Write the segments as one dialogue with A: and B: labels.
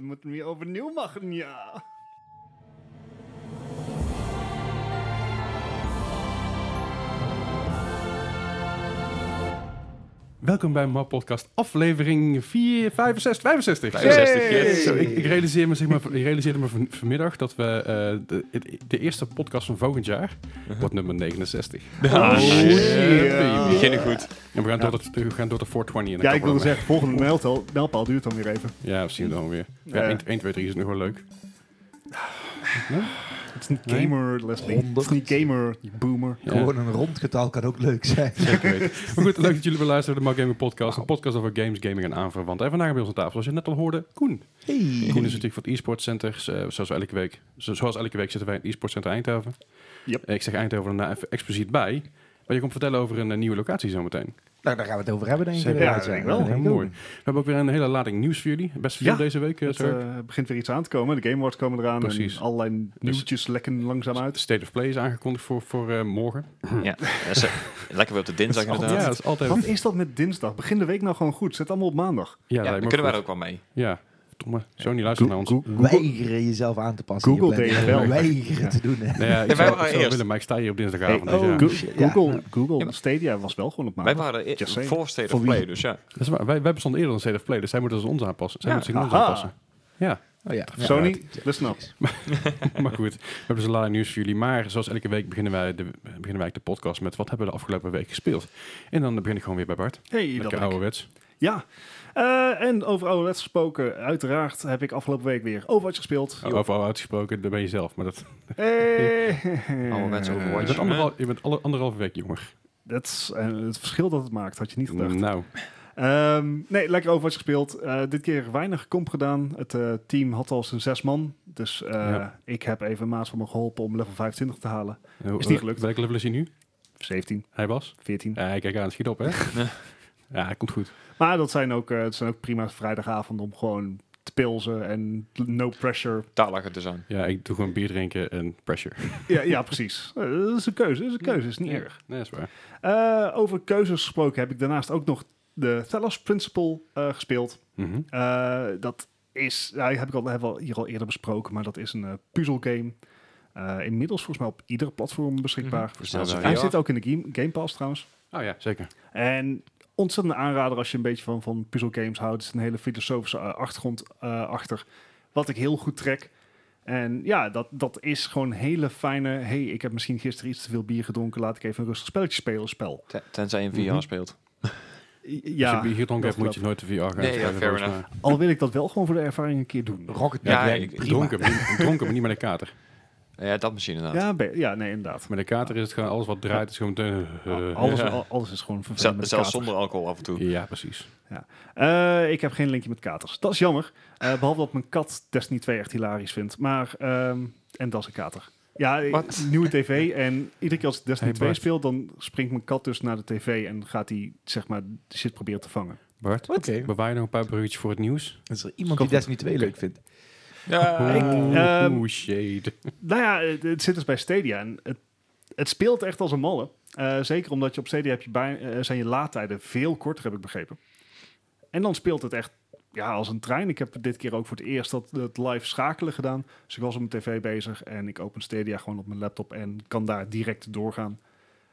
A: moeten weer overnieuw maken, ja.
B: Welkom bij MAP Podcast, aflevering 4, 65, 65.
A: Hey!
C: 65 keer.
B: Zo, ik, ik realiseer me, zeg maar, ik realiseerde me van- vanmiddag dat we eh, de, de eerste podcast van volgend jaar wordt nummer 69.
C: Ah,
A: Uh-huh. shit.
B: Shit,
A: Ja.
B: baby.
C: Beginnen goed.
B: En we gaan, door de, we gaan door de 420 in de
A: Ja, ik
B: kapper
A: wil
B: dan.
A: zeggen, volgende mijlpaal, mijlpaal duurt dan weer even.
B: Ja, we zien het dan weer.
A: Ja.
B: Ja, 1, 2, 3 is nog wel leuk.
A: Het is niet
B: Nee.
A: gamer, Leslie. Het is niet gamer, je boomer.
B: Ja.
D: Gewoon een rond getal kan ook leuk zijn.
B: Zeker weten. maar goed, leuk dat jullie weer luisteren naar de Mark Gaming Podcast. Een podcast over games, gaming en aanverwanten. En vandaag bij ons aan tafel, zoals je net al hoorde, Koen.
D: Hey.
B: Koen is natuurlijk van het e-sport center. eh, zoals, we elke week, zo- zoals elke week zitten wij in het e-sport center Eindhoven.
A: Yep.
B: Eh, ik zeg Eindhoven er nou even expliciet bij. Maar je komt vertellen over een eh, nieuwe locatie zometeen.
D: Nou, daar gaan we het over hebben, denk ik.
B: Zeker.
A: Ja,
D: inderdaad,
A: denk ik wel.
B: Heel
D: ook.
B: mooi. We hebben ook weer een hele lading nieuws voor jullie. Best veel
A: Ja,
B: deze week. eh,
A: Het
B: Turk.
A: eh, begint weer iets aan te komen. De Game Awards komen eraan.
B: Precies. Dus-
A: En allerlei nieuwtjes lekken langzaam uit.
B: State of Play is aangekondigd voor, voor eh, morgen.
C: Ja, dat is, eh, lekker weer op de dinsdag
A: Dat is
C: inderdaad.
B: Ja,
C: Ja,
B: dat is altijd...
A: Wat is dat met dinsdag? Begin de week nou gewoon goed. Zet allemaal op maandag.
B: Ja,
C: daar
B: lijkt me
C: kunnen wij
B: goed.
C: er ook wel mee.
B: Ja, verdomme. Sony luistert naar ons.
D: Weigeren jezelf aan te passen. in je
A: Google
D: planning.
A: deed het wel.
D: Weigeren te doen. hè.
B: Nee, ja, ik zou, ik
C: Ja, wij waren
B: zou
C: eerst.
B: willen, maar ik sta hier op
A: Hey,
B: dinsdagavond. dus
A: oh,
B: ja.
A: Go-
D: shit, ja.
A: Google, Google
C: Ja, maar-
A: Stadia was wel gewoon op
C: Wij
A: maandag.
C: waren
A: Just
C: eh,
A: saying.
C: voor State
D: Voor
C: of
D: wie?
C: Play, dus ja.
B: Dat is waar. Wij, wij bestonden eerder dan State of Play, dus zij moeten dus ons aanpassen. Zij
C: Ja.
B: moeten zich aan ons
A: Aha.
B: aanpassen. Ja,
D: Oh, ja. Ja.
A: Sony,
D: Ja.
A: listen up.
B: maar goed. We hebben dus een laag nieuws voor jullie. Maar zoals elke week beginnen wij, de, beginnen wij de podcast met wat hebben we de afgelopen week gespeeld. En dan begin ik gewoon weer bij Bart.
A: Hey, dat
B: Lekker
A: ben ik.
B: ouderwets.
A: Ja, Eh, en over ouderwets gesproken, uiteraard heb ik afgelopen week weer Overwatch gespeeld.
B: Of Overal uitgesproken, daar ben je zelf. Maar dat,
A: Eh,
C: Ouderwets Overwatch.
B: je bent, anderhal, je bent alle, anderhalve week jonger.
A: Dat is eh, het verschil dat het maakt, had je niet gedacht.
B: Nou,
A: Ehm, nee, lekker Overwatch gespeeld. Eh, dit keer weinig comp gedaan. Het eh, team had al zijn zes man. Dus eh,
B: Ja.
A: ik heb even maats van me geholpen om level 25 te halen.
B: hoe-
A: Is niet gelukt. Hm.
B: Welke level is hij nu?
A: 17,
B: Hij was?
A: 14.
B: Ja, kijk aan, schiet op hè. Ja, het komt goed.
A: Maar dat zijn ook, eh, dat zijn ook prima vrijdagavonden om gewoon te pilsen en no pressure.
C: Daar lag het dus aan.
B: Ja, ik doe gewoon bier drinken en pressure.
A: ja, ja, precies. Eh, dat is een keuze, dat is een keuze, is niet erg.
B: Nee, dat is waar.
A: Eh, over keuzes gesproken heb ik daarnaast ook nog de Thalos Principle eh, gespeeld.
B: Mhm.
A: Eh, dat is, ja, die heb ik al, hebben we al hier al eerder besproken, maar dat is een eh, puzzelgame. Eh, inmiddels volgens mij op ieder platform beschikbaar.
B: Versneld
C: Ja,
B: wel,
A: Hij
C: ja.
A: zit ook in de game, game Pass trouwens.
B: Oh ja, zeker.
A: En ontzettende aanrader als je een beetje van, van puzzelgames houdt. Er zit een hele filosofische eh, achtergrond eh, achter, wat ik heel goed trek. En ja, dat, dat is gewoon een hele fijne... hey, ik heb misschien gisteren iets te veel bier gedronken. Laat ik even een rustig spelletje spelen. Spel.
C: Ten- Tenzij je een VR
B: Mhm.
C: speelt.
A: Ja,
B: Als je bier gedronken
A: dat
B: hebt, moet je nooit de VR gaan
C: Nee, ja,
B: spelen,
C: fair
B: volgens
C: enough.
B: mij.
A: Al wil ik dat wel gewoon voor de ervaring een keer doen.
D: Rocket
C: Ja,
D: League werkt
C: ik- ik
D: prima.
B: Dronken, maar niet- dronken, maar niet met een kater.
C: Ja, dat misschien inderdaad.
A: Ja, be- ja, nee, inderdaad.
B: Met een kater is het gewoon alles wat draait, is gewoon... meteen, eh,
A: Ah,
B: eh,
A: alles,
C: ja.
A: al- alles is gewoon vervelend.
C: Zel-
A: met de
C: zelfs
A: kater.
C: zonder alcohol af en toe.
B: ja, precies.
A: Eh, ik heb geen linkje met katers. Dat is jammer. Eh, behalve dat mijn kat Destiny 2 echt hilarisch vindt. Maar, ehm, en dat is een kater. Ja, eh,
C: Wat?
A: nieuwe tv. En iedere keer als ik Destiny
B: Hey,
A: 2
B: Bart.
A: speel, dan springt mijn kat dus naar de tv en gaat hij, zeg maar, de shit proberen te vangen.
B: Bart,
D: Oké.
B: bewaar je nog een paar bruggetjes voor het nieuws?
D: Is er iemand die Destiny 2 leuk vindt?
C: Ja.
B: Oh,
A: ehm,
B: oeh, shade.
A: Nou ja, het, het zit dus bij Stadia. En het, het speelt echt als een malle. Eh, zeker omdat je op Stadia heb je bij, eh, zijn je laadtijden veel korter, heb ik begrepen. En dan speelt het echt ja, als een trein. Ik heb dit keer ook voor het eerst dat, dat live schakelen gedaan. Dus ik was op mijn tv bezig en ik open Stadia gewoon op mijn laptop en kan daar direct doorgaan.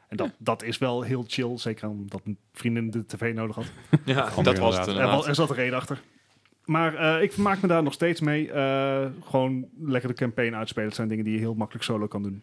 A: En dat, dat is wel heel chill, zeker omdat mijn vriendin de tv nodig had.
C: Ja,
B: Grappig
C: dat was
B: inderdaad.
C: het
A: Er, wa-
C: inderdaad.
A: er zat een reden achter. Maar eh, ik vermaak me daar nog steeds mee. Eh, gewoon lekker de campaign uitspelen. Dat zijn dingen die je heel makkelijk solo kan doen.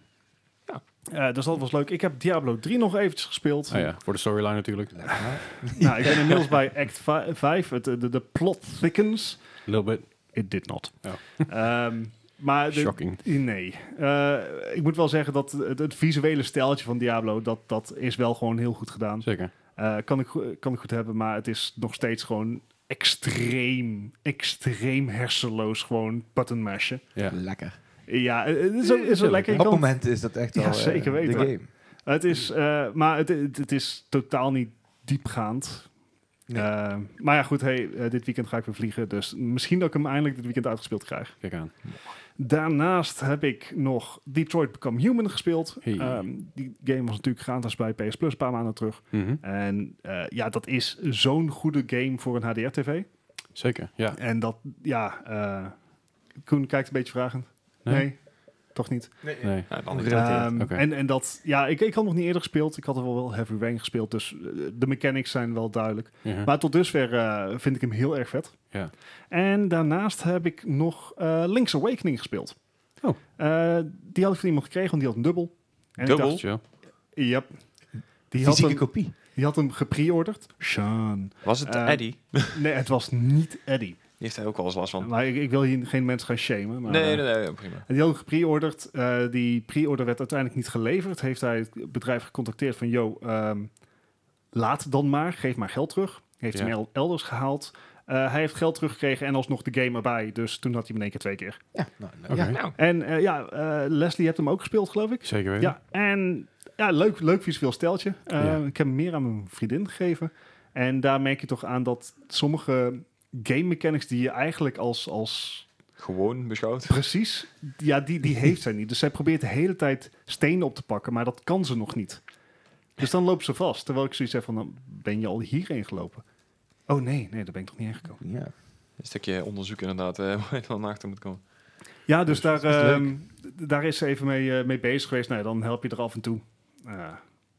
C: Ja.
A: Eh, dus dat was leuk. Ik heb Diablo 3 nog eventjes gespeeld.
B: Ah ja, voor de storyline natuurlijk. A
A: nou, ik ben inmiddels bij act 5. Het, eh, de, de plot thickens.
B: little bit
A: It did not.
B: Ja.
A: Ehm, maar de-
B: shocking.
A: nee. Eh, ik moet wel zeggen dat het, het visuele stijltje van Diablo... Dat, dat is wel gewoon heel goed gedaan.
B: Zeker.
A: Eh, kan, ik, go- kan ik goed hebben, maar het is nog steeds gewoon extreem, extreem hersenloos gewoon button mashen.
B: Ja.
D: Lekker.
A: Ja, eh, het is ook, is ook
B: Heel
A: lekker.
D: Op
A: Je kan-
D: moment is dat echt
A: Ja,
D: wel eh,
A: zeker weten.
D: de game.
A: het is, eh, maar het, het, het is totaal niet diepgaand.
D: Nee.
A: Eh, maar ja, goed, hey, eh, dit weekend ga ik weer vliegen, dus misschien dat ik hem eindelijk dit weekend uitgespeeld krijg.
B: Kijk aan.
A: Daarnaast heb ik nog Detroit Become Human gespeeld.
B: Hey.
A: Ehm, die game was natuurlijk gratis bij PS Plus een paar maanden terug.
B: Mhm.
A: En eh, ja, dat is zo'n goede game voor een HDR-tv.
B: Zeker, ja.
A: En dat, ja, eh, Koen kijkt een beetje vragend.
B: Nee?
A: Nee, toch niet.
B: Nee.
C: Ja, dan niet.
A: Ehm,
B: Oké.
A: en, en dat, ja, ik, ik had nog niet eerder gespeeld. Ik had er wel, wel Heavy Rain gespeeld, dus eh, de mechanics zijn wel duidelijk.
B: Ja.
A: Maar tot dusver eh, vind ik hem heel erg vet.
B: Ja.
A: En daarnaast heb ik nog eh, Link's Awakening gespeeld.
B: Oh.
A: Eh, die had ik van iemand gekregen, want die had een dubbel. En ik
C: Dubbel?
A: dacht,
B: Chill.
A: yep. Die had,
D: Fysieke
A: hem,
D: kopie.
A: die had hem gepreorderd. Sean.
C: Was het
A: Ehm,
C: Eddie? Die
A: Nee, het was niet Eddie.
C: heeft hij ook wel eens last van.
A: Maar ik, ik wil hier geen mensen gaan shamen. Maar,
C: Oh. Nee,
A: eh,
C: nee, nee, prima.
A: En die hadden gepreorderd. Eh, die pre-order werd uiteindelijk niet geleverd. Heeft hij het bedrijf gecontacteerd van... Yo, ehm, laat dan maar. Geef maar geld terug. Heeft
B: Ja.
A: hem el- elders gehaald. Eh, hij heeft geld teruggekregen en alsnog de game erbij. Dus toen had hij hem in één keer twee keer.
D: Ja, nou, nou,
B: Oké.
D: ja.
C: Nou,
A: En eh, ja, eh, Leslie hebt hem ook gespeeld, geloof ik.
B: Zeker weten.
A: Ja, en ja, leuk, leuk visueel steltje. Eh,
B: Ja.
A: Ik heb hem meer aan mijn vriendin gegeven. En daar merk je toch aan dat sommige game mechanics... die je eigenlijk als, als
C: gewoon beschouwd.
A: Precies. Ja, die, die heeft zij niet. Dus zij probeert de hele tijd stenen op te pakken, maar dat kan ze nog niet. Dus dan loopt ze vast. Terwijl ik zoiets heb van, dan ben je al hierheen gelopen. Oh nee, nee, daar ben ik toch niet heen gekomen.
D: Ja.
C: Een stukje onderzoek inderdaad, eh, waar je dan achter moet komen.
A: Ja,
B: Oh,
A: dus daar,
D: is leuk.
A: ehm, d- daar is ze even mee, eh, mee bezig geweest. Nou, ja, dan help je er af en toe. Eh,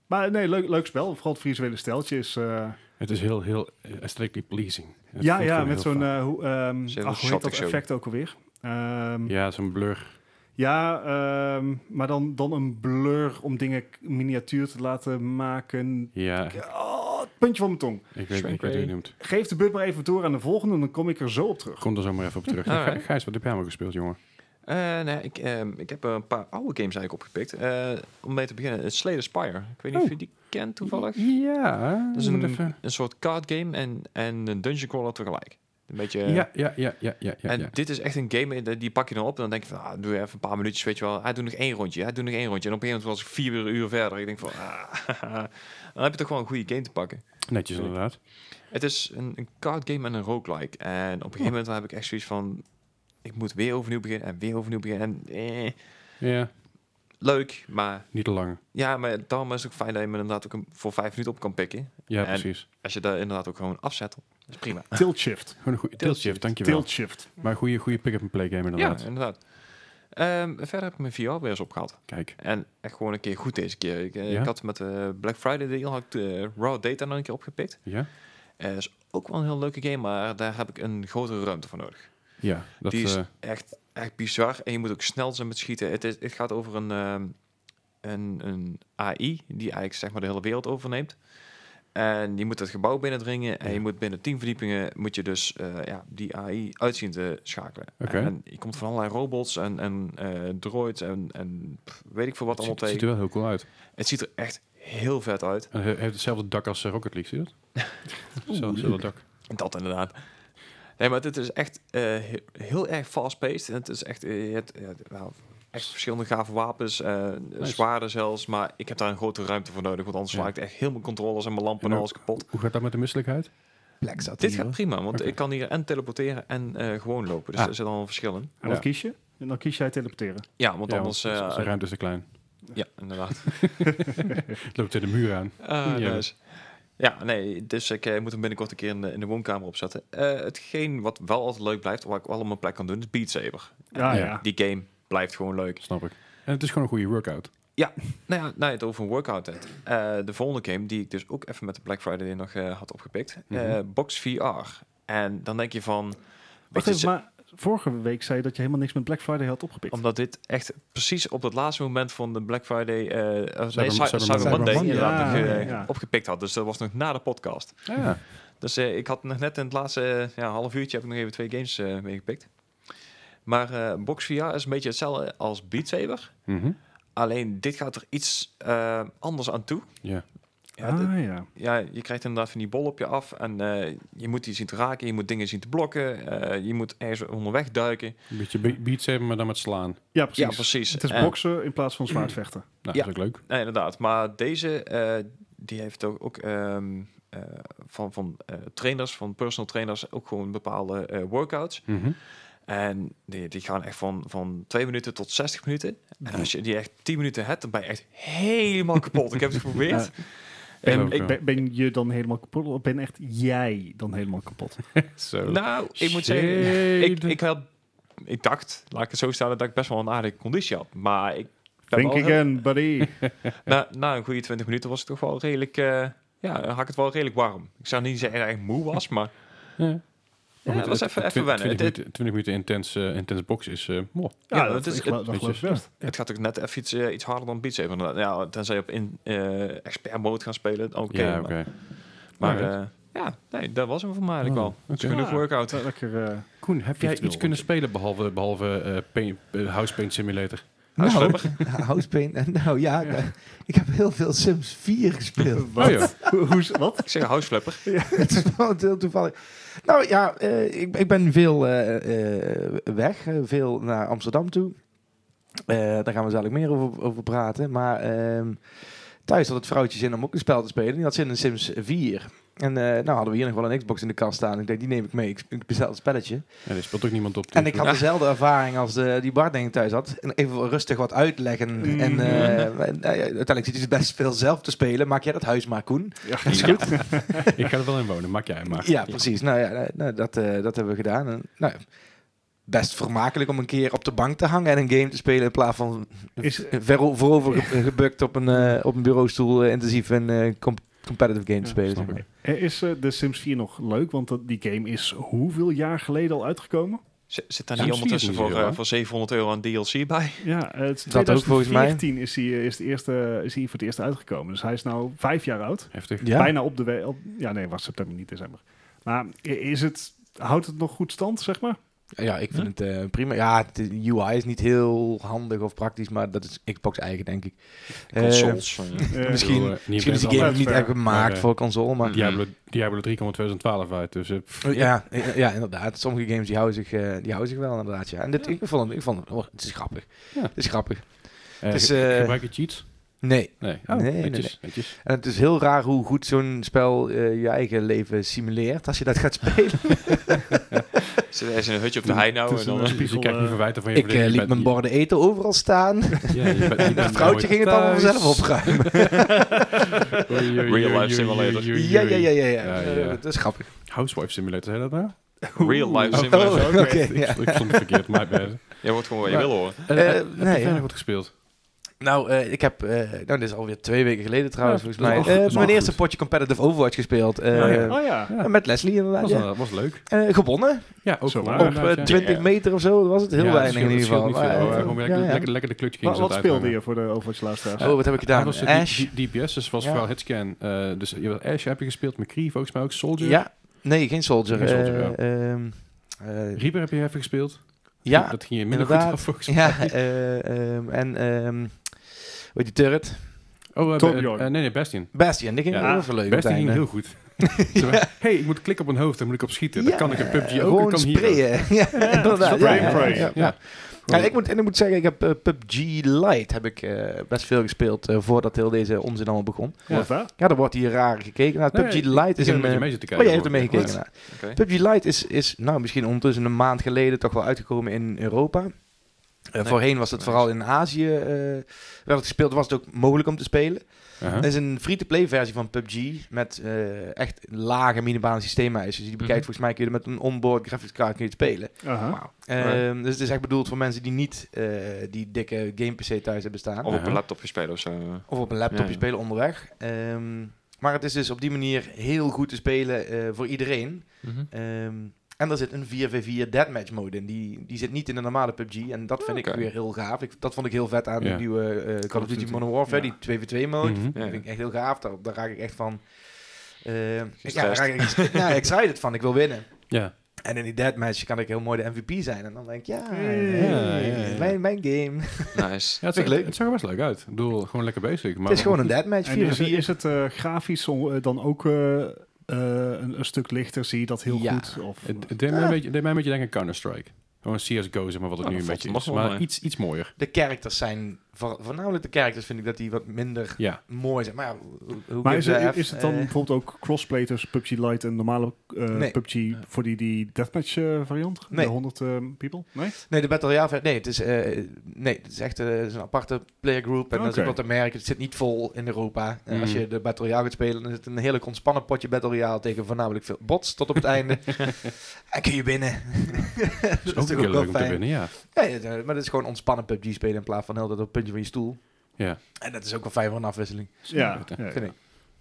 A: maar nee, leuk, leuk spel. Vooral het visuele steltje is... eh,
B: Het is heel, heel eh, aesthetically pleasing. Het
A: ja,
B: voelt
A: ja,
B: gewoon
A: met
B: heel
A: zo'n...
B: fijn.
A: eh, hoe, ehm,
C: Ze hebben
A: ach, hoe heet
C: shottig
A: dat
C: zo.
A: effect ook alweer? Ehm,
B: ja, zo'n blur.
A: Ja, ehm, maar dan, dan een blur om dingen k- miniatuur te laten maken.
B: Ja, ik
A: Oh, het puntje van mijn tong.
B: weet, ik weet hoe je het noemt.
A: Geef de beurt maar even door aan de volgende, dan kom ik er zo op terug.
B: Kom er zo maar even op terug.
C: Ja,
B: Gij-
C: alright.
B: Gijs, wat heb jij allemaal gespeeld, jongen?
C: Eh, nee, ik, ehm, ik heb een paar oude games eigenlijk opgepikt. Eh, om mee te beginnen, eh, Slay the Spire. Ik weet niet of je die kent toevallig.
B: Ja.
C: Dat is
B: moet
C: een,
B: even-
C: een soort card game en, en een dungeon crawler tegelijk. Een beetje...
B: Ja, ja, ja, ja, ja, ja.
C: eh, en
B: ja.
C: dit is echt een game, eh, die pak je dan op en dan denk je van, ah, doe even een paar minuutjes, weet je wel. Hij doet nog één rondje, hij doet nog één rondje. En op een gegeven moment was ik vier uur verder. Ik denk van, ah, dan heb je toch wel een goede game te pakken.
B: Netjes inderdaad.
C: Het is een, een card game en een roguelike. En op een gegeven moment heb ik echt zoiets van... Ik moet weer overnieuw beginnen en weer overnieuw beginnen. En, eh,
B: Ja,
C: leuk, maar...
B: niet te lang.
C: Ja, maar daarom is het ook fijn dat je me inderdaad ook een- voor vijf minuten op kan pikken.
B: Ja,
C: En-
B: precies.
C: Als je daar inderdaad ook gewoon afzet, dat is prima.
A: Tilt shift.
B: Gewoon een goede
C: Tilt
B: tiltshift,
C: shift.
B: dankjewel.
A: Tilt shift.
B: Maar goede, goede pick-up en play game inderdaad.
C: Ja, inderdaad. Ehm, verder heb ik mijn VR weer eens opgehaald.
B: Kijk,
C: En echt gewoon een keer goed deze keer. Ik, eh,
B: Ja?
C: ik had met de Black Friday deal had ik de Raw Data nog een keer opgepikt.
B: ja?
C: Eh is ook wel een heel leuke game, maar daar heb ik een grotere ruimte voor nodig.
B: Ja, dat
C: die is
B: eh,
C: echt, echt bizar. En je moet ook snel zijn met schieten. Het, is, het gaat over een, ehm, een, een AI die eigenlijk zeg maar, de hele wereld overneemt. En je moet het gebouw binnendringen. En je moet binnen tien verdiepingen moet je dus eh, ja, die AI uitzien te schakelen.
B: Oké.
C: En je komt van allerlei robots en, en eh, droids en, en pff, weet ik veel wat
B: het ziet, het
C: allemaal
B: ziet
C: tegen.
B: er wel heel cool uit.
C: Het ziet er echt heel vet uit.
B: En hij heeft hetzelfde dak als eh, Rocket League, zie je dat? Zo- Hetzelfde dak.
C: Dat inderdaad. Nee, maar dit is echt eh, he- heel erg fast-paced. En het is echt, eh, je hebt, eh, nou, echt verschillende gave wapens, eh zwaarden zelfs. Maar ik heb daar een grote ruimte voor nodig, want anders
B: Ja.
C: sla ik echt heel mijn controllers en mijn lampen en
B: En
C: alles kapot.
B: Hoe gaat dat met de misselijkheid?
D: Black zat
C: Dit
D: hier,
C: gaat
D: hoor.
C: prima, want
B: Oké.
C: ik kan hier en teleporteren en eh, gewoon lopen. Dus
B: Ah.
C: er zit al een verschil in.
A: En wat
B: Ja.
A: kies je? En dan kies jij teleporteren.
C: Ja, want
B: Ja,
C: anders...
B: want
C: eh,
B: zijn ruimte is te klein.
C: ja, inderdaad.
B: Het loopt tegen de muur aan.
C: Ah,
B: Ja.
C: nice. Ja, nee, dus ik eh, moet hem binnenkort een keer in de, in de woonkamer opzetten. Eh, hetgeen wat wel altijd leuk blijft, waar ik wel op mijn plek kan doen, is Beat Saber.
A: Ja,
B: Ja.
A: Ah, ja.
C: Die game blijft gewoon leuk.
B: Snap ik. En het is gewoon een goede workout.
C: Nou ja, nou, je het over een workout hebt. Eh, de volgende game die ik dus ook even met de Black Friday nog eh, had opgepikt. eh,
B: Mhm.
C: Box VR. En dan denk je van... weet
A: Wacht
C: je,
A: even,
C: ze-
A: maar vorige week zei je dat je helemaal niks met Black Friday had opgepikt.
C: Omdat dit echt precies op het laatste moment van de Black Friday... eh, eh, nee, Cy-
B: Cyber
C: Cyber,
B: Monday.
C: Monday,
D: Cyber
C: inderdaad,
A: Monday,
C: nog,
A: ja,
C: eh,
A: ja.
C: opgepikt had. Dus dat was nog na de podcast.
A: Ah,
B: Ja.
C: Dus eh, ik had nog net in het laatste eh, ja, half uurtje... heb ik nog even twee games eh, meegepikt. Maar eh, Box VR is een beetje hetzelfde als Beat Saber.
B: Mhm.
C: Alleen dit gaat er iets eh, anders aan toe.
B: Ja.
C: Ja, dit-
A: ah ja.
C: ja, je krijgt inderdaad van die bol op je af en eh, je moet die zien te raken, je moet dingen zien te blokken, eh, je moet ergens onderweg duiken.
B: Een beetje be- beats hebben, maar dan met slaan.
A: Ja, precies.
C: Ja, precies.
A: Het is
C: En-
A: boksen in plaats van zwaardvechten.
B: Nou,
C: Ja.
B: dat is ook leuk.
C: Nee, inderdaad. Maar deze, eh, die heeft ook, ook ehm, eh, van, van eh, trainers, van personal trainers, ook gewoon bepaalde eh, workouts.
B: Mhm.
C: En die, die gaan echt van, van 2 minuten tot 60 minuten. En als je die echt 10 minuten hebt, dan ben je echt helemaal kapot. Ik heb het geprobeerd.
A: Ben,
B: ook
A: ik
B: wel.
A: ben, ben je dan helemaal kapot? Of ben echt jij dan helemaal kapot?
B: Zo.
C: Nou, ik Nou, moet zeggen, ik,
B: Shade.
C: ik had ik dacht, laat ik het zo stellen, dat ik best wel een aardige conditie had. Maar ik ben
A: Think
C: wel heel-
A: again, buddy.
C: na, na een goede 20 minuten was ik toch wel redelijk, eh, ja, had ik het wel redelijk warm. Ik zou niet zeggen dat ik echt moe was, maar
B: Ja.
C: ja, het was even, even wennen. Het,
B: 20
C: het,
B: minuten, 20 minuten intens, eh, intens box is eh mooi.
A: Ja, dat, is ik,
C: het-
A: geloof- dat geloof ik
B: beetje-
A: best.
C: het gaat ook net even iets, eh, iets harder dan Beat Saber. Nou, Ja, tenzij je op in, eh, expert mode gaan spelen, oké.
B: ja,
C: maar-
B: oké.
C: Maar
B: Alright.
C: eh, ja, nee, dat was hem voor mij
B: Oh,
C: eigenlijk al. Het is
B: oké.
C: genoeg
A: Ja.
C: workout.
A: Eh, Lekker, eh,
B: Koen, heb jij
A: Virtueel,
B: iets kunnen spelen behalve, behalve eh, paint- eh, House Paint Simulator?
D: Nou,
C: Huisslubber.
D: Housepaint. Nou ja,
A: Ah, Ja.
D: ik- ik heb heel veel Sims 4 gespeeld.
B: Oh ja.
A: Hoe- hoe- wat?
C: Ik zeg houseflipper.
D: het is wel heel toevallig. Nou ja, eh, ik, ik ben veel eh, eh, weg, eh, veel naar Amsterdam toe. Eh, daar gaan we dadelijk meer over, over praten. Maar ehm, thuis had het vrouwtje zin om ook een spel te spelen. Die had zin in Sims 4. En eh, nou hadden we hier nog wel een Xbox in de kast staan. Ik denk, die neem ik mee. Ik, ik bestel het spelletje.
B: Ja, er speelt ook niemand op. dus
D: En ik had dezelfde ervaring als eh, die Bart denk ik thuis had. En even rustig wat uitleggen. En eh, en, nou ja, uiteindelijk zit hij het best veel zelf te spelen. Maak jij dat huis maar, Koen.
A: Ja,
C: is goed.
B: ik ga er wel in wonen, maak jij maar.
D: Ja, precies. Nou ja, eh, nou, dat, eh, dat hebben we gedaan. En, nou, ja, best vermakelijk om een keer op de bank te hangen en een game te spelen in plaats van
A: Is,
D: ver voorover ge- gebukt op een, eh, op een bureaustoel eh, intensief een eh, com- competitive game te
A: Ja,
D: spelen.
B: snap
D: zeg maar.
B: ik.
A: eh, is eh, The Sims 4 nog leuk? Want dat- die game is hoeveel jaar geleden al uitgekomen?
C: Z- Zit daar
B: Ja, dat zie
C: niet
B: je
C: ondertussen
B: niet
C: voor,
B: zo,
C: eh,
B: hè?
C: voor 700 euro aan DLC bij?
A: Ja, eh, het is
D: Dat ook volgens mij.
A: 2014 is hij eh, is de eerste, is hij voor het eerst uitgekomen. Dus hij is nou vijf jaar oud.
B: Heftig.
D: Ja?
A: Bijna op de we- op- Ja, nee, was september, niet december. Maar i- is het, houdt het nog goed stand, zeg maar?
D: Ja, ik vind het eh, prima. Ja, de UI is niet heel handig of praktisch, maar dat is Xbox eigen, denk ik. Eh,
C: Consoles. eh,
A: Eh,
D: Misschien- misschien is die game niet echt gemaakt
B: eh,
D: voor console, maar... Oh,
B: Diablo, Diablo 3 kwam in 2012 uit, dus eh, pff,
D: Ja, ja, ja, inderdaad. Sommige games die houden zich, eh, die houden zich wel, inderdaad. Ja. En dit, ik vond, hem- ik vond hem- oh, het is grappig.
B: Ja.
D: Het is grappig.
B: eh,
D: is,
B: ge-
D: eh,
B: gebruik je cheats?
D: Nee,
B: Nee, Oh,
D: Nee, nee,
B: netjes, netjes.
D: En het is heel raar hoe goed zo'n spel eh, je eigen leven simuleert als je dat gaat spelen.
C: Zit ergens in een hutje op de hei nou.
A: het
C: En
A: is
C: dan,
A: een-
C: eh,
B: Dus je
A: spiegel,
B: kijkt niet
A: eh,
B: verwijten van je
D: ik eh,
B: verleden. Je
D: liet
B: bent-
D: mijn borden eten overal staan.
B: Ja, je bent- je bent
D: Het vrouwtje
B: nooit
D: ging het allemaal
B: thuis.
D: zelf opruimen.
B: Oei, oei, oei,
C: Real life
B: oei,
C: simulator.
B: oei, oei,
D: ja,
B: oei.
D: ja, ja, ja.
B: Ja,
D: ja.
B: ja.
D: Eh, dat is grappig.
B: Housewife Simulator, zei dat nou?
C: real life
B: Oh,
C: simulator.
D: oh,
C: Oké.
D: oké.
B: Ik-
D: Ja.
B: Ik vond het verkeerd, my bad.
C: Je wordt gewoon wat je
D: Maar-
C: wil horen.
B: Eh, eh,
D: Eh,
B: heb je
D: nee,
B: verder
D: ja.
B: wat gespeeld?
D: Nou, eh, ik heb, eh, nou, dit is alweer twee weken geleden trouwens,
B: Ja,
D: volgens mij.
B: dat is wel-
D: Eh,
B: dat is wel
D: mijn eerste
B: goed.
D: potje competitive Overwatch gespeeld. eh,
A: Oh ja. Oh ja.
B: Ja.
D: Met Leslie inderdaad.
B: Was,
D: Ja.
B: wel- was leuk.
D: Eh, gewonnen.
B: Ja, ook
A: Zo
B: wel
A: waar.
D: op
B: inderdaad,
D: eh,
B: ja.
D: 20
C: Ja.
D: meter of zo. Dat was het heel
B: Ja, dat
D: weinig in
B: scheelt-
D: ieder
B: dat scheelt
D: geval.
B: niet veel,
D: Maar,
B: hoor.
D: eh,
B: Gewoon weer
D: ja,
B: lekker-
D: ja.
B: lekker- Lekker de klutje
A: Wat,
B: ging
A: wat speelde je voor de Overwatch luisteraars?
D: Oh, wat heb ik gedaan?
B: was eh,
D: Ash.
B: D- D- DPS, dus was
D: Ja.
B: vooral headscan. Eh, dus je was Ash heb je gespeeld, McCree volgens mij ook, Soldier.
D: Ja, nee, geen Soldier.
B: Geen Soldier, oh.
D: Eh, ehm, eh,
B: Reaper heb je even gespeeld.
D: ja,
B: Dat ging je minder goed
D: inderdaad.
B: af volgens mij.
D: ja, eh, ehm, en ehm weet je, Turret.
B: Oh, eh,
A: Torbjorn.
B: eh, eh, nee, nee, Bastion.
D: Bastion, die ging
B: Ja,
D: wel heel veel leuk.
B: Bastion
D: op het
B: ging
D: einde.
B: heel goed. Zo van, hey, ik moet klikken op een hoofd, dan moet ik op schieten.
D: Ja, eh,
B: Dan kan ik een PUBG ook, dan
D: Gewoon
B: kan hier ook.
D: sprayen. ja, inderdaad. Ja,
A: spray
D: ja,
A: and pray.
D: ja, ja.
B: Ja.
D: En ik, moet, en ik moet zeggen, ik heb eh, PUBG Lite heb ik, eh, best veel gespeeld eh, voordat heel deze onzin allemaal begon.
A: Wat daar?
D: Ja, er wordt hier raar gekeken. Nou,
B: Nee,
D: PUBG
B: ik-
D: Lite
B: Ik heb
D: is
B: een
D: een...
B: beetje
D: eh,
B: mee zitten kijken.
D: Oh, jij hebt er
B: vorige keer.
D: meegekeken. nou.
C: Oké.
D: PUBG Lite is, is nou, misschien ondertussen een maand geleden toch wel uitgekomen in Europa. Eh,
C: Nee.
D: Voorheen was het
C: Nee.
D: vooral in Azië eh, werd het gespeeld, was het ook mogelijk om te spelen.
B: Aha.
D: Het is een free-to-play versie van PUBG met eh, echt lage minimale systeemeisen. Dus die bekijkt
B: Mhm.
D: volgens mij kun je er met een onboard graphics card kun je het spelen.
A: Aha.
D: Ehm, Dus het is echt bedoeld voor mensen die niet eh, die dikke game PC thuis hebben staan.
C: Of op
B: Aha.
C: een laptopje spelen of zo.
D: Of op een laptopje
C: Oh. Ja, ja.
D: spelen onderweg. Ehm, maar het is dus op die manier heel goed te spelen eh, voor iedereen. Ehm, en er zit een 4v4 deathmatch mode in. Die, die zit niet in de normale PUBG. En dat
A: Oh,
D: vind
C: Oké.
D: ik weer heel gaaf. Ik, dat vond ik heel vet aan
B: Ja.
D: de nieuwe eh Call of Duty
A: Duty.
D: Modern
A: Ja.
D: Warfare. Die 2v2 mode.
B: Mhm.
D: Dat vind ik echt heel gaaf. Daar, daar raak ik echt van... eh, ik, ja, daar
C: Gestrest.
D: raak ik ja, excited van. Ik wil winnen.
B: Ja.
D: En in die deathmatch kan ik heel mooi de MVP zijn. En dan denk ik, ja,
A: Hey.
B: Ja, ja, ja.
D: Mijn, mijn game.
C: Nice.
B: Ja, het,
D: Vind ik
B: zag,
D: leuk.
B: het zag er best leuk uit. Ik bedoel, gewoon lekker bezig. Maar
D: Het is gewoon een deathmatch. 4v4.
A: En is, is het eh, grafisch on- eh, dan ook eh, eh, een, een stuk lichter? Zie je dat heel
D: Ja.
A: goed? Of,
B: Het, het deed, mij een beetje, deed mij een beetje denken aan Counter-Strike. Gewoon CSGO, zeg maar, wat het nu
C: Nou,
B: een
C: dat
B: beetje
C: valt
B: is.
C: nog wel
B: Maar
C: mee.
B: iets, iets mooier.
D: De characters zijn... voor- Voornamelijk de characters vind ik dat die wat minder
B: Ja.
D: mooi zijn. Maar ja, hoe- hoe
A: maar is,
D: gives a
A: het-
D: F?
A: is het dan
D: Eh,
A: bijvoorbeeld ook crossplay tussen PUBG Lite en normale eh,
D: Nee.
A: PUBG voor die, die deathmatch eh, variant?
D: Nee.
A: De 100 eh, people? Nee?
D: Nee, de Battle Royale, ver- nee, het is, eh, nee, het is echt eh, het is een aparte playergroup. En dat is
A: Oké.
D: ook wat te merken. Het zit niet vol in Europa. En Als
B: Mm.
D: je de Battle Royale gaat spelen, dan is het een heerlijk ontspannen potje Battle Royale tegen voornamelijk veel bots tot op het einde. en kun je winnen. dat
B: ook weer
D: natuurlijk ook
B: leuk om
D: wel
B: te
D: fijn.
B: winnen, ja.
D: Ja, ja, ja, maar dat is gewoon ontspannen PUBG spelen in plaats van heel dat op het puntje van je stoel.
B: Ja.
D: En dat is ook wel fijn voor een afwisseling,
A: Ja, ja, ja.
D: vind ik.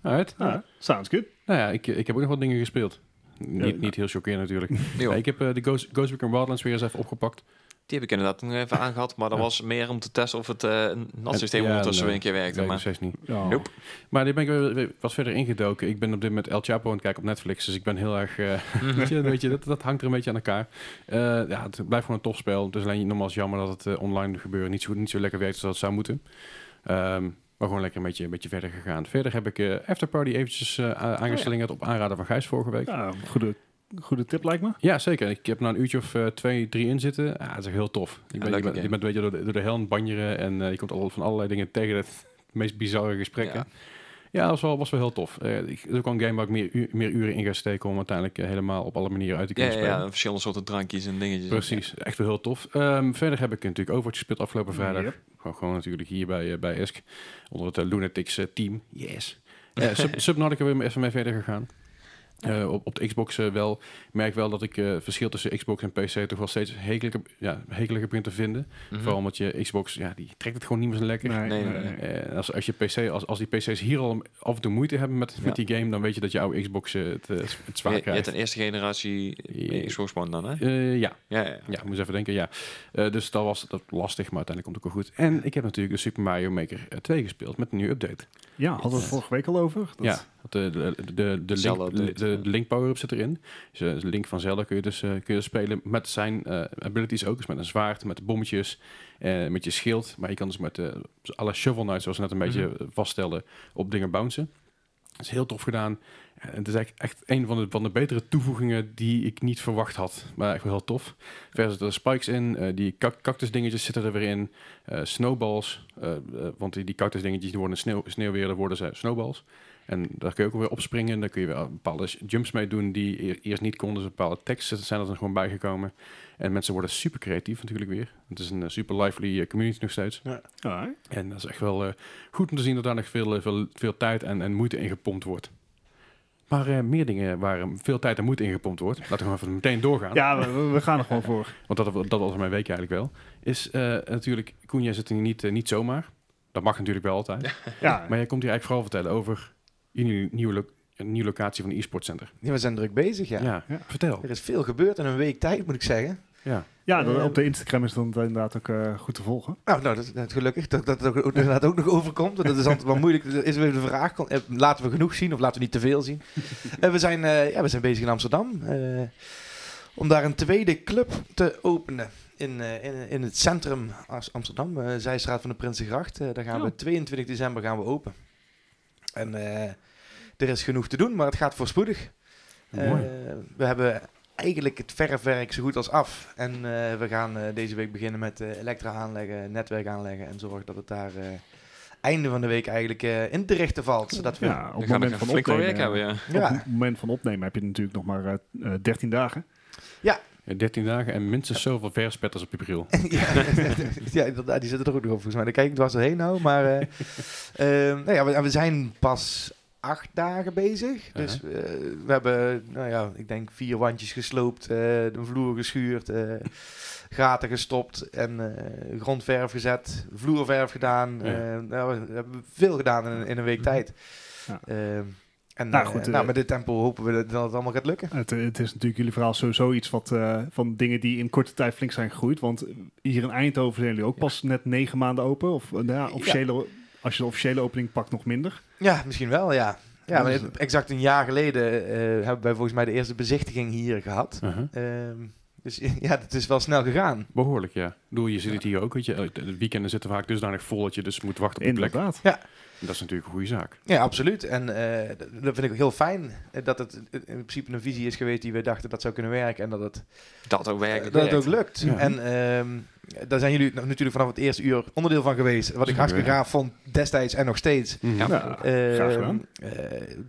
B: Alright.
A: Ah,
B: Ja.
A: sounds good.
B: Nou ja, ik, ik heb ook nog wat dingen gespeeld. Niet,
A: Ja.
B: niet heel chockerend natuurlijk.
C: Jo,
B: Ja, ik heb eh, de Ghost, Ghost Recon Wildlands weer eens even opgepakt.
C: Die heb ik inderdaad nog even aangehad, maar dat
B: Ja.
C: was meer om te testen of het eh NAT systeem
B: Ja,
C: ondertussen
B: nee. dus
C: weer een keer werkte.
B: weet ik nog
C: maar
B: steeds niet.
A: Ja.
C: Joep.
B: Maar daar ben ik weer- weer wat verder ingedoken. Ik ben op dit moment El Chapo aan het kijken op Netflix. Dus ik ben heel erg... eh, weet je, weet je, dat, dat hangt er een beetje aan elkaar. Eh, ja, het blijft gewoon een topspel. Het is alleen nogmaals jammer dat het eh, online gebeuren niet zo, niet zo lekker werkt als dat het zou moeten. Ehm, maar gewoon lekker een beetje, een beetje verder gegaan. Verder heb ik eh After Party eventjes eh, a- aangeslingerd op aanraden van Gijs vorige week.
A: Ja, goede, goede tip lijkt me.
B: Ja, zeker. Ik heb nou een uurtje of eh, twee, drie in zitten. Ja, dat is heel tof. Je, bent-
C: leuke
B: je, bent, je
C: game.
B: bent een beetje door de, door de hel aan het banjeren en eh, je komt al van allerlei dingen tegen. Het meest bizarre gesprekken.
C: Ja.
B: Ja, dat was wel, was wel heel tof. Eh, ik- het is ook wel een game waar ik meer, u- meer uren in ga steken om uiteindelijk eh, helemaal op alle manieren uit te
C: ja,
B: kunnen
C: ja,
B: spelen.
C: ja, verschillende soorten drankjes en dingetjes.
B: Precies, echt wel heel tof. Ehm, verder heb ik natuurlijk Overwatch gespeeld afgelopen vrijdag.
A: Yep.
B: Gewoon, gewoon natuurlijk hier bij, eh, bij Esk. Onder het eh, Lunatics eh, team. Yes. Eh, Sub Subnautica weer even mee verder gegaan. Eh, op, op de Xbox eh, wel. Ik merk wel dat ik eh, het verschil tussen Xbox en PC toch wel steeds hekelijker, ja, hekelijker begin te vinden.
C: Mhm.
B: Vooral omdat je Xbox, ja, die trekt het gewoon niet meer zo lekker.
C: Nee, nee, nee.
B: Eh, als, als, je PC, als, als die PC's hier al af en toe moeite hebben met, met
C: Ja.
B: die game, dan weet je dat je oude Xbox eh, het, eh, het
C: Je,
B: zwaar
C: je hebt
B: krijgt.
C: een eerste generatie
B: Ja.
C: Xbox One dan, hè?
B: Eh, ja,
C: Ja, ja.
B: ja, ik moet eens even denken, ja. Eh, dus dat was dat lastig, maar uiteindelijk komt het ook wel goed. En ik heb natuurlijk de Super Mario Maker eh, 2 gespeeld met een nieuwe update.
A: Ja, hadden we het vorige week al over. Dat-
B: Ja, want eh, de, de, de, de,
C: Zelda
B: link,
C: update,
B: de,
C: ja.
B: de Link power-up zit erin. Dus eh, de Link van Zelda kun je dus eh, kun je spelen met zijn eh, abilities ook. Dus met een zwaard, met bommetjes, eh, met je schild. Maar je kan dus met eh à la Shovel Knight, zoals we net een beetje eh, vaststelden, op dingen bouncen. Dat is heel tof gedaan. En het is eigenlijk echt een van de, van de betere toevoegingen die ik niet verwacht had. Maar echt wel heel tof. Verder zitten er spikes in. eh, die cac- cactus dingetjes zitten er weer in. eh, snowballs. eh, eh, want die, die cactus dingetjes die worden sneeuw, sneeuwweerder worden ze snowballs. En daar kun je ook weer opspringen. Daar kun je weer bepaalde sh- jumps mee doen die eer- eerst niet konden. Dus bepaalde teksten zijn er dan gewoon bijgekomen. En mensen worden super creatief natuurlijk weer. Het is een eh, super lively eh, community nog steeds.
A: Alright.
B: En dat is echt wel eh, goed om te zien dat daar nog veel, eh, veel, veel tijd en, en moeite in gepompt wordt. Maar eh, meer dingen waar eh, veel tijd en moeite in gepompt wordt, laten we gewoon even meteen doorgaan.
A: Ja, we- we, we gaan er gewoon voor.
B: Want dat, dat was mijn week eigenlijk wel. Is eh, natuurlijk, Koen, jij zit hier niet, eh, niet zomaar. Dat mag natuurlijk wel altijd.
A: Ja,
B: Maar jij komt hier eigenlijk vooral vertellen over je nieuwe, nieuwe, lo- een nieuwe locatie van de e-sport center.
D: Ja, we zijn druk bezig, ja.
A: Ja.
B: vertel.
D: Er is veel gebeurd in een week tijd, moet ik zeggen.
B: Ja.
A: ja dan, op de Instagram is het inderdaad ook eh, goed te volgen.
D: Nou, nou dat, is- dat is gelukkig dat dat ook, ook inderdaad ook nog overkomt. want Dat is altijd wel moeilijk. Er is weer de vraag, kon- eh, laten we genoeg zien of laten we niet te veel zien? En we, zijn, eh, ja, we zijn bezig in Amsterdam eh, om daar een tweede club te openen. In, eh, in, in het centrum As- Amsterdam, eh, Zijstraat van de Prinsengracht. Eh, daar gaan we 22 december gaan we open. En eh, er is genoeg te doen, maar het gaat voorspoedig. Eh,
B: Mooi.
D: we hebben eigenlijk het verfwerk zo goed als af. En eh, we gaan eh, deze week beginnen met eh, elektra aanleggen, netwerk aanleggen en zorgen dat het daar eh, einde van de week eigenlijk eh, in te richten valt. Zodat we,
A: Ja, op
C: Dan
A: het
C: gaan we
A: moment
C: echt
A: van
C: flink wel werk
A: opnemen.
C: hebben, ja.
A: Op
D: Ja.
A: het moment van opnemen heb je natuurlijk nog maar eh, eh, 13 dagen.
B: Ja, 13 dagen en minstens zoveel verspetters op je bril.
D: ja, ja, inderdaad, die zitten er ook nog op volgens mij. Daar kijk ik dwars doorheen nou. Maar eh, ehm, nou ja, we, we zijn pas acht dagen bezig. Dus eh, we hebben, nou ja, ik denk vier wandjes gesloopt, eh, de vloer geschuurd, eh, gaten gestopt en eh, grondverf gezet, vloerverf gedaan.
B: Ja.
D: Eh, nou, we hebben veel gedaan in, in een week tijd.
A: Mhm. Ja.
D: Ehm, en
A: Nou,
D: eh,
A: goed, eh,
D: nou, met dit tempo hopen we dat, dat het allemaal gaat lukken.
A: Het, eh, het is natuurlijk jullie verhaal sowieso iets wat, eh, van dingen die in korte tijd flink zijn gegroeid. Want hier in Eindhoven zijn jullie ook pas net negen maanden open. Of eh, nou ja, officiële, als je de officiële opening pakt, nog minder.
D: Ja, misschien wel, ja. Ja, maar
A: Dus,
D: het- exact een jaar geleden eh, hebben wij volgens mij de eerste bezichtiging hier gehad.
B: Uh-huh.
D: Ehm, dus ja, dat is wel snel gegaan.
B: Behoorlijk, ja. Ik bedoel, je ziet het hier ook. Weet je, eh, de de weekenden zitten vaak dusdanig vol dat je dus moet wachten op de plek.
A: Inderdaad.
B: Dat is natuurlijk een goede zaak.
D: Ja, absoluut. En eh, d- dat vind ik ook heel fijn. eh, Dat het eh, in principe een visie is geweest die we dachten dat zou kunnen werken. En dat het,
C: Dat ook
D: eh,
C: werkt.
D: dat het ook lukt.
B: Ja.
D: En ehm, daar zijn jullie n- natuurlijk vanaf het eerste uur onderdeel van geweest. Wat ik
B: Zeker,
D: hartstikke
B: ja.
D: gaaf vond destijds en nog steeds.
B: Ja.
A: Ja,
D: Ehm,
A: graag gedaan.
D: eh,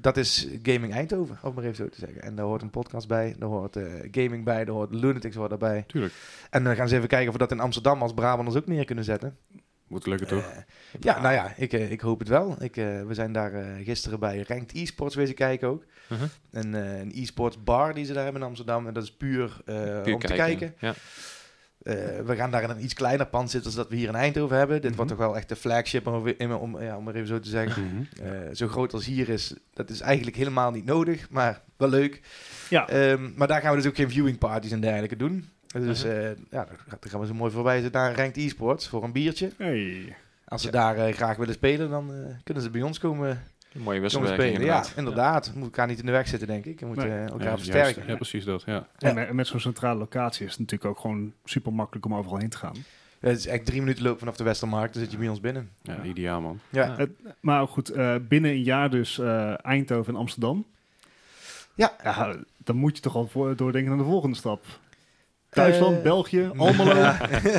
D: dat is Gaming Eindhoven, om maar even zo te zeggen. En daar hoort een podcast bij, daar hoort eh, gaming bij, daar hoort Lunatics hoort daarbij.
B: Tuurlijk.
D: En dan gaan ze even kijken of we dat in Amsterdam als Brabanders ook neer kunnen zetten.
B: Moet lukken, toch?
D: Eh, ja, nou ja, ik, eh, ik hoop het wel. Ik, eh, we zijn daar eh, gisteren bij Ranked eSports wezen kijken ook.
C: Mhm.
D: Een, eh, een eSports bar die ze daar hebben in Amsterdam. En dat is puur, eh,
C: Puur
D: om te kijken.
C: Ja.
D: eh, we gaan daar in een iets kleiner pand zitten dan dat we hier in Eindhoven hebben. Dit wordt toch wel echt de flagship, om, om, om, ja, om maar even zo te zeggen.
B: Mhm.
D: Eh, zo groot als hier is, dat is eigenlijk helemaal niet nodig, maar wel leuk.
A: Ja.
D: Ehm, maar daar gaan we dus ook geen viewing parties en dergelijke doen. Dus
B: Mhm.
D: eh, ja, dan gaan- dan gaan we ze mooi verwijzen naar Ranked Esports voor een biertje.
A: Hey.
D: Als ze daar eh, graag willen spelen, dan eh, kunnen ze bij ons komen,
C: Een mooie
D: komen
C: wisselwerking
D: spelen.
C: inderdaad.
D: Ja, inderdaad. We moeten elkaar niet in de weg zitten, denk ik. We moeten
A: Nee.
D: eh, elkaar
B: Ja,
D: versterken.
B: juist. Ja, precies dat. Ja.
D: Ja.
A: En met- met zo'n centrale locatie is het natuurlijk ook gewoon super makkelijk om overal heen te gaan.
D: Het is echt drie minuten lopen vanaf de Westermarkt, dan zit je bij ons binnen.
B: Ja,
A: Ja.
B: ideaal man.
D: Ja,
C: Ja.
A: Maar goed, eh, binnen een jaar dus eh, Eindhoven en Amsterdam.
D: Ja.
A: Dan moet je toch al voor, doordenken aan de volgende stap. Duitsland,
D: Eh,
A: België, Almelo.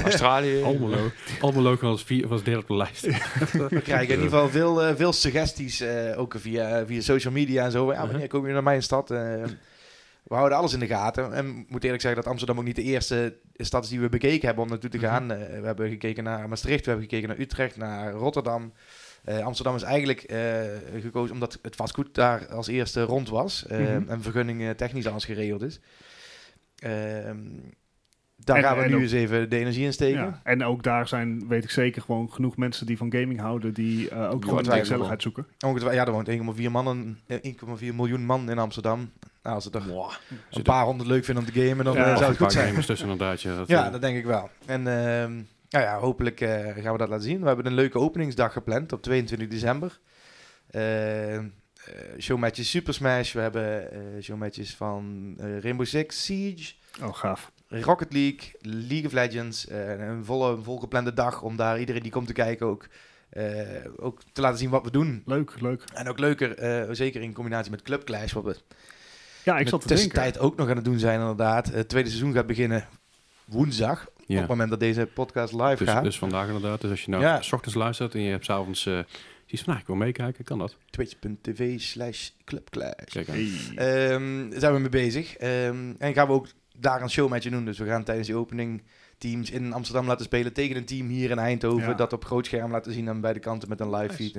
C: Australië.
B: Almelo. Almelo was, vier, was derde op de lijst.
D: we krijgen in ieder geval veel, eh, veel suggesties, eh, ook via, via social media en zo. Ja,
A: Uh-huh.
D: wanneer kom je naar mijn stad? Eh, we houden alles in de gaten. En ik moet eerlijk zeggen dat Amsterdam ook niet de eerste stad is die we bekeken hebben om naartoe te
A: Uh-huh.
D: gaan. Eh, we hebben gekeken naar Maastricht, we hebben gekeken naar Utrecht, naar Rotterdam. Eh, Amsterdam is eigenlijk eh, gekozen omdat het vastgoed daar als eerste rond was. eh,
A: Mhm.
D: En vergunning eh, technisch alles geregeld is. Ehm, daar
A: En-
D: gaan we
A: en
D: nu
A: ook-
D: eens even de energie in steken.
A: Ja. En ook daar zijn, weet ik zeker, gewoon genoeg mensen die van gaming houden. Die eh, ook gewoon de
D: ongetwijfeld.
A: gezelligheid zoeken.
D: Ongetwijfeld, ja, er woont 1,4 mannen, eh, 1,4 miljoen man in Amsterdam. Nou, als ze er een paar honderd leuk vinden om te gamen, dan
A: Ja,
D: eh,
A: of
D: zou het goed zijn.
B: gamers tussen inderdaad. Ja, dat,
D: Ja,
B: eh,
D: dat denk ik wel. En ehm, nou ja, hopelijk eh, gaan we dat laten zien. We hebben een leuke openingsdag gepland op 22 december. Eh, eh, showmatches Super Smash. We hebben eh, showmatches van eh, Rainbow Six Siege,
A: Oh, gaaf.
D: Rocket League, League of Legends. eh, een volle, een volgeplande dag om daar iedereen die komt te kijken ook, eh, ook te laten zien wat we doen.
A: Leuk, leuk.
D: En ook leuker, eh, zeker in combinatie met Club Clash, wat we
A: Ja, ik
D: in
A: Ah, zat
D: de
A: te denken.
D: tussentijd ook nog aan het doen zijn inderdaad. Het tweede seizoen gaat beginnen woensdag, op
B: ja.
D: het moment dat deze podcast live
B: Dus,
D: gaat.
B: dus vandaag inderdaad. Dus als je nou
D: Ja.
B: s ochtends luistert en je hebt s'avonds eh zoiets van, nou, ik wil meekijken, kan dat.
D: Twitch.tv slash clubclash.
B: Kijk aan.
A: Hey.
D: Ehm, daar zijn we mee bezig. Ehm, en gaan we ook daar een showmatje doen. Dus we gaan tijdens die opening teams in Amsterdam laten spelen tegen een team hier in Eindhoven.
A: Ja.
D: Dat op groot scherm laten zien aan beide kanten met een live feed.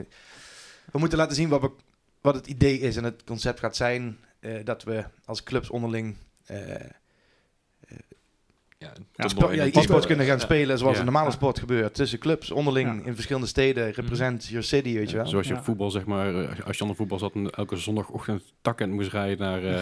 D: We moeten laten zien wat, we, wat het idee is en het concept gaat zijn. eh, dat we als clubs onderling eh,
C: Ja,
A: Ja,
C: top
A: spo-
D: Sport,
C: mooi.
D: ja,
C: Dat-
D: e-sports
C: ja.
D: kunnen gaan
C: Ja.
D: spelen zoals
B: Ja.
D: een normale sport gebeurt. Tussen clubs, onderling,
A: Ja.
D: in verschillende steden. Represent your city, weet je wel.
B: Zoals je
A: Ja.
B: op voetbal, zeg maar, eh, als- als je onder voetbal zat en elke zondagochtend takkend moest rijden naar... eh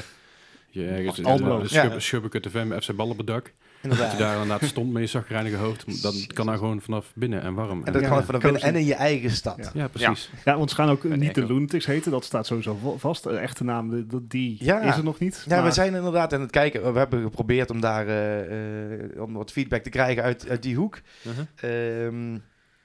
B: je ergens
A: Almelo.
B: de
D: Ja.
B: Schub- Schubbeke TV, FC Ballenbedak. Dat je
D: Inderdaad.
B: daar inderdaad stond met je zagrijnige hoofd. Dan kan daar gewoon vanaf binnen en warm.
D: En dat
A: Ja.
D: kan vanaf binnen
A: Cozy.
D: en in je eigen stad.
A: Ja.
D: Ja,
B: ja, precies.
A: Ja, want ze gaan ook eh, niet de
C: Echo.
A: Lunatics heten. Dat staat sowieso va- vast. Een echte naam, de- dat- die
D: Ja.
A: is er nog niet.
D: we
A: maar-
D: zijn inderdaad aan het kijken. We hebben geprobeerd om daar eh, eh, om wat feedback te krijgen uit, uit die hoek.
C: Mhm.
D: Ehm, ik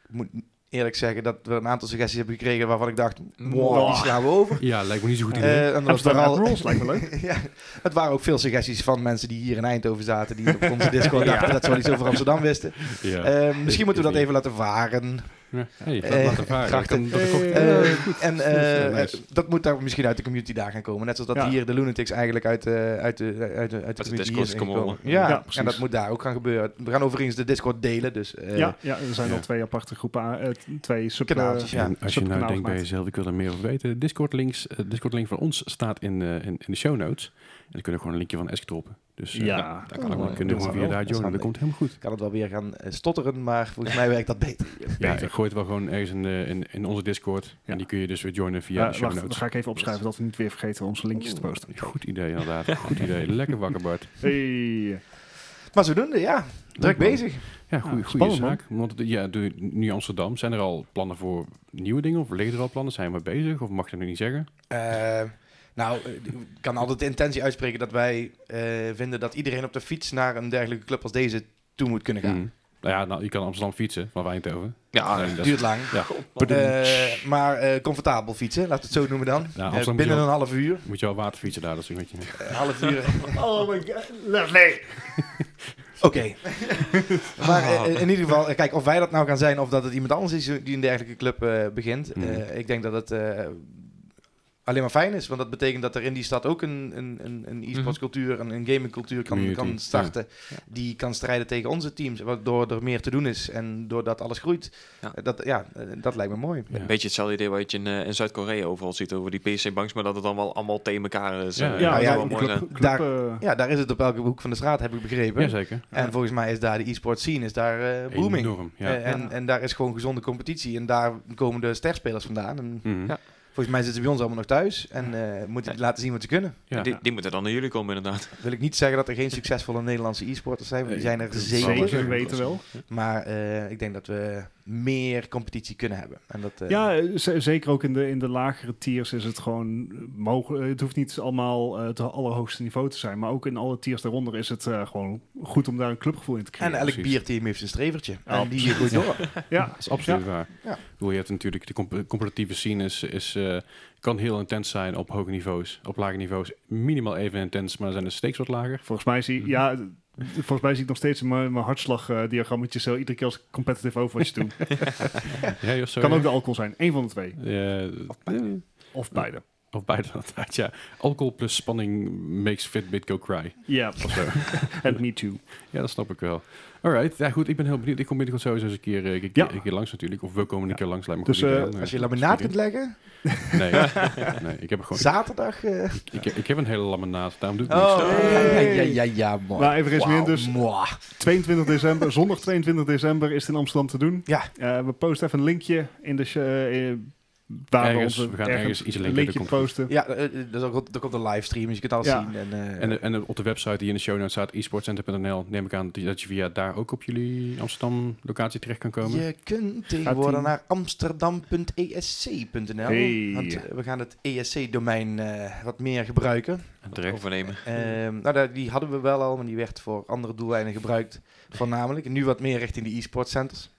D: moet eerlijk zeggen dat we een aantal suggesties hebben gekregen waarvan ik dacht, wow,
A: Wow.
D: die slaan we over.
B: Ja, lijkt me niet zo goed idee.
D: Eh, en dat
A: Amsterdam
D: vooral-
A: Admirals, lijkt me leuk.
D: ja, het waren ook veel suggesties van mensen die hier in Eindhoven zaten, die op onze Discord dachten dat ze wel iets over Amsterdam wisten.
B: ja.
D: Eh, misschien moeten we dat even laten varen.
B: Ja. Hey, dat
D: eh,
B: laten varen.
D: grachten.
B: Dat kan- dat kan-
A: Eh,
D: Eh, en eh,
B: Ja, nice.
D: eh, dat moet daar misschien uit de community daar gaan komen. Net zoals dat
A: Ja.
D: hier de Lunatics eigenlijk uit, eh, uit, de, uit, de, uit de community hier
C: Discord
D: zijn
C: komen
D: gekomen.
C: rollen.
D: Ja,
A: Ja, precies.
D: en dat moet daar ook gaan gebeuren. We gaan overigens de Discord delen, dus eh,
A: ja, ja, er zijn
B: ja.
A: al twee aparte groepen, aan- eh, t- twee sub...
D: kanaaltjes.
A: eh,
D: Ja.
B: En als je nou
A: Subkanaal
B: denkt bij
A: gemaakt.
B: jezelf, ik wil er meer over weten. De Discord, links, eh, Discord link van ons staat in, eh, in, in de show notes. En dan kunnen we gewoon een linkje van Esk droppen. Dus eh,
A: Ja.
B: daar kan ik wel
D: Oh,
A: dat
B: kunnen we
A: is
B: via
A: wel-
B: daar
D: dat is
B: joinen. Dat
D: handig.
B: komt helemaal goed.
D: kan het wel weer gaan eh, stotteren, maar volgens mij werkt dat beter.
B: Ja,
A: Beter.
B: ik gooi het wel gewoon ergens in, eh, in, in onze Discord.
A: Ja.
B: En die kun je dus weer joinen via
A: Eh,
B: de show
A: wacht, dan
B: notes.
A: ga ik even opschrijven dat we niet weer vergeten onze linkjes te posten.
B: Goed idee inderdaad. Goed idee. Lekker wakker Bart.
A: Hey.
D: Maar zodoende, ja, druk
B: man.
D: bezig.
B: Ja, goede
A: Ja, spannend, man.
B: zaak. Ah, Want het- ja, doe- nu Amsterdam. Zijn er al plannen voor nieuwe dingen? Of liggen er al plannen? Zijn we bezig? Of mag je dat nu niet zeggen?
D: Eh, nou, eh, ik kan altijd de intentie uitspreken dat wij eh, vinden dat iedereen op de fiets naar een dergelijke club als deze toe moet kunnen gaan.
B: Mm. Nou ja, nou, je kan Amsterdam fietsen, maar Eindhoven.
C: Ja,
B: Nee, dat is-
D: Duurt lang.
B: Ja,
D: Eh, maar eh, comfortabel fietsen, laten we het zo noemen dan.
B: Ja,
D: Eh,
B: Nou, Amsterdam
D: binnen
B: is
D: een half uur.
B: moet je wel waterfietsen daar. Dat is een beetje...
D: Eh, half uur.
A: Oh my god, lovely.
D: Oké. maar eh, in ieder geval, eh, kijk, of wij dat nou gaan
B: Hmm.
D: zijn of dat het iemand anders is die een dergelijke club eh, begint. eh,
B: Mhm.
D: ik denk dat het eh, alleen maar fijn is. Want dat betekent dat er in die stad ook een, een, een, een e-sports cultuur en een gaming cultuur kan,
B: Hmm. Community,
D: kan starten. Die kan strijden tegen onze teams. Waardoor er meer te doen is en doordat alles groeit.
C: Ja.
D: Eh, Dat, ja, eh, dat lijkt me mooi.
B: Ja.
C: Een beetje hetzelfde idee wat je in, eh, in Zuid-Korea overal ziet over die PC-banks, maar dat het dan wel allemaal tegen elkaar is.
B: Ja,
C: Eh,
B: ja,
C: dat
D: ja,
C: zou wel mooi
A: club,
C: zijn.
A: club,
D: Daar-
A: eh,
D: Ja, daar is het op elke hoek van de straat, heb ik begrepen.
B: Jazeker.
D: En volgens mij is daar de e-sport scene is daar eh, booming.
B: Enorm, ja.
D: Eh, en, en daar is gewoon gezonde competitie. En daar komen de sterspelers vandaan. En
B: Mhm.
C: Ja.
D: volgens mij zitten ze bij ons allemaal nog thuis. En eh, moeten die laten zien wat ze kunnen.
B: Ja.
C: Die, die moeten dan naar jullie komen inderdaad.
D: Wil ik niet zeggen dat er geen succesvolle Nederlandse e-sporters zijn. Want die zijn er
B: Nee,
D: zeker.
A: zeker weten wel.
D: Maar eh, ik denk dat we meer competitie kunnen hebben. En dat, eh,
A: Ja, eh, z- zeker ook in de, in de lagere tiers is het gewoon eh, mogelijk. Het hoeft niet allemaal eh, het allerhoogste niveau te zijn. Maar ook in alle tiers daaronder is het eh, gewoon goed om daar een clubgevoel in te
D: en
A: creëren.
D: elk
B: precies.
D: bierteam heeft zijn strevertje.
A: Ja,
D: en die groeit door.
A: ja,
B: Dat is absoluut waar.
D: Ja.
B: Ik bedoel, je hebt natuurlijk de comp- competitieve scene is, is, eh, kan heel intens zijn op hoge niveaus. Op lage niveaus minimaal even intens, maar dan zijn de stakes wat lager.
A: volgens mij zie, ja, d- volgens mij zie ik nog steeds in mijn, mijn hartslagdiagrammetjes zo iedere keer als competitive overwatch doen.
B: Ja, joh, sorry.
A: Kan ook de alcohol zijn. Eén van de twee.
B: Eh,
C: Of
A: Of beide.
C: beide.
B: Of beide inderdaad, ja. Alcohol plus spanning makes Fitbit go cry.
A: Ja, of zo. En me too.
B: Ja, dat snap ik wel. Alright, ja goed, ik ben heel benieuwd. Ik kom binnenkort sowieso eens een keer, eh, een keer,
A: Ja.
B: een keer langs natuurlijk. Of we komen een
A: Ja.
B: keer langs, lijkt me
A: Dus,
B: goed.
A: eh,
B: idee.
D: Als je
B: Eh,
D: laminaat kunt
B: studie.
D: leggen,
B: Nee, nee, ik heb er gewoon...
D: zaterdag. eh,
B: Ik, ik heb een hele laminaat, daarom doe ik niks.
D: oh, ja, ja,
A: hey.
D: ja, ja, ja, mooi.
A: Maar even is meer
D: Wauw,
A: dus
D: mooi.
A: 22 december, zondag 22 december is het in Amsterdam te doen.
D: Ja.
A: Eh, we posten even een linkje in de... sh- eh, eh, waar
B: Ergens,
A: onze-
B: we gaan ergens iets linken, dat
A: linkje
B: komt
A: posten.
D: Ja, eh, eh, er komt- er komt een livestream, dus je kunt alles
A: Ja.
D: zien. En, eh,
B: En, en op de website die in de show notes staat, esportcenter.nl, neem ik aan dat je- dat je via daar ook op jullie Amsterdam locatie terecht kan komen.
D: je kunt tegenwoordig naar e amsterdam.esc.nl.
A: Hey.
D: Want eh, we gaan het ESC-domein eh, wat meer gebruiken.
C: Overnemen.
D: Ehm, nou, daar- die hadden we wel al, maar die werd voor andere doeleinden gebruikt. Voornamelijk. En nu wat meer richting de e-sport centers.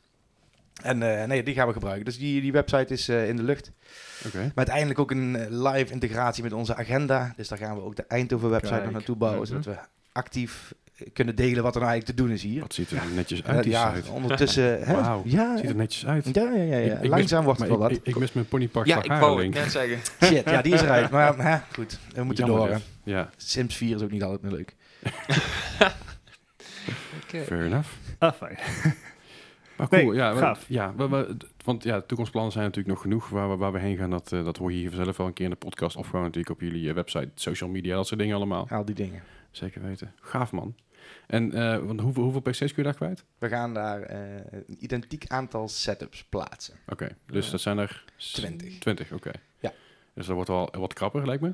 D: En eh, nee, die gaan we gebruiken. Dus die, die website is eh, in de lucht.
B: Oké.
D: Maar uiteindelijk ook een eh, live integratie met onze agenda. Dus daar gaan we ook de Eindhoven website
B: Kijk.
D: nog naartoe bouwen.
B: Mhm.
D: Zodat we actief eh, kunnen delen wat er nou eigenlijk te doen is hier.
B: Wat ziet er netjes
D: Eh,
B: uit die
D: ja,
B: site.
D: ondertussen. hè?
B: Wauw,
D: Ja,
B: Ziet er netjes uit.
D: ja, ja, ja, ja.
B: Ik- ik
D: Langzaam wordt
B: Maar
D: het
B: ik,
D: wel wat.
B: ik, ik mis mijn ponypark
C: Ja, ik wou het
B: Haarlem.
C: net zeggen.
D: Shit, ja, die is eruit. Maar hè, goed, we moeten
B: Jammer dus.
D: door. hè.
B: dit. Ja,
D: Sims 4 is ook niet altijd meer leuk.
B: fair enough.
A: Ah, fijn.
B: Maar
A: Nee,
B: cool, ja. maar-
A: gaaf.
B: ja we- we- d- want ja, toekomstplannen zijn natuurlijk nog genoeg. Waar we, waar we heen gaan, dat, eh, dat hoor je hier zelf wel een keer in de podcast. Of gewoon natuurlijk op jullie eh, website, social media, dat soort dingen allemaal.
D: Al die dingen.
B: Zeker weten. Gaaf, man. En eh, want hoeveel, hoeveel PC's kun je daar kwijt?
D: We gaan daar eh, een identiek aantal setups plaatsen.
B: Oké, dus dat zijn er... s-
D: 20.
B: 20, oké.
D: Ja.
B: Dus dat wordt wel wat krapper, lijkt me.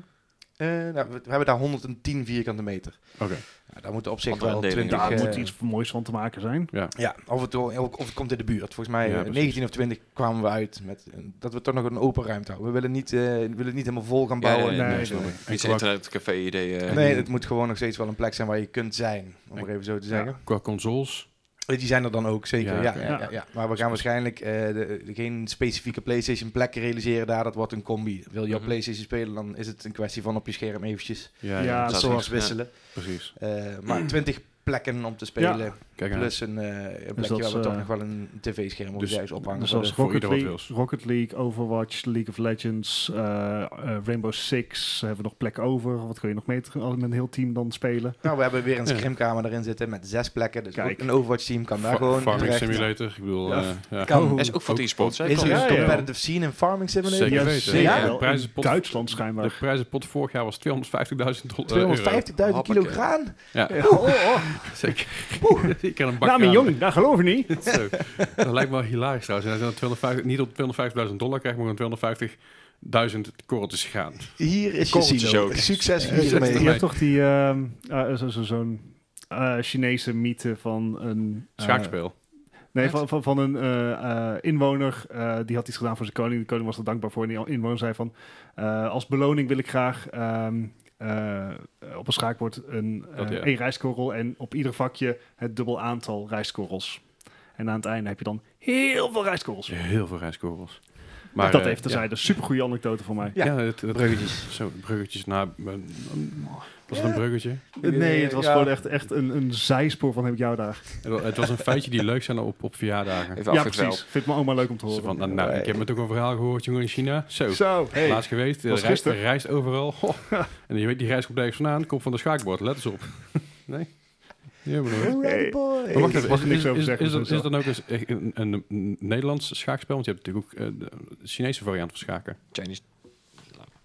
D: Eh, nou, we, we hebben daar 110 vierkante meter.
B: Oké.
D: Nou, daar moeten op zich
C: Wat een
D: wel
C: deling,
D: 20...
A: Daar
D: eh,
A: moet iets moois van te maken zijn.
D: Ja, of het, wel- of het komt in de buurt. Volgens mij
B: Ja,
D: eh,
B: precies.
D: 19 of 20 kwamen we uit met eh, dat we toch nog een open ruimte houden. We willen niet, eh, we willen niet helemaal vol gaan bouwen.
C: Ja, ja,
A: Nee,
C: ja,
A: nee,
C: snap
A: nee.
C: ik. Iets
B: En qua-
C: internetcafé-idee. eh.
D: Nee, het moet gewoon nog steeds wel een plek zijn waar je kunt zijn, om
B: Ja.
D: maar even zo te zeggen.
B: Qua consoles.
D: Die zijn er dan ook, zeker.
B: Ja,
D: Ja, ja,
B: oké.
D: ja,
A: Ja.
D: ja. Maar we gaan waarschijnlijk eh, de, de- geen specifieke PlayStation plek realiseren daar. Dat wordt een combi. Wil je op
C: Mhm.
D: PlayStation spelen, dan is het een kwestie van op je scherm eventjes
B: Ja, ja,
A: Ja,
C: dat zou
D: zoals
C: zijn.
D: wisselen.
B: precies.
D: Eh, maar 20 plekken om te spelen,
B: Kijk aan.
D: plus een, eh, een plekje
A: dat
D: waar
A: is,
D: we toch
A: eh,
D: nog wel een tv-scherm op
B: dus-
D: juist ophangen.
A: Dus
D: voor
A: zoals
B: voor
A: Rocket
B: ieder wat
A: League,
B: wils.
A: Rocket League, Overwatch, League of Legends, eh, eh, Rainbow Six. Hebben we nog plek over? Wat kun je nog mee te- met een heel team dan spelen?
D: Nou, we hebben weer een
B: Ja.
D: scrimkamer erin zitten met zes plekken. Dus
A: Kijk.
D: ook een Overwatch-team kan daar
B: Fa-
D: gewoon
B: Farming
D: terecht.
B: Simulator, ik bedoel...
A: Ja,
B: eh, ja.
D: kan.
A: Oh,
C: Dat is ook voor
B: Ook-
C: de e-sports. hè?
D: Is er
C: Klopt.
D: een
A: Ja, ja.
D: competitive scene in Farming Simulator?
B: Zeker
A: Ja,
B: weten.
A: zeker
D: Ja,
A: wel.
B: prijzen
A: In
B: pot-
A: Duitsland schijnbaar.
B: De prijzenpot vorig jaar was 250.000 dollar.
D: 250.000 kilo
C: Hoppakee.
D: graan?
B: Ja,
A: Oh, oh.
B: zeker. ik kan een bak
A: Nou, mijn
B: aan.
A: jong, dat geloof ik niet.
B: Zo. Dat lijkt me wel hilarisch trouwens. En als je dan 250, niet op 250.000 dollar krijgt, maar gewoon 250.000 korreltjes gaan.
D: Hier is je
C: Korreltjes
D: silo.
C: ook.
D: Succes
A: Je hebt- je
D: hiermee.
A: hebt toch die ehm, eh, zo- zo- zo'n eh, Chinese mythe van een... eh,
B: Schaakspel.
A: Nee, van, van, van een eh, eh, inwoner. eh, die had iets gedaan voor zijn koning. De koning was er dankbaar voor. En die inwoner zei van... eh, als beloning wil ik graag ehm, eh, op een schaakbord een, eh,
B: Dat, ja.
A: één rijstkorrel... en op ieder vakje het dubbel aantal rijstkorrels. En aan het einde heb je dan heel veel rijstkorrels.
B: Heel veel rijskorrels. Maar,
A: dat
B: eh,
A: even terzijde. Supergoeie anekdote voor mij.
B: Ja,
D: Ja,
B: ja, het- het-
D: bruggetjes.
B: Zo, bruggetjes naar... eh, Was het een bruggetje?
A: Nee, het was
D: Ja.
A: gewoon echt, echt een, een zijspoor van heb ik jou daar.
B: Eh, Het was een feitje die leuk zijn op, op verjaardagen.
C: Even
A: ja,
C: afgedwaald.
A: precies. Vindt mijn oma leuk om te
B: Zo
A: horen.
B: Van, nou, nou, ik heb me toch een verhaal gehoord, jongen, in China. Zo,
A: Zo, hey.
B: laatst geweest. eh,
A: Was
B: reist,
A: gisteren.
B: reist overal. Goh. En je weet, die reis komt ergens vandaan. Komt van de schaakbord, let eens op. Nee? Ja, maar hoor.
A: Hey.
D: boy.
B: Maar Eh, wacht
A: Ik
B: even,
A: mag
B: is,
A: er niks
B: is-
A: over
B: is-
A: zeggen,
B: is dat-
A: dus
B: is dat dan ook eens echt een, een, een Nederlands schaakspel? Want je hebt natuurlijk ook eh, de Chinese variant van schaken.
C: Chinese.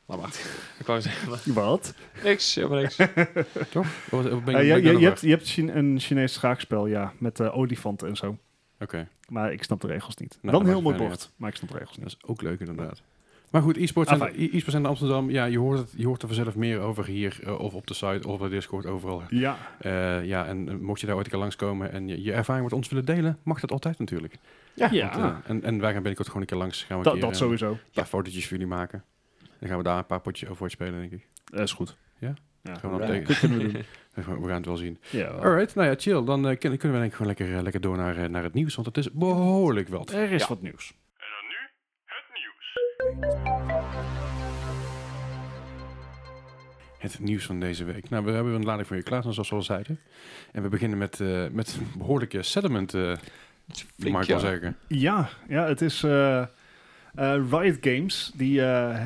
C: Laat maar. Ik wou zeggen, maar-
A: Wat?
C: niks, helemaal niks.
B: Toch? Of was- of ben ik-
A: Eh,
B: ben
A: ja,
B: ik
A: je,
B: daarover?
A: je hebt, je hebt Chine- een Chinees schaakspel, ja, met eh, olifanten en zo.
B: Oké,
A: Maar ik snap de regels niet.
B: dat
A: Dan
B: Nou, maakt
A: heel mooi
B: verder
A: bord, maar ik snap de regels
B: dat
A: niet.
B: is ook leuk inderdaad. Maar goed, e-sports
A: Ah,
B: en- e- e-sports en Amsterdam, ja, je hoort, het, je hoort er vanzelf meer over hier, eh, of op de site, of op de Discord, overal.
A: Ja,
B: Eh, ja, en eh, mocht je daar ooit een keer langskomen en je, je ervaring met ons willen delen, mag dat altijd natuurlijk.
A: ja.
B: Want, eh, en, en wij gaan binnenkort gewoon een keer langs, gaan we
A: Da-
B: een keer,
A: dat
B: eh, een
A: sowieso.
B: paar fotootjes voor jullie maken. Dan gaan we daar een paar potjes over spelen, denk ik.
A: Dat Eh, is goed.
B: Ja?
A: Ja,
B: Gewoon
A: ja,
B: op tegen.
A: dat kunnen we doen.
B: We gaan we gaan het wel zien.
A: Ja.
B: Alright, nou ja, chill. Dan eh, kunnen kunnen we denk ik gewoon lekker, eh, lekker door naar, eh, naar het nieuws, want het is behoorlijk wat.
A: Er is wat nieuws.
B: Het nieuws van deze week. Nou, we hebben een lading voor je klaar, zoals we al zeiden. En we beginnen met, eh, met behoorlijke settlement, eh mag ik wel zeggen.
A: Ja, ja het is eh, eh, Riot Games. Die eh,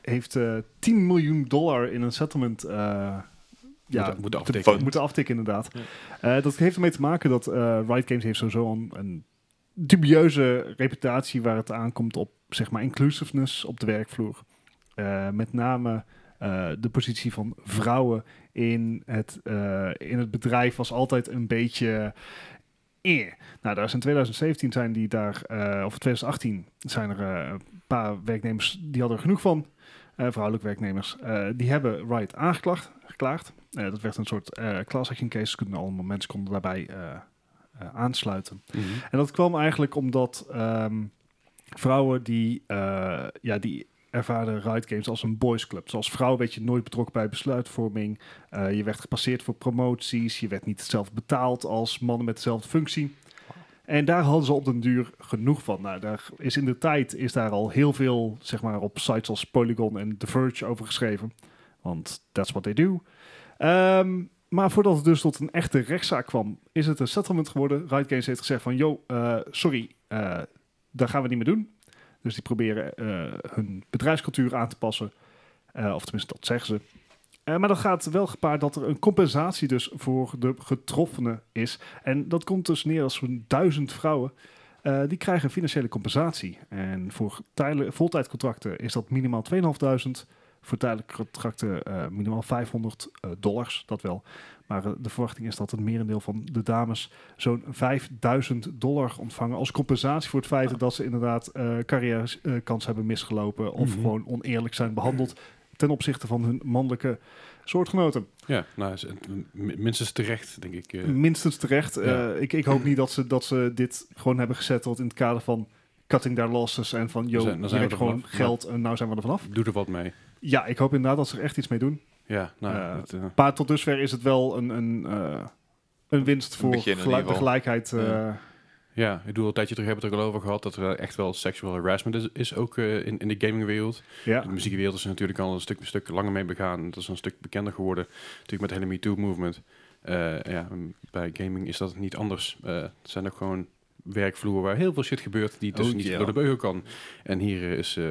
A: heeft eh 10 miljoen dollar in een settlement eh, ja,
B: moet, moet
A: te-
B: aftikken.
A: moeten aftikken, inderdaad. Eh, dat heeft ermee te maken dat eh, Riot Games heeft sowieso een, een dubieuze reputatie waar het aankomt op zeg maar inclusiveness op de werkvloer. Eh, met name eh, de positie van vrouwen in het, eh, in het bedrijf was altijd een beetje. Eh. Nou, daar is in 2017 zijn die daar, eh, of 2018 zijn er eh, een paar werknemers die hadden er genoeg van. eh, vrouwelijke werknemers. Eh, die hebben Riot aangeklaagd. Geklaagd. Eh, dat werd een soort eh class action case. Kunnen allemaal mensen konden daarbij eh, eh, aansluiten.
B: Mhm.
A: En dat kwam eigenlijk omdat ehm, vrouwen die, eh, ja, die ervaren Riot Games als een boys club. Zoals vrouw werd je nooit betrokken bij besluitvorming. Eh, je werd gepasseerd voor promoties. Je werd niet hetzelfde betaald als mannen met dezelfde functie. En daar hadden ze op den duur genoeg van. Nou, daar is in de tijd is daar al heel veel zeg maar, op sites als Polygon en The Verge over geschreven. Want that's what they do. Ehm, maar voordat het dus tot een echte rechtszaak kwam, is het een settlement geworden. Riot Games heeft gezegd van, yo, eh, sorry, eh dat gaan we niet meer doen. Dus die proberen eh, hun bedrijfscultuur aan te passen. Eh, of tenminste, dat zeggen ze. Eh, maar dat gaat wel gepaard dat er een compensatie dus voor de getroffenen is. En dat komt dus neer als zo'n duizend vrouwen. eh, die krijgen financiële compensatie. En voor tijdel- voltijdcontracten is dat minimaal 2500. Voor tijdelijke contracten eh, minimaal 500 eh, dollars, dat wel. Maar eh, de verwachting is dat het merendeel van de dames zo'n 5000 dollar ontvangen als compensatie voor het feit dat ze inderdaad eh carrière kans hebben misgelopen of
B: Mhm.
A: gewoon oneerlijk zijn behandeld ten opzichte van hun mannelijke soortgenoten.
B: Ja, nou, is het, mm, minstens terecht, denk ik. eh.
A: Minstens terecht.
B: Ja.
A: Eh, ik, ik hoop niet dat ze, dat ze dit gewoon hebben gezetteld in het kader van cutting their losses en van,
B: zijn-
A: joh,
B: dan
A: je
B: zijn we
A: hebt
B: er
A: gewoon
B: vanaf.
A: geld en nou zijn we er vanaf.
B: Doe er wat mee.
A: Ja, ik hoop inderdaad dat ze er echt iets mee doen.
B: Ja, nou,
A: Eh,
B: dat, eh,
A: Maar tot dusver is het wel een, een, eh, een winst voor
C: begin in
A: gelu-
C: ieder geval.
A: de gelijkheid. eh,
B: Ja. ja, ik bedoel, een tijdje terug hebben we het er al over gehad dat er eh, echt wel sexual harassment is, is ook eh, in, in de gamingwereld.
A: ja.
B: De muziekwereld is er natuurlijk al een stuk, een stuk langer mee begaan. Het is een stuk bekender geworden, natuurlijk met de hele MeToo-movement. Eh, ja, mm, bij gaming is dat niet anders. Eh, het zijn ook gewoon werkvloeren waar heel veel shit gebeurt die dus
A: Oh,
B: niet
A: ja.
B: door de beugel kan. En hier eh, is eh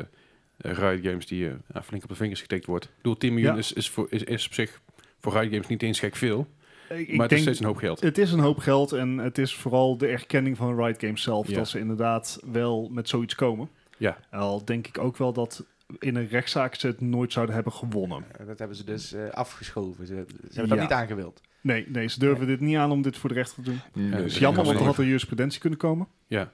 B: Riot Games die eh, ja, flink op de vingers getikt wordt. Ik bedoel, 10 miljoen
A: Ja.
B: is, is, voor, is, is op zich voor Riot Games niet eens gek veel.
A: Ik,
B: maar
A: ik
B: het is
A: denk,
B: steeds een hoop geld.
A: het is een hoop geld en het is vooral de erkenning van Riot Games zelf
B: Ja.
A: dat ze inderdaad wel met zoiets komen.
B: Ja.
A: Al denk ik ook wel dat in een rechtszaak ze het nooit zouden hebben gewonnen.
D: En dat hebben ze dus eh, afgeschoven. Ze, ze hebben dat
A: Ja.
D: niet aangewild.
A: Nee, nee, ze durven dit niet aan om dit voor de rechter te doen.
B: Ja, dus
C: Nee.
A: Het is
B: dat
A: Dus jammer,
B: kan
A: want er
B: niet.
A: had er jurisprudentie kunnen komen.
B: Ja.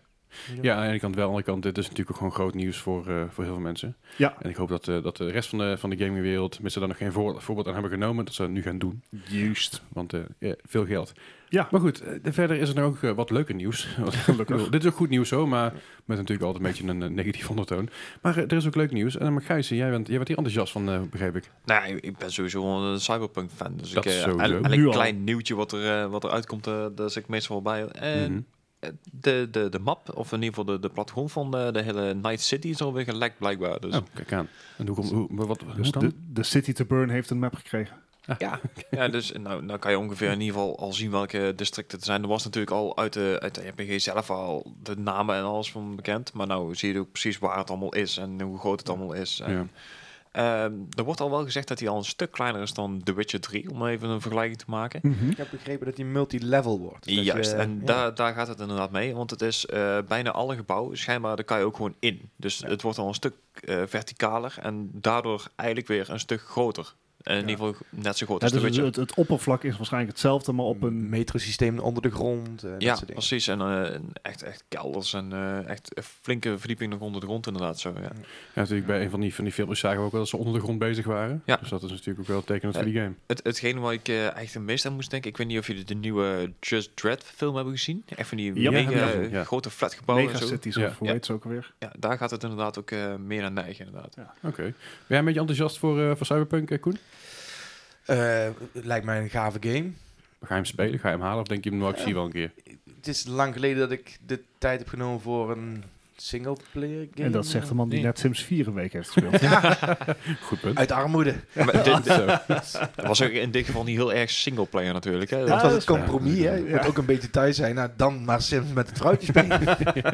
B: Ja, aan de ene kant wel, aan de andere kant, dit is natuurlijk ook gewoon groot nieuws voor, eh, voor heel veel mensen.
A: Ja.
B: En ik hoop dat, eh, dat de rest van de, van de gamingwereld, mensen daar nog geen voor- voorbeeld aan hebben genomen, dat ze dat nu gaan doen.
A: Juist.
B: Want eh, ja, veel geld.
A: Ja.
B: Maar goed, eh, verder is er nog ook eh, wat leuker nieuws. Want ik bedoel,
A: Gelukkig.
B: Dit is ook goed nieuws zo, maar met natuurlijk altijd een beetje een eh, negatief ondertoon. Maar eh, er is ook leuk nieuws. En uh, Gijs, jij bent, jij bent hier enthousiast van, eh, begreep ik.
C: Nou, ik- ik ben sowieso wel een cyberpunk fan. Dus
B: Dat
C: ik, eh,
B: sowieso.
C: elk-
A: Nu
C: elk
A: al.
C: klein nieuwtje wat er, eh, wat er uitkomt, eh daar zit ik meestal wel bij. En
B: Mhm.
C: eh, de, de, de map, of in ieder geval de, de platform van eh, de, de hele Night City is alweer gelekt blijkbaar. Dus
B: Oh, kijk aan. En hoe komt, hoe, wat, hoe
A: Dus
B: dan?
A: de, de City to Burn heeft een map gekregen.
D: Ja,
B: Oh.
C: Ja, dus nou, nou kan je ongeveer in ieder geval al zien welke districten er zijn. Er was natuurlijk al uit de, uit de RPG zelf al de namen en alles van bekend. Maar nou zie je ook precies waar het allemaal is en hoe groot het allemaal is. En,
B: Ja.
C: ehm, er wordt al wel gezegd dat hij al een stuk kleiner is dan The Witcher 3, om even een vergelijking te maken.
A: Mhm.
D: ik heb begrepen dat die multi-level wordt. Dat
C: Juist,
D: je-
C: en
D: ja.
C: daar, daar gaat het inderdaad mee. Want het is eh, bijna alle gebouwen, schijnbaar, daar kan je ook gewoon in. Dus het wordt al een stuk eh, verticaler en daardoor eigenlijk weer een stuk groter. En in ieder geval net zo groot
A: Ja,
C: als
A: dus
C: The
A: het,
C: Witcher.
A: het, het oppervlak is waarschijnlijk hetzelfde, maar op een...
D: metrosysteem onder de grond. eh, dat
C: Ja,
D: soort dingen.
C: precies. En eh, en echt, echt kelders en eh, echt een flinke verdieping nog onder de grond inderdaad. Zo, ja.
B: Ja, natuurlijk bij een van die, van die films zagen we ook wel dat ze onder de grond bezig waren.
C: Ja.
B: Dus dat is natuurlijk ook wel tekenend
C: Ja.
B: voor die game.
C: het, hetgeen waar ik eh, echt het meest aan moest denken, ik weet niet of jullie de nieuwe Just Dread film hebben gezien. Echt van die
A: Ja,
C: mega,
A: ja,
B: ja. Ja.
C: grote flatgebouwen en zo.
A: Megacities
B: Ja.
A: of hoe
C: Ja.
A: heet ze ook alweer?
C: Ja, daar gaat het inderdaad ook eh, meer naar neigen inderdaad.
B: Oké. Ben jij een beetje enthousiast voor, eh, voor Cyberpunk, eh, Koen?
D: Eh, het lijkt mij een gave game.
B: Ga je hem spelen? Ga je hem halen? Of denk je hem nou, ik zie wel een keer?
D: Het is lang geleden dat ik de tijd heb genomen voor een singleplayer game.
A: En dat zegt de man die
D: Nee.
A: net Sims 4 een week heeft gespeeld. Oh,
B: Goed punt.
D: Uit armoede.
C: Maar Eh, dit,
B: Zo. Oh,
C: dat was ook in dit geval niet heel erg singleplayer natuurlijk. Hè.
D: dat
A: dat
D: was
A: is
D: het compromis, hè. Je moet ook een beetje thuis zijn. Nou, dan maar Sims met het vrouwtje spelen.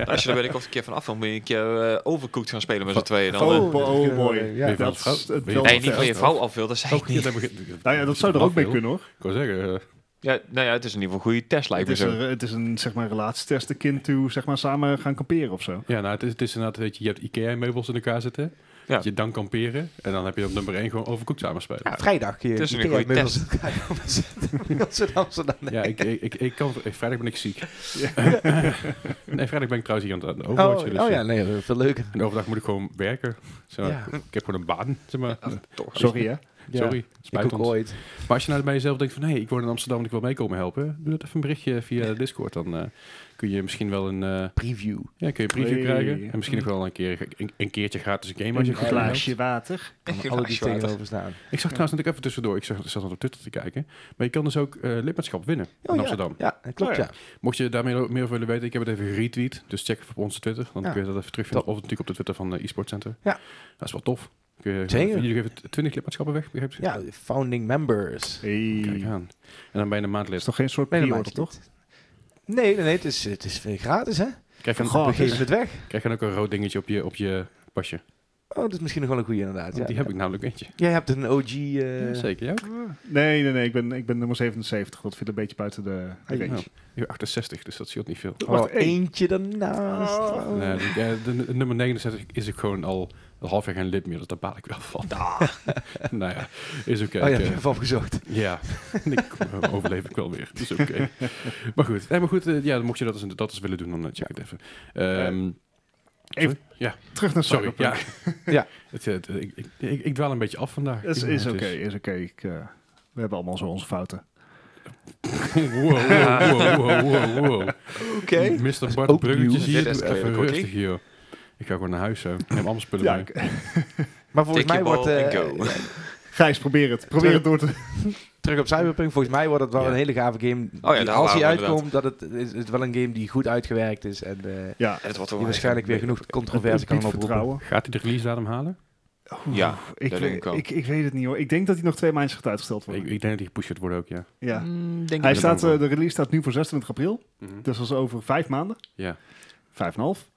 C: Als je er weet ik of een keer van af wil, moet je een keer eh overcooked gaan spelen met z'n tweeën. Dan, eh.
A: Oh, oh,
D: eh,
A: mooi.
D: ja.
B: Weer van
A: dat
B: de vrouw?
A: is het
B: Weer
A: wel
B: van
C: nee,
B: de
C: niet
A: ver.
C: van je vrouw af wil, dat zei ik
B: Ook niet.
C: niet.
B: dat begint-
A: Nou ja, dat zou er ook mee kunnen hoor.
B: Ik wou zeggen, eh,
C: Ja, nou ja, het is in ieder geval een goede test lijkt
A: Het
C: me
A: is,
C: zo.
A: een, het is een zeg maar, relatietest, de kind toe zeg maar, samen gaan kamperen of zo.
B: ja, nou, het is, het is inderdaad, weet je, je hebt IKEA-meubels in elkaar zitten.
C: Ja.
B: Dat je dan kamperen. En dan heb je op nummer 1 gewoon overkoekt samen spelen.
D: Ja, vrijdag. Je,
C: Het is een
D: je
C: goede
D: kan inmiddels- inmiddels in Amsterdam.
B: Ja, ik, ik, ik, ik kan, eh, vrijdag ben ik ziek. nee, vrijdag ben ik trouwens hier aan het aan het Overwatch.
D: Oh,
B: dus,
D: oh
B: eh,
D: ja, nee, eh, veel leuker.
B: En overdag moet ik gewoon werken. Zeg maar,
D: Ja.
B: Ik heb gewoon een baan. Zeg maar.
C: Ah, Toch.
A: Sorry hè?
B: Sorry,
D: Ik
B: spijt
D: ook
B: ons.
D: ooit.
B: Maar als je nou bij jezelf denkt van... hé, hey, ik woon in Amsterdam en ik wil meekomen helpen... doe dat even een berichtje via Discord. Dan eh, kun je misschien wel een, eh,
D: Preview.
B: ja, kun je een preview
A: Hey.
B: krijgen. En misschien ook wel een, keer, een, een keertje gratis een game. Als je
A: Een
B: goed
A: glaasje water.
D: Kan alle die tegenover staan.
B: Ik zag trouwens natuurlijk even tussendoor. Ik zag, zat nog op Twitter te kijken. Maar je kan dus ook eh, lidmaatschap winnen in
D: Oh, ja.
B: Amsterdam.
D: Ja, dat klopt,
A: Oh ja.
D: ja.
B: Mocht je daar meer meer over willen weten, ik heb het even geretweet. Dus check even op onze Twitter. Dan
D: Ja.
B: kun je dat even terugvinden. Of natuurlijk op de Twitter van de eSport Center.
D: Ja.
B: Dat is wel tof. Kun je,
D: Zeker.
B: Jullie geven 20 lidmaatschappen weg, begrijp je?
D: Ja, founding members.
A: Hey.
B: Kijk aan. En dan ben je een maand
A: Dat is
B: lid.
A: toch geen soort
D: Nee, dat
A: pre-order, toch?
D: maakt niet. Nee, nee, nee, het is, het is eh, gratis, hè?
B: Krijg je, dan,
A: Goh.
D: We
A: Gratis.
D: geven het weg.
B: krijg je dan ook een rood dingetje op je, op je pasje.
D: Oh, dat is misschien nog wel een goede inderdaad.
B: Want
D: Ja.
B: Oh, die heb ik namelijk eentje.
D: Jij hebt een OG... eh,
B: Ja, zeker, jou?
A: Nee, nee, nee. Ik ben, ik ben nummer 77. Dat viel een beetje buiten de de
D: Hey.
A: range.
B: Ja. Ik ben 68, dus dat scheelt niet veel.
A: Oh,
D: Oh,
A: wacht, één.
D: eentje daarnaast.
A: Oh.
D: Oh.
B: Nee, die- eh, de, de nummer 69 is ik gewoon al halfweg geen lid meer. Dus daar baal ik wel van. nou ja, is oké.
D: Oh ja,
B: Ik,
D: heb
B: eh,
D: je ervan gezocht.
B: Ja, ik eh, overleef ik wel weer. Dus oké. Maar goed, nee, maar goed eh, ja, mocht je dat eens, dat eens willen doen, dan eh, check het even. Ehm,
A: even-
B: ja,
A: Terug naar
B: sorry. Ja.
A: Cyberpunk.
D: Ja.
B: Het, eh, het- ik, ik, ik, ik dwaal een beetje af vandaag.
A: Is,
B: Ik weet
A: is
B: niet
A: oké,
B: wat het
A: is oké. Ik, eh, we hebben allemaal zo onze fouten.
B: wow, wow, wow, wow, wow.
D: Oké.
B: Mr. Bart
D: ook
B: Bruggetjes
D: nieuws.
B: hier,
C: Dit is
B: doe even
C: Clear Cookie.
B: rustig, joh. Ik ga gewoon naar huis, zo. Ik neem allemaal spullen
A: Ja,
B: mee.
A: ik-
D: Maar volgens
C: Take
D: mij
C: your
D: wordt...
C: ball
D: eh,
C: and go.
D: eh,
A: Gijs, probeer het. Probeer het door te...
D: terug op Cyberpunk, volgens mij wordt het wel
B: Ja.
D: een hele gave game.
C: Oh daar
D: Die,
C: waren
D: als
C: we
D: hij
C: inderdaad.
D: uitkomt, dat het, is het wel een game die goed uitgewerkt is. En eh,
A: Ja,
C: En het wordt
D: die
C: wel-
D: waarschijnlijk weer genoeg controverse
A: het
D: kan
A: biedt
D: oproepen.
A: vertrouwen.
B: Gaat hij de release datum halen?
A: Oeh,
C: Ja,
A: ik,
C: dat denk ik wel.
A: ik, ik weet het niet hoor. Ik denk dat hij nog twee maandjes gaat uitgesteld
B: Ik, ik
A: worden.
B: denk dat hij gepusht gaat worden ook, ja.
A: ja.
C: Mm, denk
A: Hij
C: ik
A: staat,
B: ook wel.
A: eh, de release staat nu voor 26 april.
B: Mhm.
A: Dus dat is over vijf maanden.
B: Ja.
A: Vijf en een half.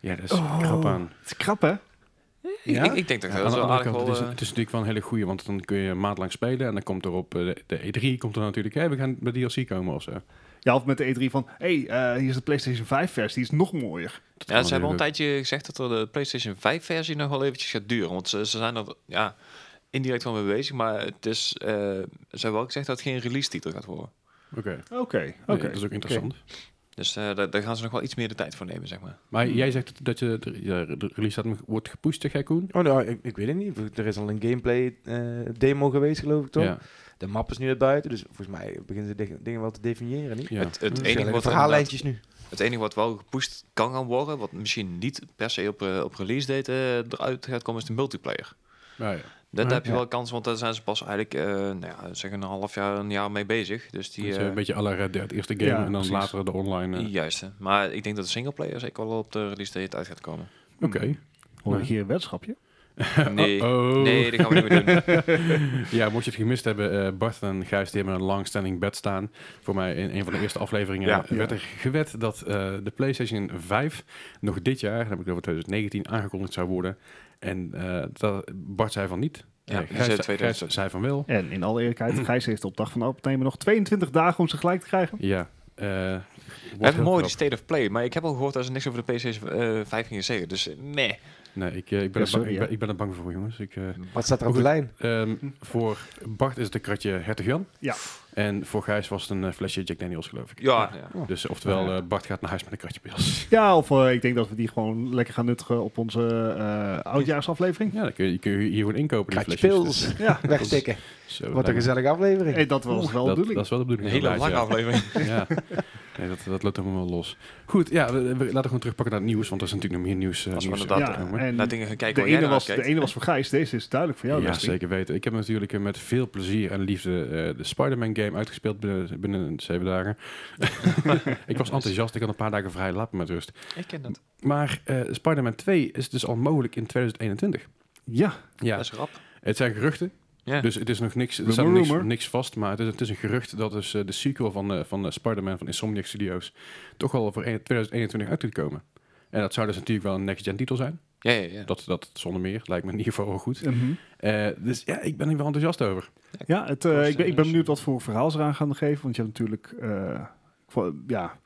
B: Ja, dat is
A: Oh.
B: grap aan.
A: Het is krap, hè?
C: Ik-
B: Ja?
C: Ik, ik denk dat
B: Ja,
C: dat
B: aan de
C: wel
B: andere
C: aardig
B: kant,
C: wel...
B: het, is,
C: eh,
B: het is natuurlijk wel een hele goeie, want dan kun je een maand lang spelen en dan komt er op eh, de, de E3 komt er natuurlijk, hé, we gaan bij DLC komen of zo. Dat
A: Ja, of met de E3 van, hé, hey, eh, hier is de PlayStation 5 versie, die is nog mooier.
B: kan
C: Ja, ze hebben al
B: natuurlijk
C: een tijdje gezegd dat er de PlayStation 5 versie nog wel eventjes gaat duren. Want ze, ze zijn er ja, indirect wel mee bezig. Maar het is, eh, ze hebben wel gezegd dat het geen release titel gaat worden.
B: ook. Oké, Nee,
A: Oké, oké.
B: dat is ook interessant.
C: Dus eh, daar, daar gaan ze nog wel iets meer de tijd voor nemen, zeg maar.
B: Maar jij zegt dat- dat je de, ja, de release datum wordt gepusht, hè, Koen?
D: Oh, nou, ik, ik weet het niet. Er is al een gameplay eh, demo geweest, geloof ik toch?
B: Ja,
D: De map is nu naar buiten, dus volgens mij beginnen ze dingen- dingen wel te definiëren, niet?
B: ja.
C: Het, het,
D: Dus
C: enige
D: ja,
C: wat er inderdaad-
D: verhaallijntjes nu.
C: het enige wat wel gepusht kan gaan worden, wat misschien niet per se op, eh, op release date eh, eruit gaat komen, is de multiplayer.
B: Nou ja.
C: Dan
A: Ja,
C: heb je
A: ja.
C: wel kans, want daar zijn ze pas eigenlijk eh, nou ja, zeg een half jaar, een jaar mee bezig. Dus die,
B: Dus, eh,
C: eh,
B: een beetje alle Red Dead, eerste game
A: Ja,
B: en dan
A: precies.
B: later de online. eh,
C: juist. hè. Maar ik denk dat de singleplayer zeker wel op de release date uit gaat komen.
B: Oké.
A: Hoor
B: Hmm. Ja.
A: ik hier een weddenschapje?
C: Nee,
B: Uh-oh.
C: nee, dat gaan we niet meer doen.
B: ja, mocht je het gemist hebben, eh, Bart en Gijs die hebben een langstanding bed staan. Voor mij in een van de eerste afleveringen
C: Ja.
B: werd er gewet dat eh, de PlayStation 5 nog dit jaar, dan heb ik het over 2019, aangekondigd zou worden. En eh, dat, Bart zei van niet.
C: Ja,
B: Eh,
C: die
B: Gijs,
C: zei
B: Gijs
C: 2000.
B: zei van wel.
A: En in alle eerlijkheid, Gijs heeft op dag van opnemen nog 22 dagen om ze gelijk te krijgen.
B: Ja. eh, wordt
C: Het
B: heel
C: is mooi, die
B: krap.
C: state of play. Maar ik heb al gehoord dat ze niks over de PC 5 gingen zeggen. Dus eh, nee.
B: Nee, ik, eh, ik, ben
A: Ja,
B: er bang-
A: sorry,
B: ik, ben,
A: ja.
B: ik ben er bang voor, jongens. Ik, eh,
D: Wat staat er op de
B: Goed.
D: lijn?
B: ehm, voor Bart is het een kratje Hertog Jan.
A: Ja.
B: En voor Gijs was het een eh, flesje Jack Daniels, geloof ik.
C: Ja, ja.
B: Dus oftewel, eh, Bart gaat naar huis met een kratje pils.
A: Ja, of eh, ik denk dat we die gewoon lekker gaan nuttigen op onze eh, oudjaarsaflevering.
B: Ja, dan kun je, kun je hier gewoon inkopen. die
D: Kratje
B: flesjes.
D: pils.
B: Dus,
A: Ja,
D: Wegstikken.
B: eh, zo,
D: Wat een
B: lijkt me-
D: gezellige aflevering.
A: en Eh, dat was wel de
B: dat,
A: bedoeling.
B: dat is wel de
C: Een
B: bedoeling.
C: hele
B: inderdaad,
C: lange aflevering.
B: ja. Ja. Nee, dat, dat loopt helemaal los. Goed, ja, we, we- laten we gewoon terugpakken naar het nieuws, want er is natuurlijk nog meer nieuws. eh,
C: Als we
B: nieuws
C: inderdaad,
B: te
A: ja,
B: komen.
A: en
C: Naar dingen gaan kijken
A: de,
C: waar jij
A: ene
C: naar
A: was, de
C: kijkt.
A: ene was voor Gijs, deze is duidelijk voor jou.
B: ja,
A: Leslie.
B: zeker weten. Ik heb natuurlijk eh, met veel plezier en liefde eh, de Spider-Man game uitgespeeld binnen, binnen zeven dagen. ik was enthousiast, ik had een paar dagen vrij, laat me met rust.
C: Ik ken dat.
B: Maar eh, Spider-Man 2 is dus al mogelijk in 2021.
A: Ja,
B: Ja,
C: Dat is rap.
B: het zijn geruchten,
C: Ja.
B: dus het is nog niks, er
A: Rumor,
B: staat nog niks,
A: rumor.
B: niks vast, maar het is, het is een gerucht dat dus, eh, de sequel van, eh, van eh, Spider-Man van Insomniac Studios toch al voor 2021 uit moet komen. En dat zou dus natuurlijk wel een next-gen titel zijn.
C: ja, ja, ja.
B: Dat, dat zonder meer, lijkt me in ieder geval wel goed.
A: mhm.
B: Eh, dus ja, ik ben er wel enthousiast over.
A: ja het, eh, ik, ben, ik ben
C: Voorstelling.
A: benieuwd wat voor verhaal ze eraan gaan geven. Want je hebt natuurlijk, eh, voor- ja,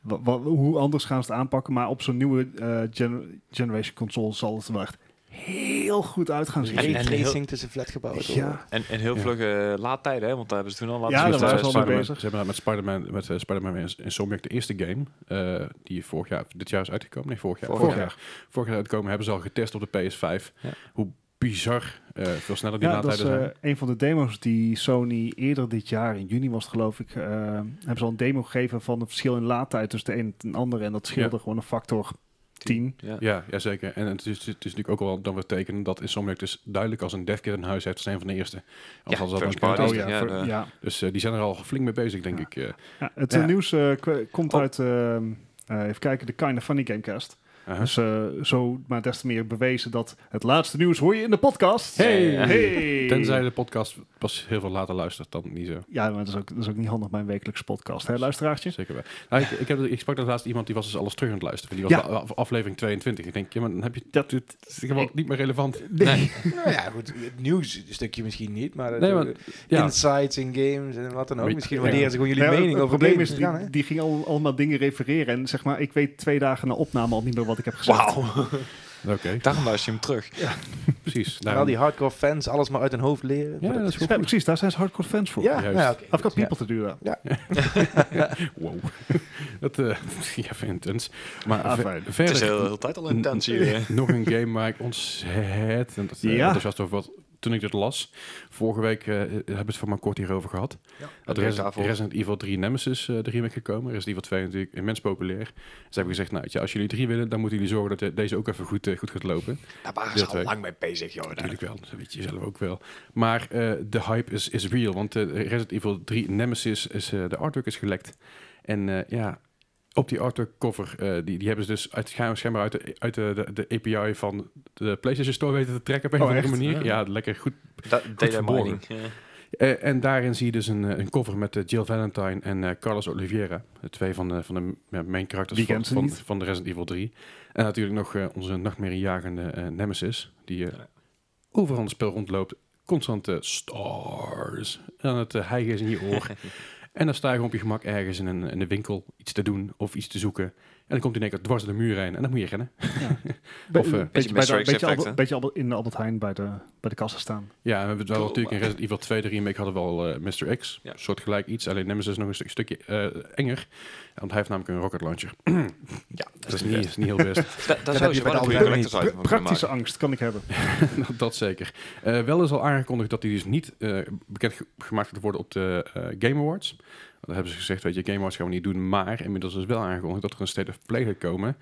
A: wa- wa- hoe anders gaan ze het aanpakken. Maar op zo'n nieuwe eh, gener- generation console zal het er wel echt heel goed uit gaan zien.
C: En- en- Raytracing
D: tussen flatgebouwen.
A: ja,
C: En, en heel
B: Ja.
C: vlug eh, laadtijden, hè? want daar hebben ze toen al laten
A: Ja,
B: Dus
A: daar
C: zien.
B: met,
A: waren
B: eh,
A: ze al mee
B: Spider-Man-
A: bezig.
B: Ze hebben met Spider-Man, met eh, Spider-Man en Insomniac de eerste game, eh, die vorig jaar, dit jaar is uitgekomen. Nee, vorig jaar.
C: Vorig
B: Vorig jaar. Vorig jaar uitgekomen hebben ze al getest op de PS5.
C: Ja.
B: Hoe bizar eh, veel sneller die
A: ja dat is
B: laadtijden zijn.
A: eh, een van de demo's die Sony eerder dit jaar, in juni was het geloof ik, eh, hebben ze al een demo gegeven van het verschil in laadtijd tussen de een en de andere. En dat scheelde gewoon een factor 10.
C: Ja.
B: Ja, ja, zeker. En het is, het is natuurlijk ook wel dan weer teken dat Insomniac dus duidelijk als een devkit in huis heeft. zijn van de eerste. Anders hadden ze dat
C: first
B: nooit kunnen
C: party.
B: testen.
C: ja,
A: voor-
C: de-
A: Oh, ja.
B: Dus eh, die zijn er al flink mee bezig, denk
A: Ja.
B: ik. eh.
A: Ja, het
B: Ja.
A: eh, nieuws eh, k- komt
C: Oh.
A: uit, eh, eh, even kijken, de Kind of Funny Gamecast.
B: Aha.
A: Dus eh, zo maar des te meer bewezen dat het laatste nieuws hoor je in de podcast.
C: Hey.
A: Hey.
B: Tenzij de podcast pas heel veel later luistert, dan niet zo.
A: Ja, maar dat is, ook, dat is ook niet handig, mijn wekelijkse podcast. Hè, luisteraartje?
B: Zeker wel. Nou, ik, ik, heb, ik sprak daar laatst iemand die was dus alles terug aan het luisteren. Die was
A: Ja.
B: bij af- aflevering 22. Ik denk, ja, maar dan heb je dat dit is gewoon niet meer relevant.
C: Nee.
D: Nou ja, goed. Het nieuws stukje misschien niet, maar,
B: Nee, maar- Ja,
D: insights in games en wat dan ook.
B: Maar-
D: Misschien
B: Ja.
D: waarderen ze gewoon jullie
A: Nee,
D: mening
A: Nou het
D: over
A: probleem
D: games.
A: is,
D: Ja, hè?
A: die, die ging al, allemaal dingen refereren. En zeg maar, ik weet twee dagen na opname al niet meer wat ik heb gezegd.
C: Wauw,
B: oké,
C: daarom luister je hem terug.
B: precies.
D: En
B: Daarom-
D: al die hardcore fans alles maar uit hun hoofd leren.
B: ja, dat is
A: Ja,
B: goed.
A: precies, daar zijn ze hardcore fans voor.
D: ja,
B: Juist.
D: nou ja, oké,
A: I've got
D: goed, ja.
A: people to do that.
B: Wow. dat eh, ja, even intens. Maar
A: Ah,
B: ver-
A: fijn.
C: Het
B: verder
C: is de hele tijd al intens hier. hè.
B: nog een game waar ik ontzettend eh,
A: Ja.
B: enthousiast over was toen ik dit las. Vorige week eh, hebben we het voor maar kort hierover gehad. Dat
C: Dank
B: Resident,
C: daarvoor.
B: Resident Evil 3 Nemesis eh, de remake gekomen. Resident Evil 2 natuurlijk immens populair. Ze hebben gezegd, nou, weet je, als jullie 3 willen, dan moeten jullie zorgen dat eh, deze ook even goed, eh, goed gaat lopen.
C: Daar waren
B: Deel
C: ze al
B: twee.
C: lang mee bezig, joh. daar.
B: Natuurlijk wel, dat weet je zelf ook wel. Maar eh, de hype is, is real, want eh, Resident Evil 3 Nemesis, is, eh, de artwork is gelekt. En eh, ja, op die artwork cover, eh, die, die hebben ze dus uit, schijnbaar uit, de, uit de, de, de API van de PlayStation Store weten te trekken op een
A: Oh,
B: of andere
A: echt?
B: manier. Ja, lekker goed.
C: Dat data
B: verborgen.
C: mining. ja.
B: Eh, en daarin zie je dus een, eh, een cover met eh, Jill Valentine en eh, Carlos Oliveira. De twee van de, van de ja, main characters
A: Wie
B: van,
A: kent ze
B: van,
A: niet?
B: van de Resident Evil 3. En natuurlijk nog eh, onze nachtmerriejagende eh, Nemesis, die eh,
C: Ja.
B: overal in het spel rondloopt. Constant eh, stars aan het eh, hijgen is in je oor. en dan sta je gewoon op je gemak ergens in een, in een winkel iets te doen of iets te zoeken. En dan komt hij in één keer dwars door de muur heen en dan moet je rennen. Of, eh,
A: beetje,
C: Beetje
A: bij de- beetje,
C: Mr. X effect,
A: Albert-
C: hè?
A: beetje Albert- in de Albert Heijn bij de, bij de kassa staan.
B: Ja, en we hebben het wel
C: Cool.
B: natuurlijk in Resident Evil 2 de remake hadden we al eh, Mr. X.
C: Ja.
B: Soortgelijk iets, alleen Nemesis is nog een stuk, stukje eh, enger. Want hij heeft namelijk een rocket launcher.
C: Ja,
B: Dat is niet, is niet heel best,
C: Da- Daar
D: heb
C: zou
D: je
C: je
D: bij
C: wel een
D: de
C: goede
D: algemene
C: collectors uit moeten
A: Praktische
C: maken.
A: angst kan ik hebben.
B: dat zeker. Eh, wel is al aangekondigd dat hij dus niet eh, bekend ge- gemaakt gaat worden op de eh, Game Awards. Want daar hebben ze gezegd, weet je, Game Awards gaan we niet doen. Maar inmiddels is wel aangekondigd dat er een State of Play gaat komen.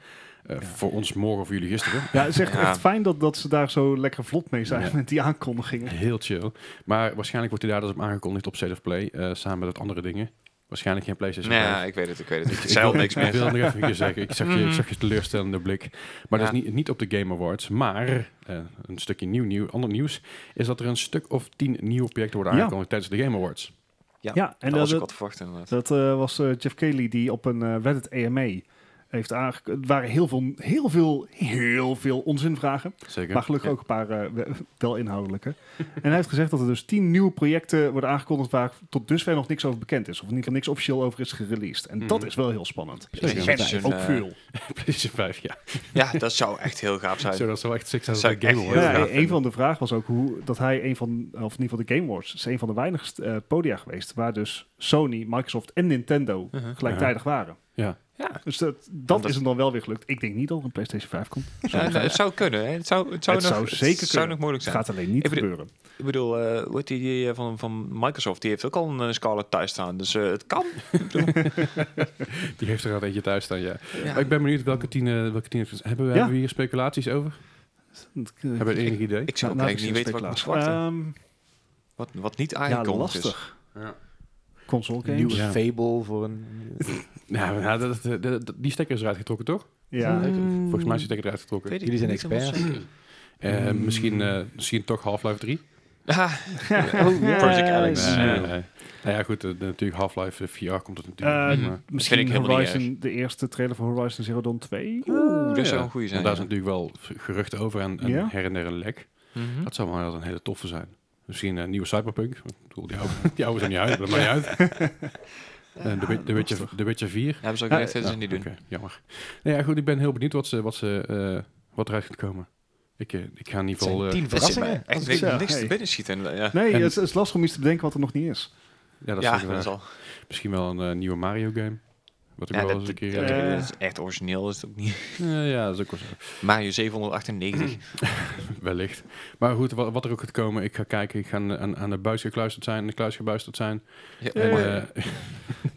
B: Eh, Voor ons morgen of voor jullie gisteren.
A: Ja, het is echt,
C: Ja.
A: echt fijn dat, dat ze daar zo lekker vlot mee zijn
B: Ja.
A: met die aankondigingen.
B: Heel chill. Maar waarschijnlijk wordt hij daar dus op aangekondigd op State of Play. eh, samen met wat andere dingen. Waarschijnlijk geen PlayStation
C: Nee,
B: 5.
C: ja, ik weet het, ik weet het. Ik zei al niks
B: Ik wil
C: meer.
B: het nog even een keer zeggen. Ik zag, je, ik
C: Mhm.
B: zag je teleurstellende blik. Maar dat is niet, niet op de Game Awards. Maar eh, een stukje nieuw, nieuw, ander nieuws is dat er een stuk of tien nieuwe projecten worden
A: Ja.
B: aangekondigd tijdens de Game Awards.
C: Ja,
A: Ja, en
C: En
A: dat,
C: dat was ook
A: dat,
C: wat verwacht inderdaad.
A: dat, eh, was eh, Jeff Kelly die op een eh, Reddit EMA heeft aangekondigd. Er waren heel veel, heel veel, heel veel onzinvragen.
B: Zeker.
A: Maar gelukkig
C: Ja.
A: ook een paar eh, we- wel inhoudelijke. en hij heeft gezegd dat er dus tien nieuwe projecten worden aangekondigd waar tot dusver nog niks over bekend is. Of in ieder geval niks officieel over is gereleased. En dat
B: Mhm.
A: is wel heel spannend.
B: Precies.
A: En
C: Precies.
A: ook
C: Eh,
A: veel.
B: PlayStation 5, ja.
C: Ja, dat zou echt heel gaaf
B: Zo,
C: zijn.
B: dat zou echt succes
C: Zou
B: zijn.
C: ik echt
B: Game
C: heel
B: Awards.
A: Ja,
C: gaaf
A: een van de vragen was ook hoe dat hij een van, of in ieder geval de Game Awards, is een van de weinige eh, podia geweest waar dus Sony, Microsoft en Nintendo
C: Mhm.
A: gelijktijdig waren.
B: Ja.
C: Ja.
A: Dus dat, dat,
C: Want dat-
A: is hem dan wel weer gelukt. Ik denk niet dat er een PlayStation 5 komt. Zo
C: Ja,
A: gaat
C: nou, het zou kunnen. Hè. Het zou, het zou,
A: Het
C: nog,
A: zou zeker
C: het zou
A: kunnen.
C: nog mogelijk
A: het
C: zijn.
A: gaat alleen niet
C: Ik bedoel-
A: gebeuren.
C: Ik bedoel, eh, hoe heet die, die, eh, van, van Microsoft, die heeft ook al een eh, Scarlett thuis staan. Dus eh, het kan.
B: Die heeft er al eentje thuis staan, ja.
C: Ja.
B: Maar ik ben benieuwd welke tien, eh, welke tien hebben, we,
A: Ja.
B: hebben we hier speculaties over? Hebben we enig idee?
C: Ik
A: Nou,
C: zou ook eigenlijk niet weten wat ik moet verwachten.
A: Ehm,
C: wat, wat niet
A: ja,
C: aangekondigd is.
A: lastig.
B: Ja.
A: Console games.
D: Nieuwe
B: Ja.
D: Fable voor een...
B: Nou, nou, dat, dat- dat- dat- die stekker is eruit getrokken, toch?
A: Ja,
B: Volgens mij is die stekker eruit getrokken.
C: Weet ik
D: Jullie zijn
C: niet helemaal
D: experts.
C: zeker.
B: Eh,
C: Mm.
B: misschien, eh, misschien toch Half-Life 3?
C: Ah,
A: Oh, ja.
C: Project Alex.
B: Nee,
C: Dus,
B: nee,
C: eh,
B: nee. Nou ja, goed, eh, de- natuurlijk Half-Life eh, VR komt het
A: Eh,
B: natuurlijk. maar-
A: misschien
C: ik helemaal niet
A: Horizon, de eerste trailer van Horizon Zero Dawn 2.
C: Oeh, dat zou een goede zijn.
B: Want daar is
C: ja.
B: natuurlijk wel geruchten over en, en
A: Ja.
B: her en der een lek.
C: Mhm.
B: Dat zou wel een hele toffe zijn. Misschien een nieuwe Cyberpunk. Ik bedoel, die oude, die oude zijn niet uit, dat maakt niet uit. En de, Wit- de, Witcher, de Witcher 4.
C: Hebben ze ook
A: Ja,
C: gezegd dat ze
B: Ja,
C: niet doen.
B: oké, jammer. Nou ja, goed, ik ben heel benieuwd wat, ze, wat, ze, eh, wat eruit gaat komen. Ik, eh, ik ga in
D: Het
B: ieder geval...
D: zijn
B: eh,
D: tien
C: Er zit
D: verrassingen.
C: maar
D: Als
C: echt
D: ik
A: zo-
C: niks- niks
A: hey.
C: te binnen schieten. eh, Ja, ja,
A: Nee,
B: En-
A: het, is- het is lastig om iets te bedenken wat er nog niet is.
B: ja, dat is zeker
C: dat
B: waar.
C: is al.
B: Misschien wel een eh, nieuwe Mario game. Wat ik
C: Ja,
B: wel
C: dat
B: eens een keer...
C: dat-
A: eh,
C: dat is echt origineel is het ook niet.
B: Eh, ja, dat is ook wel zo.
C: Mario 798.
B: Wellicht. Maar goed, wa- wat er ook gaat komen, ik ga kijken. Ik ga aan, aan- aan de buis gekluisterd zijn, aan de kluis gebuisterd zijn.
C: Ja,
B: En,
C: mooi.
B: eh,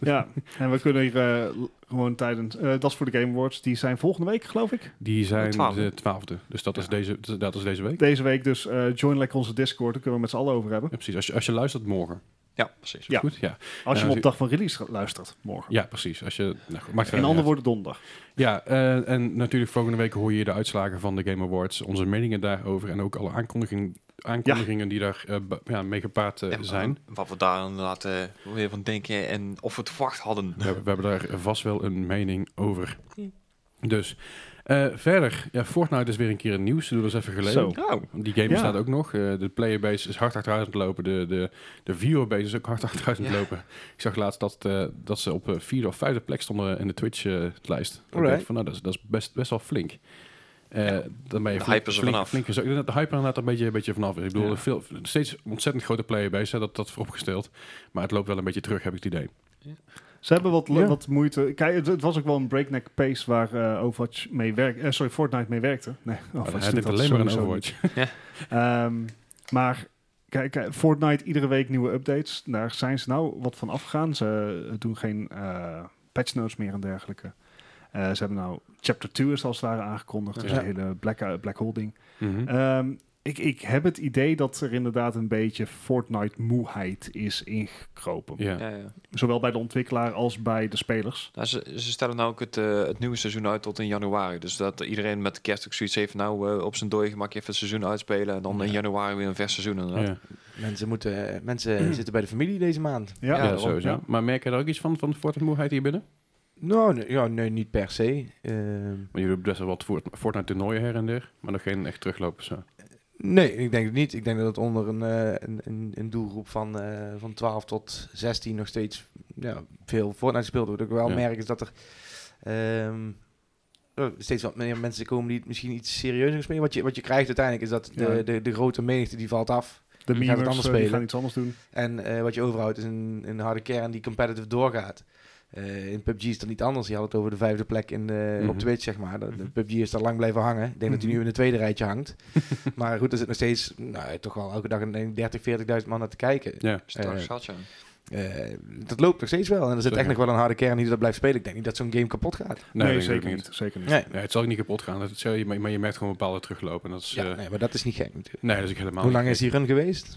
A: ja, en we kunnen hier eh, l- gewoon tijdens... eh, dat is voor de Game Awards. Die zijn volgende week, geloof ik.
B: die zijn
C: De twaalfde.
B: de twaalfde. Dus dat, is deze, dat is deze week.
A: Deze week dus. eh, join lekker onze Discord. Daar kunnen we het met z'n allen over hebben.
B: Ja, precies. Als je, als je luistert morgen.
C: Ja, precies.
A: Ja.
B: Goed? Ja.
A: Als je
B: Ja,
A: hem op dag van release gaat- luistert, morgen.
B: ja, precies. Als je, nou goed, maakt
A: In
B: verder
A: andere
B: niet
A: woorden, donderdag.
B: uit. Ja, eh, en natuurlijk volgende week hoor je de uitslagen van de Game Awards. Onze meningen daarover en ook alle aankondiging, aankondigingen die daar eh, ba- ja, mee gepaard eh,
C: Ja, maar
B: zijn.
C: Wat we daar inderdaad eh, weer van denken en of we het verwacht hadden.
B: We, hebben- we hebben daar vast wel een mening over. Dus eh, verder, ja, Fortnite is weer een keer in het nieuws. Dat doen we eens even geleden.
A: Zo.
C: Nou,
B: Die game
A: Ja.
B: staat ook nog. Eh, de playerbase is hard achteruit aan het lopen. De, de, de viewerbase is ook hard achteruit aan het
C: Ja.
B: lopen. Ik zag laatst dat, eh, dat ze op eh, vierde of vijfde plek stonden in de eh, Twitch-lijst.
D: Alright.
B: van, nou, dat is, dat is best, best wel flink. Eh, dan ben je
C: De
B: flink-
C: hype is er
B: flink-
C: vanaf.
B: flink gezakt. Ik denk dat de hype er inderdaad een beetje, een beetje vanaf is. Ik bedoel,
C: Ja.
B: veel, steeds ontzettend grote playerbase, hè, dat, dat vooropgesteld. Maar het loopt wel een beetje terug, heb ik het
A: Nou,
B: idee.
A: Ze hebben wat,
D: Ja.
A: wat moeite. Kijk, het, het was ook wel een breakneck pace waar eh, Overwatch mee werkte. sorry, Fortnite mee werkte. Nee,
B: Maar
A: Overwatch
B: Oh, hij
A: doet
B: deed
A: dat
B: alleen maar een
A: sowieso
B: Overwatch.
A: niet. Ehm, maar kijk, kijk, Fortnite iedere week nieuwe updates. Daar zijn ze nou wat van afgegaan. Ze doen geen eh patch notes meer en dergelijke. Eh, ze hebben nou Chapter 2 is als het ware aangekondigd. Dus
B: Ja.
A: een hele Black, Black Hole ding.
B: Mhm.
A: Ehm, ik, ik heb het idee dat er inderdaad een beetje Fortnite-moeheid is ingekropen.
B: ja.
C: ja, ja.
A: Zowel bij de ontwikkelaar als bij de spelers.
C: Nou, ze, ze stellen nou ook het, eh, het nieuwe seizoen uit tot in januari. Dus dat iedereen met de kerst ook zoiets heeft. Nou, eh, op zijn dooi gemak even het seizoen uitspelen. En dan in
B: Ja.
C: januari weer een vers seizoen inderdaad.
B: Ja.
D: Mensen, moeten, eh, mensen zitten bij de familie deze maand.
A: Ja, dus
B: Ja,
C: daarom,
B: sowieso.
A: ja.
B: Maar merk je daar ook iets van, van de Fortnite-moeheid hier binnen?
D: Nou, nee, ja, nee, niet per se. Ehm,
B: Want jullie hebben best wel wat Fort- Fortnite-toernooien her en der, maar nog geen echt teruglopen. Zo.
D: nee, ik denk het niet. Ik denk dat het onder een, eh, een, een, een doelgroep van, eh, van 12 tot 16 nog steeds ja, veel Fortnite speelt. Wat ik wel
B: Ja.
D: merk is dat er ehm, eh, steeds wat meer mensen komen die het misschien iets serieuzer spelen. Wat je, wat je krijgt uiteindelijk is dat de,
A: Ja.
D: de, de grote menigte die valt af.
A: De
D: Die
A: memers
D: gaat het anders
A: eh, die
D: spelen.
A: gaan iets anders doen.
D: En eh, wat je overhoudt is een, een harde kern die competitive doorgaat. Eh, in PUBG is dat niet anders. Je had het over de vijfde plek in de,
B: Mhm.
D: op Twitch, zeg maar. De, de PUBG is daar lang blijven hangen. Ik denk dat hij nu
A: Mhm.
D: in het tweede rijtje hangt. maar goed, er zit nog steeds nou, toch wel elke dag een 30, 40.000 man naar te kijken.
B: Ja.
C: Straks
D: Eh,
C: had je.
D: Eh, dat loopt nog steeds wel. En er zit echt
B: Zeker.
D: nog wel een harde kern die dat blijft spelen. Ik denk niet dat zo'n game kapot gaat.
A: Nee,
B: dat denk ik ook
A: zeker niet. Zeker niet.
D: Nee,
B: Nee, het zal ook niet kapot gaan, dat zal je, maar maar je merkt gewoon bepaalde teruglopen. Dat is, eh,
D: ja, nee maar dat is niet gek natuurlijk.
B: nee, dat is ook helemaal
D: Hoe
B: niet
D: lang is die run geweest?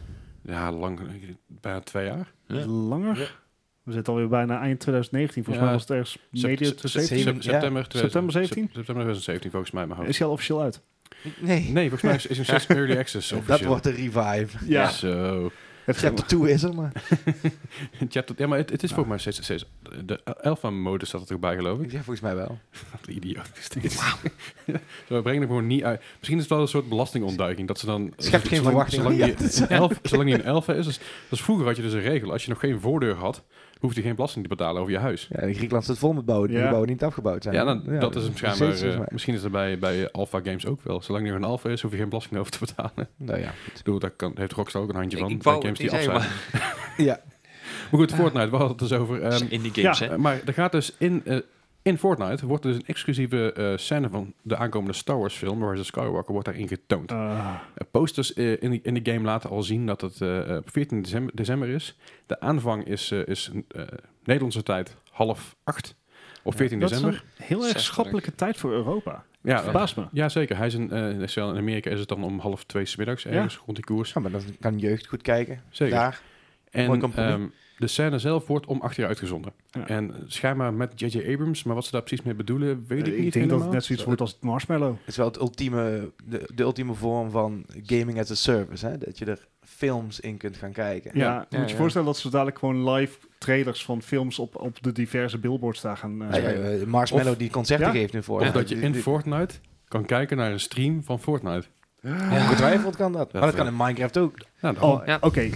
B: gek. Ja, lang, eh, bijna twee jaar.
C: Ja.
A: Langer? We zitten alweer bijna eind 2019. Volgens
B: Ja,
A: mij was het ergens
B: Sept-
A: medio
B: sept-
A: 2017.
B: sep-
D: ja.
B: September 2000
A: September 17?
B: sep- September 2017 volgens mij in mijn
A: Is
B: hoofd.
A: hij al officieel uit?
D: Nee,
B: Nee, volgens mij is- is nog steeds early access
D: dat
B: officieel.
D: wordt de revive.
A: Ja.
B: Zo.
A: Het gaat
D: Chapter 2 is er, maar
B: Chapter- ja, maar het, het is volgens mij steeds, steeds de alpha mode staat er toch bij geloof ik.
D: ik zeg volgens mij wel.
B: Wat een idioot is dit. Zo, we brengen hem gewoon niet uit. Misschien is het wel een soort belastingontduiking dat ze dan.
D: Schept geen verwachting.
B: Zolang
D: Ja, dat is-
B: die, elf, zolang die een elf is, dus, dus vroeger had je dus een regel. Als je nog geen voordeur had, hoefde je geen belasting te betalen over je huis.
D: Ja, in Griekenland staat vol met bouwen die
A: Ja.
D: gebouwen niet afgebouwd zijn.
B: Ja, dan, dat is hem
D: precies,
B: schijnbaar.
D: volgens
B: eh,
D: mij.
B: misschien is dat bij, bij Alpha Games ook wel. Zolang er nog een Alpha is, hoef je geen belasting over te betalen.
D: nou ja.
B: Ik bedoel, daar kan, heeft Rockstar ook een handje
C: Ik-
B: van.
C: ik
B: bij
C: wou
B: games
C: het
B: die
C: niet
B: af zijn.
C: zeggen,
B: Maar
D: ja,
B: goed, Fortnite, we hadden het dus over. ehm,
C: in die games,
A: ja.
C: hè?
B: Eh, maar er gaat dus in, eh, in Fortnite wordt er dus een exclusieve eh, scène van de aankomende Star Wars film, Rise of Skywalker, wordt daarin getoond.
A: Ah,
B: Eh, posters eh, in, die- in de game laten al zien dat het eh, eh, op 14 december, december is. De aanvang is, eh, is eh, Nederlandse tijd half acht op 14
A: dat is
B: december.
A: een heel erg
C: Zestig.
A: schappelijke tijd voor Europa.
B: Ja, eh,
A: Verbaast me.
B: ja, zeker. Hij is in, eh, in Amerika is het dan om half twee 's middags ergens rond die koers.
D: Ja, maar dan kan jeugd goed kijken.
B: Zeker.
D: Daar. Mooi
B: En
D: compromis.
B: ehm, de scène zelf wordt om acht jaar uitgezonden.
A: Ja.
B: En schijnbaar met J.J. Abrams, maar wat ze daar precies mee bedoelen, weet
A: Eh,
B: ik,
A: ik denk
B: niet
A: dat
B: helemaal.
A: het net zoiets wordt als het marshmallow.
D: Het is wel het ultieme, de, de ultieme vorm van gaming as a service. Hè? Dat je er films in kunt gaan kijken.
A: Ja,
B: Ja,
A: moet
C: ja,
A: je
C: ja.
A: voorstellen dat ze dadelijk gewoon live trailers van films op, op de diverse billboards daar gaan eh,
D: Nou ja,
A: spelen.
D: eh, Marshmallow
B: Of-
D: die concerten
A: Ja?
D: geeft nu voor.
B: Of dat je in Fortnite kan kijken naar een stream van Fortnite.
D: Ongetwijfeld kan dat. Maar dat kan in Minecraft ook.
B: Nou, dan-
A: Oh,
C: Ja.
A: oké.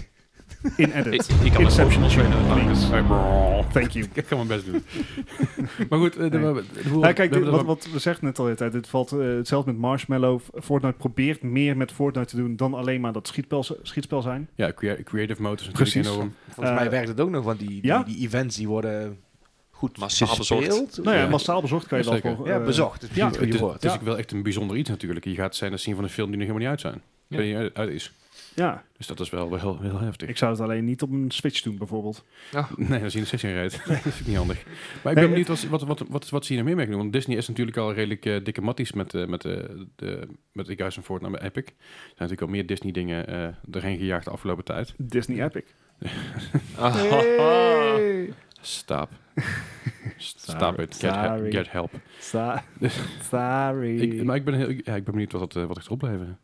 A: In edit.
C: ehm, Ik, ik kan het
A: Inception
C: ook
A: tune,
C: spelen.
A: please.
B: Hey, brrr.
A: Thank you.
B: Ik ga mijn best doen. maar goed, eh, de-
A: Nee.
B: we- de- hoe-
A: Nou, kijk,
B: we
A: dit-
B: hebben
A: wat,
B: er-
A: wat we zeggen net al de hele tijd. Dit valt eh, hetzelfde met Marshmallow. Fortnite probeert meer met Fortnite te doen dan alleen maar dat schietspel, schietspel zijn.
B: Ja, crea- creative motors natuurlijk
A: Precies.
B: enorm.
D: Volgens
A: Eh,
D: mij werkt het ook nog, want die,
A: ja?
D: die, die events die worden goed
C: Massaal
D: gespeeld.
C: bezocht.
A: Nou ja,
B: Ja.
A: massaal bezocht kan je
B: Ja,
A: wel
B: zeker.
A: voor...
D: Ja,
A: eh,
D: bezocht. Het is
A: ja.
D: niet het
B: Het
D: goede
B: is,
D: woord.
B: het is ook wel echt een bijzonder iets natuurlijk. Je gaat scènes zien van een film die nog helemaal niet uit zijn.
C: Ja.
B: Die niet uit- uit is.
A: Ja,
B: Dus dat is wel wel heel, heel heftig.
A: ik zou het alleen niet op een Switch doen bijvoorbeeld.
B: Nee, dan zie je nog steeds geen reet. dat is ook niet handig. Maar ik
A: Nee,
B: ben benieuwd, wat, wat, wat, wat, wat zie je nog meer mee kunnen doen? Want Disney is natuurlijk al redelijk eh, dikke matties met, eh, met, eh, de, met de Guys van Fortnite met Epic. Er zijn natuurlijk al meer Disney dingen eh erheen gejaagd de afgelopen tijd.
A: Disney Epic.
C: Ah,
B: Stop. Stop
A: Sorry.
B: it. Get, he-
A: Sorry.
B: get help.
A: Sa-
B: Dus-
A: Sorry.
B: Ik, maar ik ben, heel, ik, ja, ik ben benieuwd wat, dat, eh, wat ik erop leveren.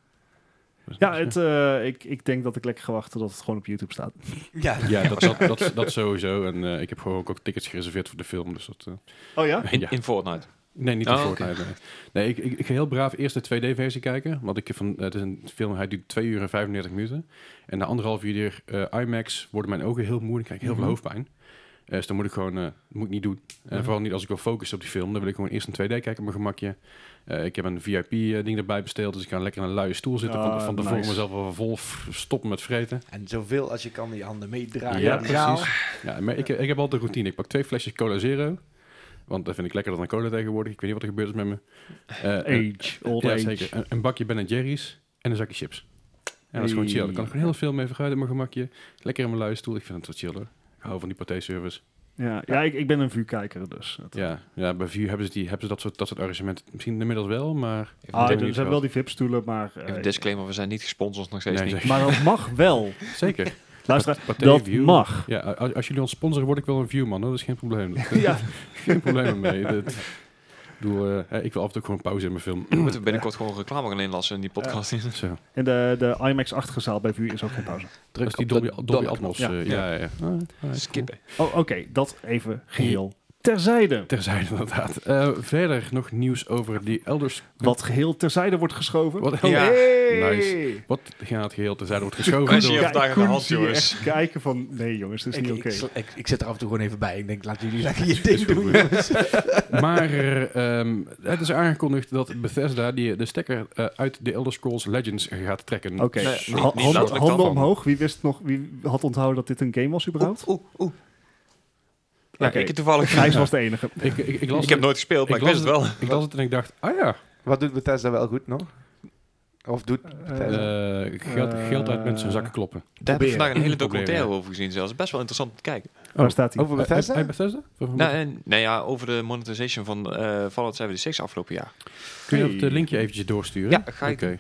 A: ja, het, eh, ik, ik denk dat ik lekker ga wachten tot het gewoon op YouTube staat.
D: Ja,
B: ja dat, dat, dat, dat sowieso. En eh, ik heb gewoon ook, ook tickets gereserveerd voor de film. Dus dat, eh,
A: Oh ja?
C: in,
B: ja.
C: in Fortnite.
B: Nee, niet
C: Oh,
B: in
C: oké.
B: Fortnite. Nee, nee ik, ik, ik ga heel braaf eerst de 2D-versie kijken. Want ik heb van, het is een film, hij duurt 2 uur en 35 minuten. En na anderhalf uur eh, IMAX worden mijn ogen heel moe. en krijg ik heel
A: Mhm.
B: veel hoofdpijn. Eh, dus dan moet ik gewoon, eh, moet ik niet doen. En
C: Mhm.
B: vooral niet als ik wil focussen op die film. Dan wil ik gewoon eerst een 2D kijken op mijn gemakje. Eh, ik heb een VIP-ding erbij besteld. Dus ik kan lekker in een luie stoel zitten. van
A: Ah,
B: van tevoren
A: nice.
B: mezelf al vol f- stoppen met vreten.
D: En zoveel als je kan die handen meedragen.
B: Ja,
D: Ja, precies.
B: Ja, maar ik, ik heb altijd de routine. Ik pak twee flesjes Cola Zero. Want dat vind ik lekkerder dan cola tegenwoordig. Ik weet niet wat er gebeurd is met me. Eh,
A: Age, old
B: ja,
A: age.
B: zeker. Een, een bakje Ben Jerry's en een zakje chips. En dat is gewoon
A: Hey.
B: chill. Dan kan ik gewoon heel veel mee verguiden op mijn gemakje. Lekker in mijn luie stoel. Ik vind het wat chiller. Ik hou van die partijservice.
A: Ja, ja ik, ik ben een vuurkijker dus. Dat-
B: Ja, ja, bij View hebben ze, die, hebben ze dat, soort, dat soort arrangementen misschien inmiddels wel, maar...
A: Ah,
B: dat
A: er
B: heb ik
A: zijn
B: niet
A: wel
B: gehad.
A: die VIP-stoelen, maar... eh,
C: Even disclaimer, we zijn niet gesponsord nog steeds
B: Nee,
C: niet.
B: zeg-
A: maar dat mag wel.
B: Zeker.
A: Luister,
B: Pathé
A: dat
B: View.
A: mag.
B: Ja, als, als jullie ons sponsoren, word ik wel een view, man. hoor. Dat is geen probleem. Dat-
A: Ja.
B: geen probleem mee. Dat, ik, bedoel, eh, ik wil af en toe ook gewoon pauze in mijn film.
C: We moeten binnenkort gewoon reclame gaan inlassen in die podcast.
B: Zo.
A: En de, de IMAX-achtige zaal bij Vuur is ook geen pauze.
B: Dat
D: Druk
B: is die Dolby, Dolby Atmos.
A: Ja.
B: eh, ja, ja. ah, ja.
C: Skippen.
A: Oh, oké, dat even geheel terzijde.
B: Terzijde inderdaad. Eh, verder nog nieuws over die elders.
A: Wat geheel terzijde wordt geschoven. Oh,
B: Wat,
C: Ja.
B: Nice. wat gaat geheel terzijde wordt
C: Kan
B: geschoven.
C: je-
B: door-
C: Vandaag aan de
A: Koen
C: hand,
A: zie je
C: jongens.
A: echt kijken van, nee jongens, dit is
D: Ik,
A: niet oké.
D: ik, sl- ik, ik zit er af en toe gewoon even bij. Ik denk, laat jullie lekker je
B: is
D: ding
B: goed,
D: doen.
B: hoor. maar ehm, het is aangekondigd dat Bethesda die, de stekker eh, uit de Elder Scrolls Legends gaat trekken.
A: Oké,
C: Nee,
A: Ha-
C: niet- niet
A: handen- handen,
C: letterlijk dan.
A: omhoog. Wie wist nog, wie had onthouden dat dit een game was überhaupt?
D: Oeh, oeh.
C: Ja,
A: Oké.
C: ik toevallig.
A: Gijs was de enige.
B: Ik, ik, ik, las
C: Ik heb
B: het,
C: nooit gespeeld, maar ik,
B: las
C: wist het wel.
B: ik las het en ik dacht, ah ja,
D: Wat doet Bethesda wel goed nog? Of doet
A: Eh,
D: Bethesda?
B: eh, geld, geld uit mensen hun zakken kloppen.
C: Daar heb ik
D: Proberen.
C: vandaag een hele
B: Proberen,
C: documentaire
B: ja.
C: over gezien zelfs. Best wel interessant om te kijken.
A: Waar staat hij?
D: Over
B: Eh,
D: Bethesda?
B: bij- bij Bethesda? Of-
C: Nou, en, nou ja, over de monetization van eh Fallout 76 afgelopen jaar.
B: Kun je dat
A: Hey.
B: eh, linkje eventjes doorsturen?
C: Ja, ga ik
B: Oké.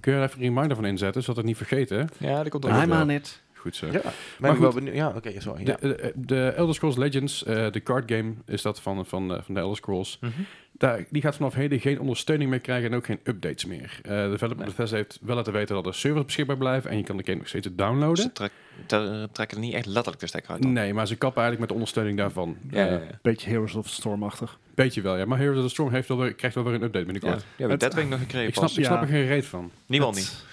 B: Kun je er even een reminder van inzetten, zodat we het niet vergeten? hè?
C: Ja, dat komt
A: oh,
B: ook. Ah,
C: ook.
B: I'm on
A: it.
B: Goed zo.
D: Ja, ben ik wel
B: goed.
D: benieuwd. Ja, oké, sorry.
B: De,
D: Ja.
B: de, de Elder Scrolls Legends, eh, de card game is dat van, van, eh, van de Elder Scrolls.
C: Mhm.
B: Daar, die gaat vanaf heden geen ondersteuning meer krijgen en ook geen updates meer. Eh de developer
C: Nee.
B: Bethesda heeft wel laten weten dat er servers beschikbaar blijven en je kan de game nog steeds downloaden.
C: Ze trek- te- trekken er niet echt letterlijk de stekker uit. dan.
B: Nee, maar ze kappen eigenlijk met de ondersteuning daarvan.
C: Ja,
B: Eh,
C: ja, ja.
A: Beetje Heroes of the Storm-achtig.
B: Beetje wel, ja. Maar Heroes of the Storm heeft wel weer, krijgt wel weer een update binnenkort.
C: ja
A: Het-
C: dat ben ik nog gekregen.
B: Ik, snap,
C: pas.
B: ik snap
A: Ja.
B: er geen reet van.
C: Niemand
A: Het-
C: niet.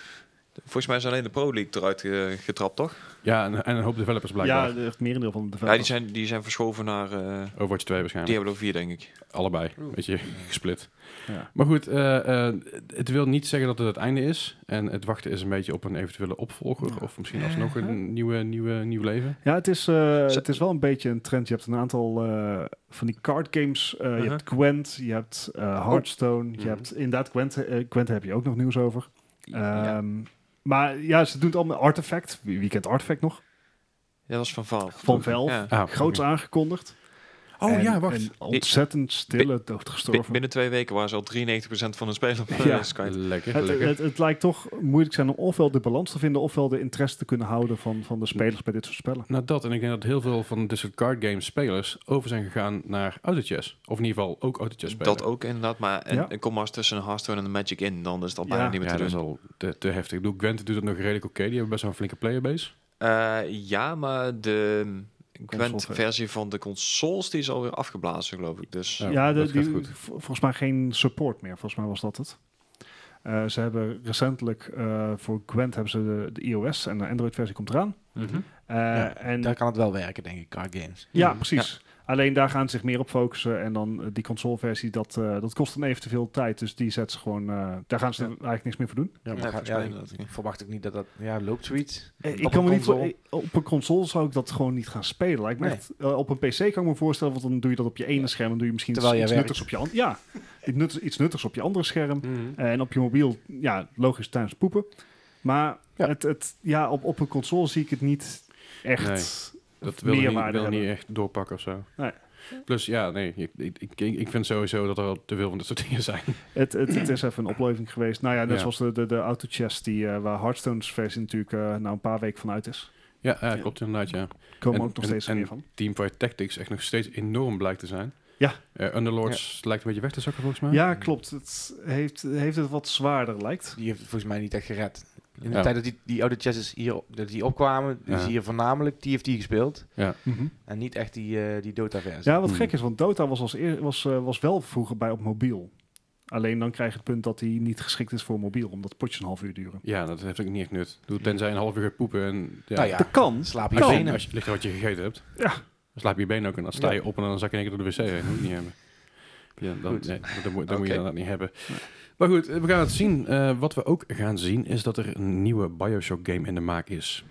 C: Volgens mij is alleen de Pro League eruit eh, getrapt, toch?
B: Ja, en, en een hoop developers blijkbaar.
A: Ja, het merendeel van de
C: Ja, die
A: developers.
C: zijn, die zijn verschoven naar eh,
B: Overwatch 2 waarschijnlijk.
C: Diablo 4, denk ik.
B: Allebei, weet je, gesplit.
A: Ja.
B: Maar goed, eh, eh, het wil niet zeggen dat het het einde is. En het wachten is een beetje op een eventuele opvolger. Of misschien alsnog een nieuwe, nieuwe, nieuw leven.
A: Ja, het is, eh, het is wel een beetje een trend. Je hebt een aantal eh, van die card games. eh, Je
C: Uh-huh. Oh. Mm-hmm.
A: hebt Gwent, je hebt eh, Hearthstone. Je
B: Mhm.
A: hebt inderdaad Gwent. eh, Gwent heb je ook nog nieuws over.
C: ja.
A: Ehm, Maar ja, ze doen het allemaal. Artifact, wie, wie kent Artifact nog?
C: Ja, dat is van Valve.
A: Van Valve.
C: Ja.
B: Ah,
A: Groots aangekondigd.
B: Oh
A: En
B: ja, wacht.
A: Een ontzettend stille, doodgestorven.
C: Bi- binnen twee weken waren ze al 93% van hun spelers op eh,
A: Ja.
C: Skype.
B: Lekker,
A: Het,
B: lekker.
A: het, het lijkt toch moeilijk zijn om ofwel de balans te vinden, ofwel de interesse te kunnen houden van, van de spelers bij dit soort spellen.
B: nou dat, en ik denk dat heel veel van dit soort card game spelers over zijn gegaan naar autochess. Of in ieder geval ook autochess spelen.
C: Dat ook inderdaad, maar en,
A: Ja.
C: en kom maar eens tussen Hearthstone en de Magic in, dan is het al bijna
A: Ja.
C: niet meer
B: ja,
C: te
B: dat is
C: doen.
B: al te, te heftig. Ik bedoel, Gwent doet het nog redelijk oké. Die hebben best wel een flinke playerbase.
C: Eh, ja, maar de
A: Console-
C: Gwent-versie van de consoles die is alweer afgeblazen, geloof ik. Dus
B: Ja.
A: ja, de-
B: Oh, dat gaat
A: die-
B: goed.
A: vo- volgens mij geen support meer. Volgens mij was dat het. Eh, ze hebben recentelijk eh, voor Gwent hebben ze de, de iOS en de Android versie komt eraan. Eh,
D: Ja,
A: en,
D: Daar kan het wel werken, denk ik, card games.
A: ja, precies. Alleen daar gaan ze zich meer op focussen. En dan eh, die console versie, dat, eh, dat kost dan even te veel tijd. Dus die zetten ze gewoon, eh, daar gaan ze
D: Ja.
A: eigenlijk niks meer voor doen.
D: Ja,
C: Ja,
D: maar ga-
C: volgens
D: ja,
C: mij
D: ik
C: inderdaad, ja.
D: verwacht ik niet dat dat... Ja, loopt zoiets.
A: Eh,
D: Op
A: Ik kan me
D: een
A: niet voor,
D: console?
A: eh, op een console zou ik dat gewoon niet gaan spelen. Lijkt me
D: Nee.
A: echt, eh, op een PC kan ik me voorstellen, want dan doe je dat op je ene
D: Ja.
A: scherm. Dan doe je misschien
D: Terwijl
A: iets
D: jij
A: nuttigs op je andere. Ja, iets nuttigs, iets nuttigs op je andere scherm.
B: Mhm.
A: Eh, En op je mobiel, ja, logisch tijdens poepen. Maar
D: Ja.
A: Het, het, ja, op, op een console zie ik het niet echt.
B: Dat wil niet,
A: meerwaarde
B: wil niet
A: hebben.
B: echt doorpakken of zo.
A: Nee.
B: Plus, ja, nee, ik, ik, ik, ik vind sowieso dat er al te veel van dit soort dingen zijn.
A: Het, het, het is even een opleving geweest. Nou ja, net
B: Ja.
A: zoals de, de, de auto-chest, die, eh, waar Hearthstone's versie natuurlijk eh nou een paar weken van uit is.
B: Ja, ja,
C: Ja.
B: klopt inderdaad, ja.
A: Komen
B: En-
A: ook nog
B: en-
A: steeds
B: en-
A: meer van.
B: Teamfight Tactics echt nog steeds enorm blijkt te zijn.
A: Ja.
B: Eh, Underlords lijkt een beetje weg te zakken volgens mij.
A: Ja, klopt. Het heeft, heeft het wat zwaarder, lijkt.
D: Die heeft het volgens mij niet echt gered. In de
B: Ja.
D: tijd dat die, die oude chassis hier, op- dat die opkwamen,
B: Ja.
D: is hier voornamelijk, die heeft die gespeeld.
A: Mhm.
D: En niet echt die, eh, die Dota-versie.
A: Ja, wat
B: Hmm.
A: gek is, want Dota was, als eer, was, eh, was wel vroeger bij op mobiel. Alleen dan krijg je het punt dat hij niet geschikt is voor mobiel, omdat potjes een half uur duren.
B: Ja, dat heeft ook niet echt nut. Doe, tenzij je een half uur gaat poepen en... Ja,
D: Nou ja,
A: Dat kan.
D: slaap je
B: als
C: Oh.
B: je,
D: benen.
B: als je ligt er wat je gegeten hebt,
A: Ja.
B: dan slaap je been ook en dan sta je op en dan zak je in één keer door de wc heen. Dat moet je niet hebben. Ja, dan,
D: Goed.
B: nee, dat, moet, dat moet
C: Oké.
B: je inderdaad niet hebben. Maar goed, eh, we gaan het zien. Eh, wat we ook gaan zien is dat er een nieuwe Bioshock game in de maak is.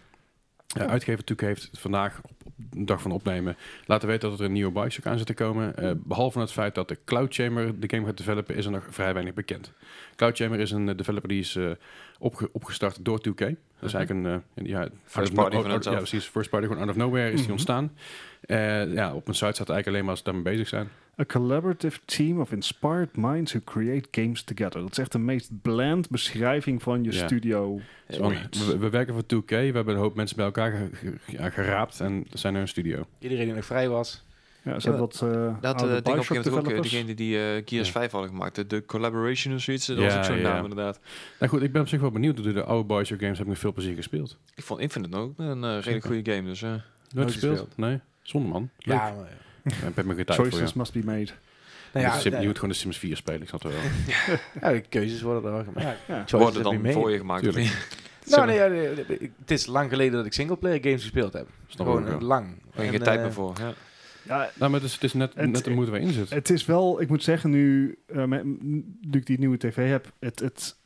C: Oh.
B: Eh, Uitgever Toek heeft vandaag, op, op de dag van opnemen, laten weten dat er een nieuwe Bioshock aan zit te komen. Eh,
C: Hmm.
B: behalve het feit dat de Cloud Chamber de game gaat developen, is er nog vrij weinig bekend. Cloud Chamber is een eh, developer die is eh, opge- opgestart door 2K. Dat is
C: Mhm.
B: eigenlijk een... eh, ja, out of
C: party
B: no-
C: van
B: out-
C: hetzelfde.
B: Ja, precies. First party, gewoon out of nowhere is die
A: Mhm.
B: ontstaan. Eh, ja, op een site staat eigenlijk alleen maar als ze daarmee bezig zijn.
A: A collaborative team of inspired minds who create games together. Dat is echt de meest bland beschrijving van je
B: Ja.
A: studio.
B: Dus van, we, we werken voor 2K, we hebben een hoop mensen bij elkaar ge- ge- ja, geraapt en dat zijn er een studio.
D: Iedereen die nog vrij was.
A: Ja, zijn dat eh
C: Dat eh,
A: oude
C: denk ik op een
A: Bioshock
C: gegeven moment ook eh,
A: developers?
C: degene die eh, Gears
B: Ja.
C: 5 hadden gemaakt. De, de Collaboration of zoiets, dat was
B: Ja,
C: ook zo'n
B: ja, ja.
C: naam inderdaad.
B: Nou goed, ik ben op zich wel benieuwd. Door de oude Bioshock games heb ik nog veel plezier gespeeld.
C: Ik vond Infinite ook een eh, redelijk goede game, dus... eh,
B: Nooit gespeeld?
D: gespeeld.
B: Nee. Zonde man. Leuk.
D: Ja, maar,
B: Ik heb me geen tijd voor
A: Choices
B: ja.
A: must be made.
D: nou ja,
B: je, moet
D: nee,
B: gewoon de Sims 4 spelen, ik snap het wel.
D: ja, de keuzes worden er wel gemaakt.
A: Ja.
D: Choices
C: worden
D: heb je
C: dan
D: mee.
C: voor je gemaakt. of
B: Tuurlijk.
C: niet?
D: Nou, nee, ja, nee, nee, ik- het is lang geleden dat ik singleplayer games gespeeld heb.
B: Snap ik
D: Gewoon
B: ook wel.
D: lang.
C: Daar heb je
D: En,
C: geen tijd
D: eh,
C: meer voor. Ja.
A: Ja,
B: Nou, maar het is, het is net,
A: Het-
B: net de moeite waarin zit.
A: het is wel, ik moet zeggen, nu, eh, met- nu ik die nieuwe tv heb, het, het,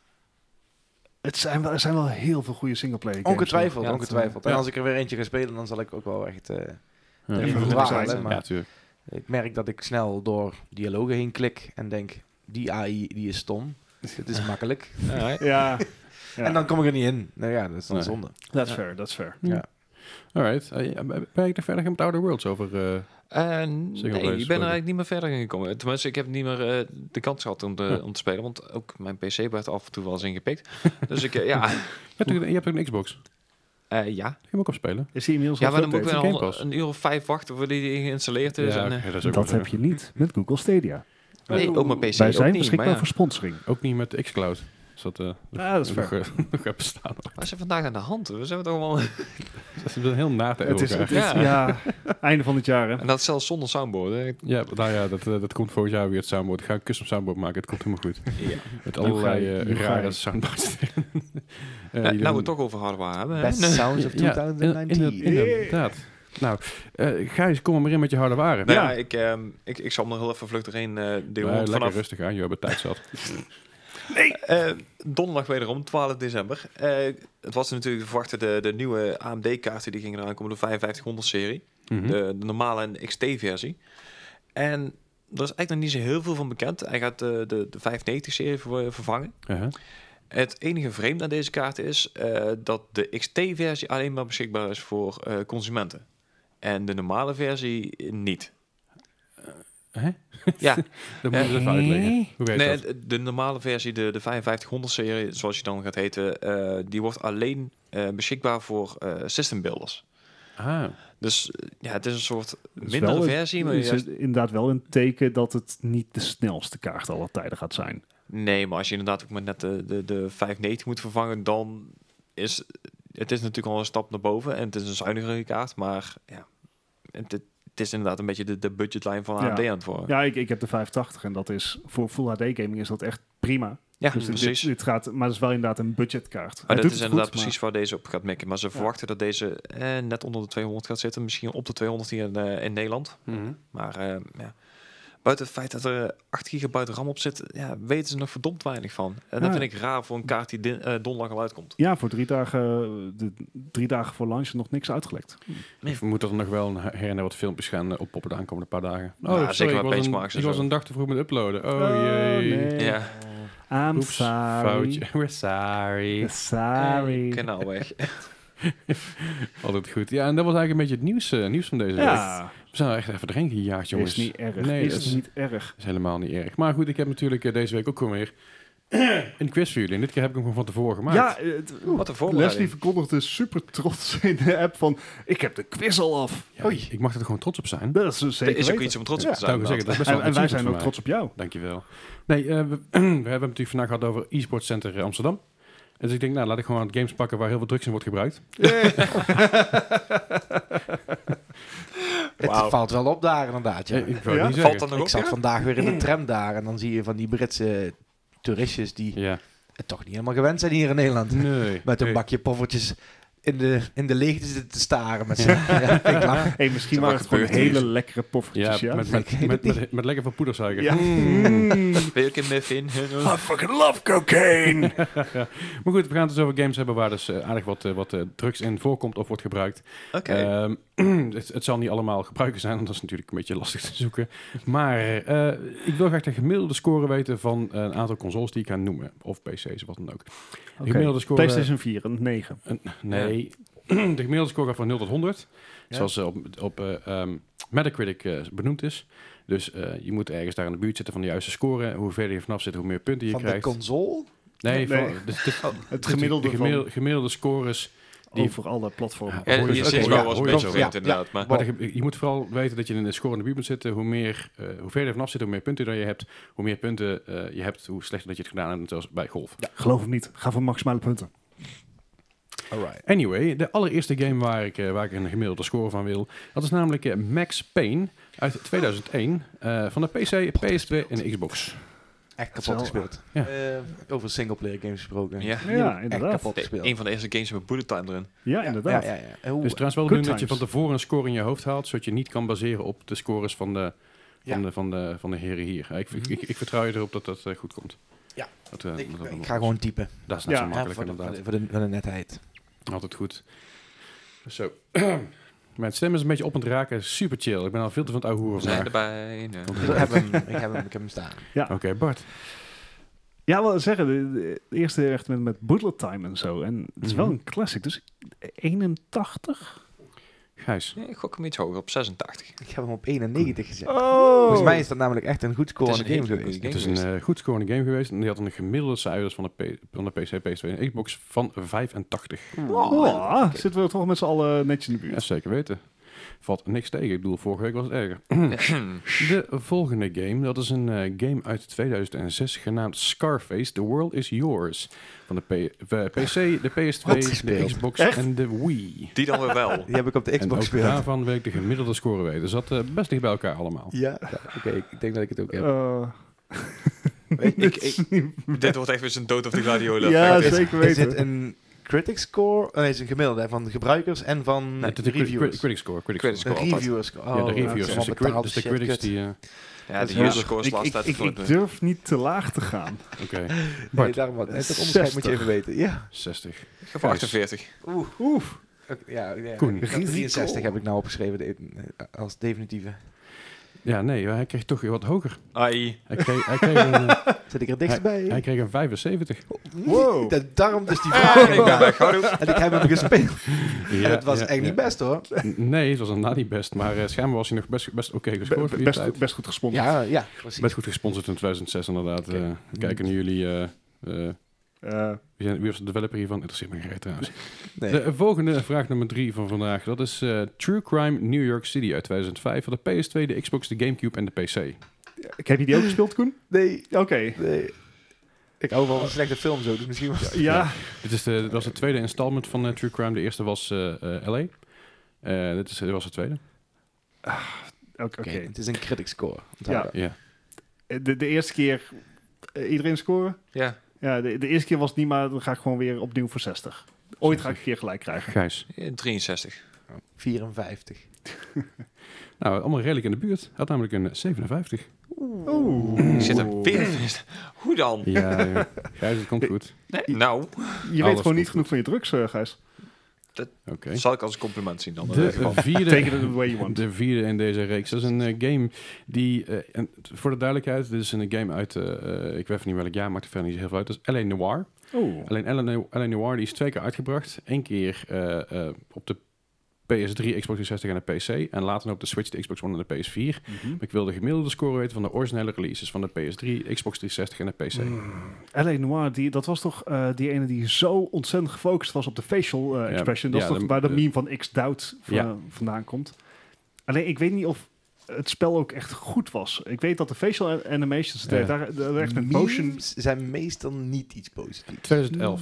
A: het zijn wel, er zijn wel heel veel goede singleplayer games.
D: Ongetwijfeld,
C: Ja, dat,
D: ongetwijfeld. En
B: ja.
D: als ik er weer eentje ga spelen, dan zal ik ook wel echt... eh,
B: Ja.
A: even
B: Ja,
A: goed
B: ja,
A: zijn,
B: ja,
A: hè,
D: maar-
B: tuurlijk.
D: ik merk dat ik snel door dialogen heen klik en denk... Die AI, die is stom. Dit is makkelijk.
C: Ja,
A: Ja, ja.
D: En dan kom ik er niet in. Nou ja, dat is dan
B: Nee.
D: zonde.
A: that's
C: Ja.
A: fair, that's fair.
B: Alright. Eh, ja, ben ben ik er verder met Outer Worlds over? eh,
C: Eh, nee, ik ben er
B: gesproken.
C: eigenlijk niet meer verder in gekomen. Tenminste, ik heb niet meer eh, de kans gehad om, te-
B: Ja.
C: om te spelen. Want ook mijn PC werd af en toe wel eens ingepikt. dus ik, eh, ja,
B: je, hebt ook, je hebt ook een Xbox.
C: Eh, ja.
B: Die kan je ook opspelen.
A: Is hij inmiddels
C: ja,
A: al
C: maar dan moet ik
A: geüpdate?
B: wel-
C: wel
B: Game Pass.
C: een, een uur of vijf wachten voordat die geïnstalleerd is. en, eh,
B: oké, dat is ook
A: Dat
B: wel
A: heb je niet met Google Stadia.
C: nee, ook mijn PC
A: Wij zijn
C: ook niet. Maar,
A: beschikbaar
C: ja.
A: voor sponsoring.
B: Ook niet met xCloud. Dus dat, eh
A: Ja, Ah, dat is
B: nog,
A: waar.
B: eh, nog even staan.
C: Wat is er vandaag aan de hand? We zijn het allemaal...
B: Dat is wel heel na te
A: Het is, het
B: elkaar.
A: is- ja.
C: Ja.
A: einde van het jaar. Hè.
C: en dat zelfs zonder soundboard. hè.
B: Ja, nou ja, dat, eh, dat komt volgend jaar weer het soundboard. Ik ga een custom soundboard maken, het komt helemaal goed.
C: Ja.
B: Met
A: Nou ga
B: allerlei
A: je-
B: eh,
A: nu ga
B: rare
A: je.
B: soundboards. Eh, die
C: Nou, we
B: doen-
C: het toch over hardware hebben. hè.
D: Best
C: Nee.
D: Sounds of
B: Ja,
D: 2019.
B: in- in- Inderdaad. Nou, eh Gijs, kom er maar in met je harde waren.
C: Nou ja, ik, ehm, ik, ik zal hem nog heel even vlug erheen eh duwen.
B: Nou,
C: want
B: lekker
C: vanaf
B: rustig aan, je hebt tijd zat.
C: eh, donderdag wederom, 12 december. Eh, het was natuurlijk te verwachten, de, de nieuwe AMD-kaarten die gingen eraan komen, de 5500-serie.
B: Mhm.
C: de, de normale en de XT-versie. En er is eigenlijk nog niet zo heel veel van bekend. Hij gaat eh, de, de 590-serie ver- eh, vervangen.
B: Uh-huh.
C: Het enige vreemde aan deze kaart is eh, dat de XT-versie alleen maar beschikbaar is voor eh, consumenten. En de normale versie niet.
B: Eh, Hè?
C: Ja,
B: Dat moet je
A: Eh,
B: dus even uitleggen. Hoe werkt
C: nee,
B: dat?
C: de- de normale versie, de, de 5500-serie, zoals je dan gaat heten, eh, die wordt alleen eh, beschikbaar voor eh, system builders.
B: Ah,
C: Dus eh, ja, het is een soort
A: is
C: mindere
A: wel een-
C: versie. Maar
A: is
C: juist-
A: het inderdaad wel een teken dat het niet de snelste kaart aller tijden gaat zijn.
C: Nee, maar als je inderdaad ook maar net de, de, de 590 moet vervangen, dan is het is natuurlijk al een stap naar boven. En het is een zuinigere kaart, maar ja, het, het is inderdaad een beetje de, de budgetlijn van
A: Ja.
C: AMD aan het worden.
A: Ja, ik, ik heb de 580 en dat is voor Full HD gaming is dat echt prima.
C: Ja,
A: Dus dit-
C: precies.
A: Dit, dit gaat, maar het is wel inderdaad een budgetkaart. Hij
C: Maar dat
A: doet
C: is
A: het
C: inderdaad
A: goed,
C: precies waar deze op gaat mikken. Maar ze verwachten dat deze eh, net onder de 200 gaat zitten. Misschien op de 200 hier in, eh, in Nederland.
B: mhm.
C: Maar eh, ja. buiten het feit dat er eh, 8 gigabyte RAM op zit, ja, weten ze nog verdomd weinig van. En dat
A: Ja.
C: vind ik raar voor een kaart die din- eh, donderdag al uitkomt.
A: Ja, voor drie dagen, eh, de, drie dagen voor launch nog niks uitgelekt.
C: Nee.
B: Ik vermoed dat er nog wel een her en der wat filmpjes gaan eh, oppoppen de aankomende paar dagen.
C: Ja, zeker
B: Oh, ik
C: met
B: was een,
C: benchmarks en
B: ik was
C: zo.
B: een dag te vroeg met uploaden. Oh, jee.
A: nee.
C: Ja,
A: I'm
B: Oeps,
A: sorry.
B: foutje. We're sorry.
A: Sorry.
C: kanaal Eh, weg.
B: Altijd goed. Ja, en dat was eigenlijk een beetje het nieuws, eh, nieuws van deze week.
A: ja,
B: We zijn er echt even doorheen gejaagd, jongens.
A: is niet erg.
B: Nee,
A: is
B: dat is,
A: niet erg.
B: is helemaal niet erg. Maar goed, ik heb natuurlijk eh, deze week ook gewoon weer een quiz voor jullie. En dit keer heb ik hem gewoon van tevoren gemaakt.
A: Ja, het,
C: Wat een
A: Leslie
C: voorbereiding.
A: verkondigde super trots in de app van... Ik heb de quiz al af. Oh,
B: Ja, ik mag er gewoon trots op zijn.
A: Dat is dus
C: Er
A: zeker
C: is ook
A: weten.
C: iets om trots op
B: Ja,
C: te zijn.
B: zou ik zeggen, dat is best
C: inderdaad.
B: wel
A: En, en wij
B: achievement
A: zijn
B: voor
A: ook
B: mij.
A: trots op jou.
B: Dankjewel. Nee, eh, we, we hebben het natuurlijk vandaag gehad over e-sports center eh, Amsterdam. Dus ik denk, nou, laat ik gewoon games pakken waar heel veel drugs in wordt gebruikt.
D: Het
C: Wauw.
D: valt wel op daar inderdaad. Ja.
B: Eh, ik wou
A: Ja?
B: het niet
C: Valt
B: zeggen.
C: dat nog
D: Ik
C: op?
D: zat
C: ja?
D: vandaag weer in de tram daar en dan zie je van die Britse toeristjes die
B: Ja.
D: het toch niet helemaal gewend zijn hier in Nederland.
B: Nee.
D: Met een
B: Nee.
D: bakje poffertjes in de, in de leegte zitten te staren met z'n ja, ik lach.
A: Hey, misschien
C: Wat
A: waren het gewoon
C: gebeurt hier?
A: hele lekkere poffertjes, ja?
B: Ja, met, met, met, met, met lekker veel poedersuiker.
A: Ja.
C: Ben je ook in Miffin?
A: I fucking love cocaine!
B: Maar goed, we gaan het dus over games hebben waar dus eh, aardig wat, eh, wat eh, drugs in voorkomt of wordt gebruikt.
C: Oké.
B: Ehm, het, het zal niet allemaal gebruiken zijn, want dat is natuurlijk een beetje lastig te zoeken. Maar eh, ik wil graag de gemiddelde score weten van eh, een aantal consoles die ik ga noemen. Of PC's, wat dan ook. De Gemiddelde score... eh,
A: PlayStation 4, een 9.
B: Een- nee. De gemiddelde score gaat van 0 tot 100.
A: Ja.
B: Zoals eh, op, op eh, ehm, Metacritic eh, benoemd is. Dus eh, je moet ergens daar in de buurt zitten van de juiste score. Hoe verder je vanaf zit, hoe meer punten je
D: Van de
B: krijgt.
D: console?
B: nee,
A: Nee.
B: Van, dus, dit-
A: Het
B: dus
A: gemiddelde
B: de gemiddel- gemiddelde scores.
A: van
B: die-
A: over alle platformen.
B: Ja,
C: Ja,
B: hoor je
C: je
B: het
C: zit
B: ook
C: wel
B: al.
C: was
B: Ja,
C: een
B: hoor je
C: beetje
D: het
C: verwend
D: ook.
C: inderdaad.
D: Ja,
C: Maar
B: Maar de ge- je moet vooral weten dat je in de score in de buurt moet zitten. Hoe, meer, eh, hoe verder je vanaf zit, hoe meer punten je hebt. Hoe meer punten eh, je hebt, hoe slechter dat je het gedaan hebt. Zoals bij golf.
A: Geloof hem niet. Ga voor maximale punten.
D: Alright.
B: Anyway, de allereerste game waar ik, eh, waar ik een gemiddelde score van wil, dat is namelijk eh, Max Payne uit 2001 eh, van de PC, PS2 en de Xbox. Dus
D: Echt kapot
A: Zo.
D: gespeeld.
B: Ja.
D: Eh, over singleplayer games gesproken.
C: ja.
A: Ja,
D: echt
A: inderdaad.
D: kapot
C: De-
D: gespeeld.
C: een van de eerste games met bullet time erin.
A: Ja, inderdaad.
D: Ja, ja, ja. En hoe-
B: Dus trouwens wel
A: Good
B: doen dat je van
A: times.
B: tevoren een score in je hoofd haalt, zodat je niet kan baseren op de scores van de, van
D: Ja.
B: de, van de, van de heren hier. Eh, Ik, ik,
C: Mhm.
B: ik, ik vertrouw je erop dat dat eh, goed komt.
D: Ja.
B: Dat, eh,
D: ik,
B: dat dat-
D: ik ga gewoon typen.
B: Dat is net
A: Ja.
B: zo
D: Ja,
B: makkelijk
D: voor, de, voor,
B: inderdaad.
D: de, voor, de, voor de netheid.
B: Altijd goed. Zo. Mijn stem is een beetje op aan het raken. Super chill. Ik ben al veel te van het ouwe
C: We
B: hoeren
C: zijn
B: vandaag.
C: erbij. nee.
D: Ik heb hem, ik heb hem, ik heb hem staan.
B: Oké, Bart.
A: Ja, wel zeggen, de, de- de eerste echt met, met bullet time en zo. En het is wel
B: Mhm.
A: een classic, dus 81?
B: Gijs.
C: Nee, ik gok hem iets hoger, op 86.
D: Ik heb hem op 91 gezet.
A: Oh!
D: Volgens mij is dat namelijk echt een goed scorende
C: Het is een
D: game
C: hele goede
D: geweest.
C: game.
B: Het is een eh, goed scorende game geweest. En die had een gemiddelde cijfers van de, P- van de PC, PS2 en Xbox van 85.
A: Oh, Zitten we toch met z'n allen netjes in de
B: Ja,
A: buurt.
B: zeker weten. Valt niks tegen. Ik bedoel, vorige week was het erger. De volgende game, dat is een eh, game uit 2006 genaamd Scarface, The World Is Yours. Van de P- eh, PC, de
D: Wat
B: PS2, de
D: gespeeld.
B: Xbox
A: Echt?
B: en de Wii.
C: Die dan weer wel.
D: Die heb ik op de
B: en ook
D: Xbox gespeeld.
B: daarvan weet ik de gemiddelde score weten. Dus dat eh, best dicht bij elkaar allemaal.
D: Ja, Oh. ja, oké. ik denk dat ik het ook heb.
A: Eh,
C: Ik- ik- ik- dit wordt echt weer een dood of de gladiolen.
A: ja,
C: effect.
A: zeker
D: Is
A: weten.
D: het een critic score? oh, Nee, het is een gemiddelde hè, van de gebruikers en van
B: Nee,
D: de
B: het is de cri- cri-
D: reviewers.
B: critic score. Critic
C: Critic
B: score.
D: De
C: score apart.
D: reviewers. Oh,
B: Ja, de
A: ja,
B: reviews.
A: het
B: dus
A: is
B: de, cri- dus de critics die... eh,
C: Ja,
D: Dat is
C: de
D: heel
C: user scores
A: Ik,
C: laatst
A: ik,
C: uit
A: ik,
C: de
A: ik durf niet te laag te gaan.
B: Oké,
D: Nee,
B: Bart.
D: daarom wat. Het onderscheid moet je
A: 60.
D: even weten. Ja.
B: 60.
C: Of 48.
D: Oeh.
A: Oef.
D: Ja, ja.
B: Koen.
D: ik had 63 heb ik nou opgeschreven de- als definitieve.
B: Ja, nee, hij kreeg toch wat hoger.
C: Ai.
B: Hij kreeg, hij kreeg, een, eh,
D: Zit ik er dichtstbij?
B: hij kreeg een 75.
A: Wow.
D: Dat- daarom dus die
C: En
D: vraag.
C: ik ben bij Goudoek.
D: en ik heb hem gespeeld.
B: Ja,
D: en het was
B: ja,
D: echt
B: ja.
D: niet best hoor.
B: Nee, het was inderdaad niet best. Maar eh, schijnbaar was hij nog best, best oké
A: Be-
B: gescoord voor die
A: best,
B: tijd.
A: goed- best goed gesponsord.
D: Ja, ja, precies.
B: Best goed gesponsord in 2006 inderdaad. Eh, we kijken naar jullie... eh, eh,
A: Eh,
B: wie, zijn- wie was de developer hiervan? Interesseert me geen reet trouwens.
D: Nee.
B: De volgende vraag nummer drie van vandaag. Dat is eh, True Crime New York City uit 2005. Voor de PS2, de Xbox, de Gamecube en de PC.
A: heb je die ook gespeeld, Koen?
D: Nee,
A: Oké.
D: nee. Ik hou wel van slechte film zo, dus misschien wel.
A: Ja.
B: Dit is de, dit was het tweede installment van eh, True Crime. De eerste was eh, eh, LA. Eh, dit, is, dit was het tweede.
A: Oké.
D: Oké,
A: oké.
D: het is een critic score.
A: Ja.
B: Ja.
A: De, de eerste keer eh, iedereen scoren.
C: Ja,
A: Ja, de, de eerste keer was het niet, maar dan ga ik gewoon weer opnieuw voor 60. Ooit ga ik een keer gelijk krijgen.
B: Gijs.
C: eh, 63.
D: 54.
B: Nou, allemaal redelijk in de buurt. Hij Had namelijk een eh, 57.
A: Oeh.
C: Ik zit er weer vast. Hoe dan?
B: Ja, ja. Gijs, het komt goed.
C: Nee, nou,
A: Je weet gewoon
B: Alles
A: niet
B: goed.
A: genoeg van je drugs, eh, Gijs.
B: Oké.
C: dat zal ik als een compliment zien dan. Eh, in ieder
B: De eh,
C: geval.
A: Take it
B: vierde,
A: the way you want.
B: de vierde in deze reeks. Dat is een eh, game die, eh, en voor de duidelijkheid, dit is een game uit, eh, eh, ik weet even niet welk jaar, maakt er verder niet heel veel uit. Dat is L.A. Noir.
A: Oeh.
B: Alleen L.A. L.A. Noir die is twee keer uitgebracht. Eén keer eh, eh, op de PS3, Xbox 360 en de PC. En later nog op de Switch, de Xbox One en de PS4.
A: Mhm.
B: Ik wil de gemiddelde score weten van de originele releases van de PS3, Xbox 360 en de PC.
A: L.A. Noir, die, dat was toch eh, die ene die zo ontzettend gefocust was op de facial eh,
B: Ja,
A: expression.
B: ja,
A: dat is toch
B: de-
A: waar de
B: de-
A: meme van X-Doubt van- eh,
B: Ja.
A: vandaan komt. Alleen ik weet niet of het spel ook echt goed was. Ik weet dat de facial a- animations,
B: Ja.
A: daar, daar, daar echt met
D: Memes
A: motion...
D: zijn meestal niet iets positiefs.
B: 2011.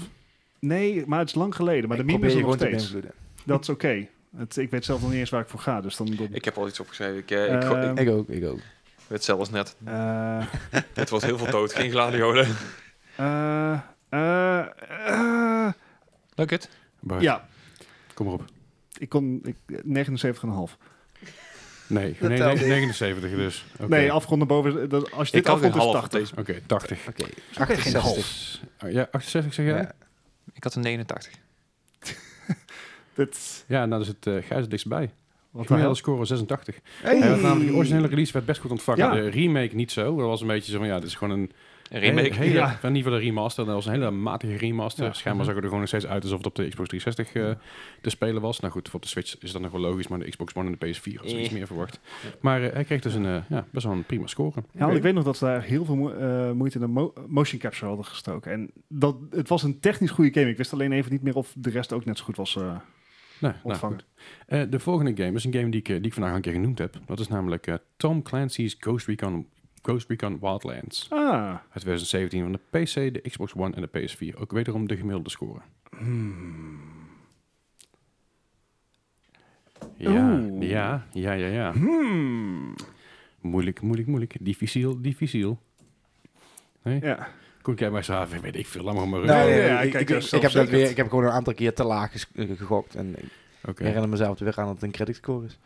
A: Nee, maar het is lang geleden. Maar
D: Ik
A: de meme
D: probeer
A: is
D: je
A: er nog
D: gewoon te
A: steeds.
D: beïnvloeden.
A: Dat is oké. Het- Ik weet zelf nog niet eens waar ik voor ga. Dus dan... dan
C: Ik heb al iets opgeschreven. Ik, eh, ik, go-
A: Ehm,
C: ik
D: Ik ook, ik ook.
C: weet zelfs net.
A: eh,
C: Het wordt heel veel dood. Geen gladiolen.
A: eh, eh, eh,
C: Leuk het?
B: Bart,
A: ja,
B: kom maar op.
A: ik kon ik, 79,5.
B: Nee,
D: Dat
B: nee, nee,
D: telt niet.
B: 79 dus. Oké.
A: Nee, afgerond naar boven. dat- Als je
C: Ik
A: dit
C: had een
A: afrondt is
C: half
A: 80.
C: op deze.
B: Oké, 80.
D: Oké,
A: geen half.
D: 68.
B: Oh, Ja, 68 zeg jij? Ja,
D: Ja.
C: Ik had een 89.
A: Dit,
B: nou is het eh Gijs het dichtst bij.
A: wat de hel?
B: Gemiddelde score 86.
D: Hey.
B: Hij werd namelijk de originele release werd best goed ontvangen.
A: Ja.
B: De remake niet zo. Dat was een beetje zo van, ja, dit is gewoon een
C: Een remake.
B: hele, hele-
A: Ja.
B: van niet van de remaster. Dat was een hele matige remaster.
A: Ja.
B: Schijnbaar zag het er gewoon nog steeds uit alsof het op de Xbox 360 eh, te spelen was. Nou goed, voor de Switch is dat nog wel logisch, maar de Xbox One en de PS4 was er iets
C: Eh.
B: meer verwacht. Maar eh, hij kreeg dus een, eh, ja, best wel een prima score.
A: Ja, want ik weet nog dat ze daar heel veel mo- eh, moeite in de mo- motion capture hadden gestoken. En dat, het was een technisch goede game. Ik wist alleen even niet meer of de rest ook net zo goed was eh,
B: Nee, nou,
A: ontvangen.
B: goed. Eh, de volgende game is een game die ik, eh, die ik vandaag al een keer genoemd heb. Dat is namelijk eh, Tom Clancy's Ghost Recon, Ghost Recon Wildlands.
A: ah,
B: Uit 2017 van de PC, de Xbox One en de PS4. Ook wederom de gemiddelde score.
A: Hmm.
B: Ja,
A: Oeh.
B: ja, ja, ja, ja. Hmm. Moeilijk, moeilijk, moeilijk. Difficiel, difficiel.
A: ja.
B: Koen, kijk maar eens aan. Weet ik veel, laat maar gewoon maar
D: Nou,
A: Nee,
B: rust.
A: ja,
D: ik,
A: kijk,
D: ik-
A: dat
D: ik
A: is
D: heb dat
A: zelfzeker.
D: weer, ik heb gewoon een aantal keer te laag ges- eh, gegokt. En ik
B: Oké.
D: herinner mezelf er weer aan dat het een critic score is.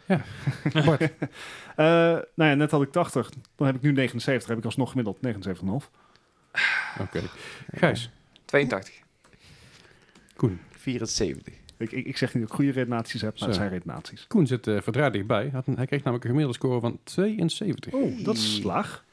A: Eh, nou ja, net had ik 80. Dan heb ik nu 79. Heb ik alsnog gemiddeld 79,5.
B: oké. Gijs,
C: 82.
B: Koen.
D: 74.
A: Ik, ik, ik zeg niet dat ik goede redenaties heb, maar het
B: Zo.
A: zijn redenaties.
B: Koen zit eh verdraaid dichtbij. Had een- hij kreeg namelijk een gemiddelde score van 72.
A: Oh, dat is laag.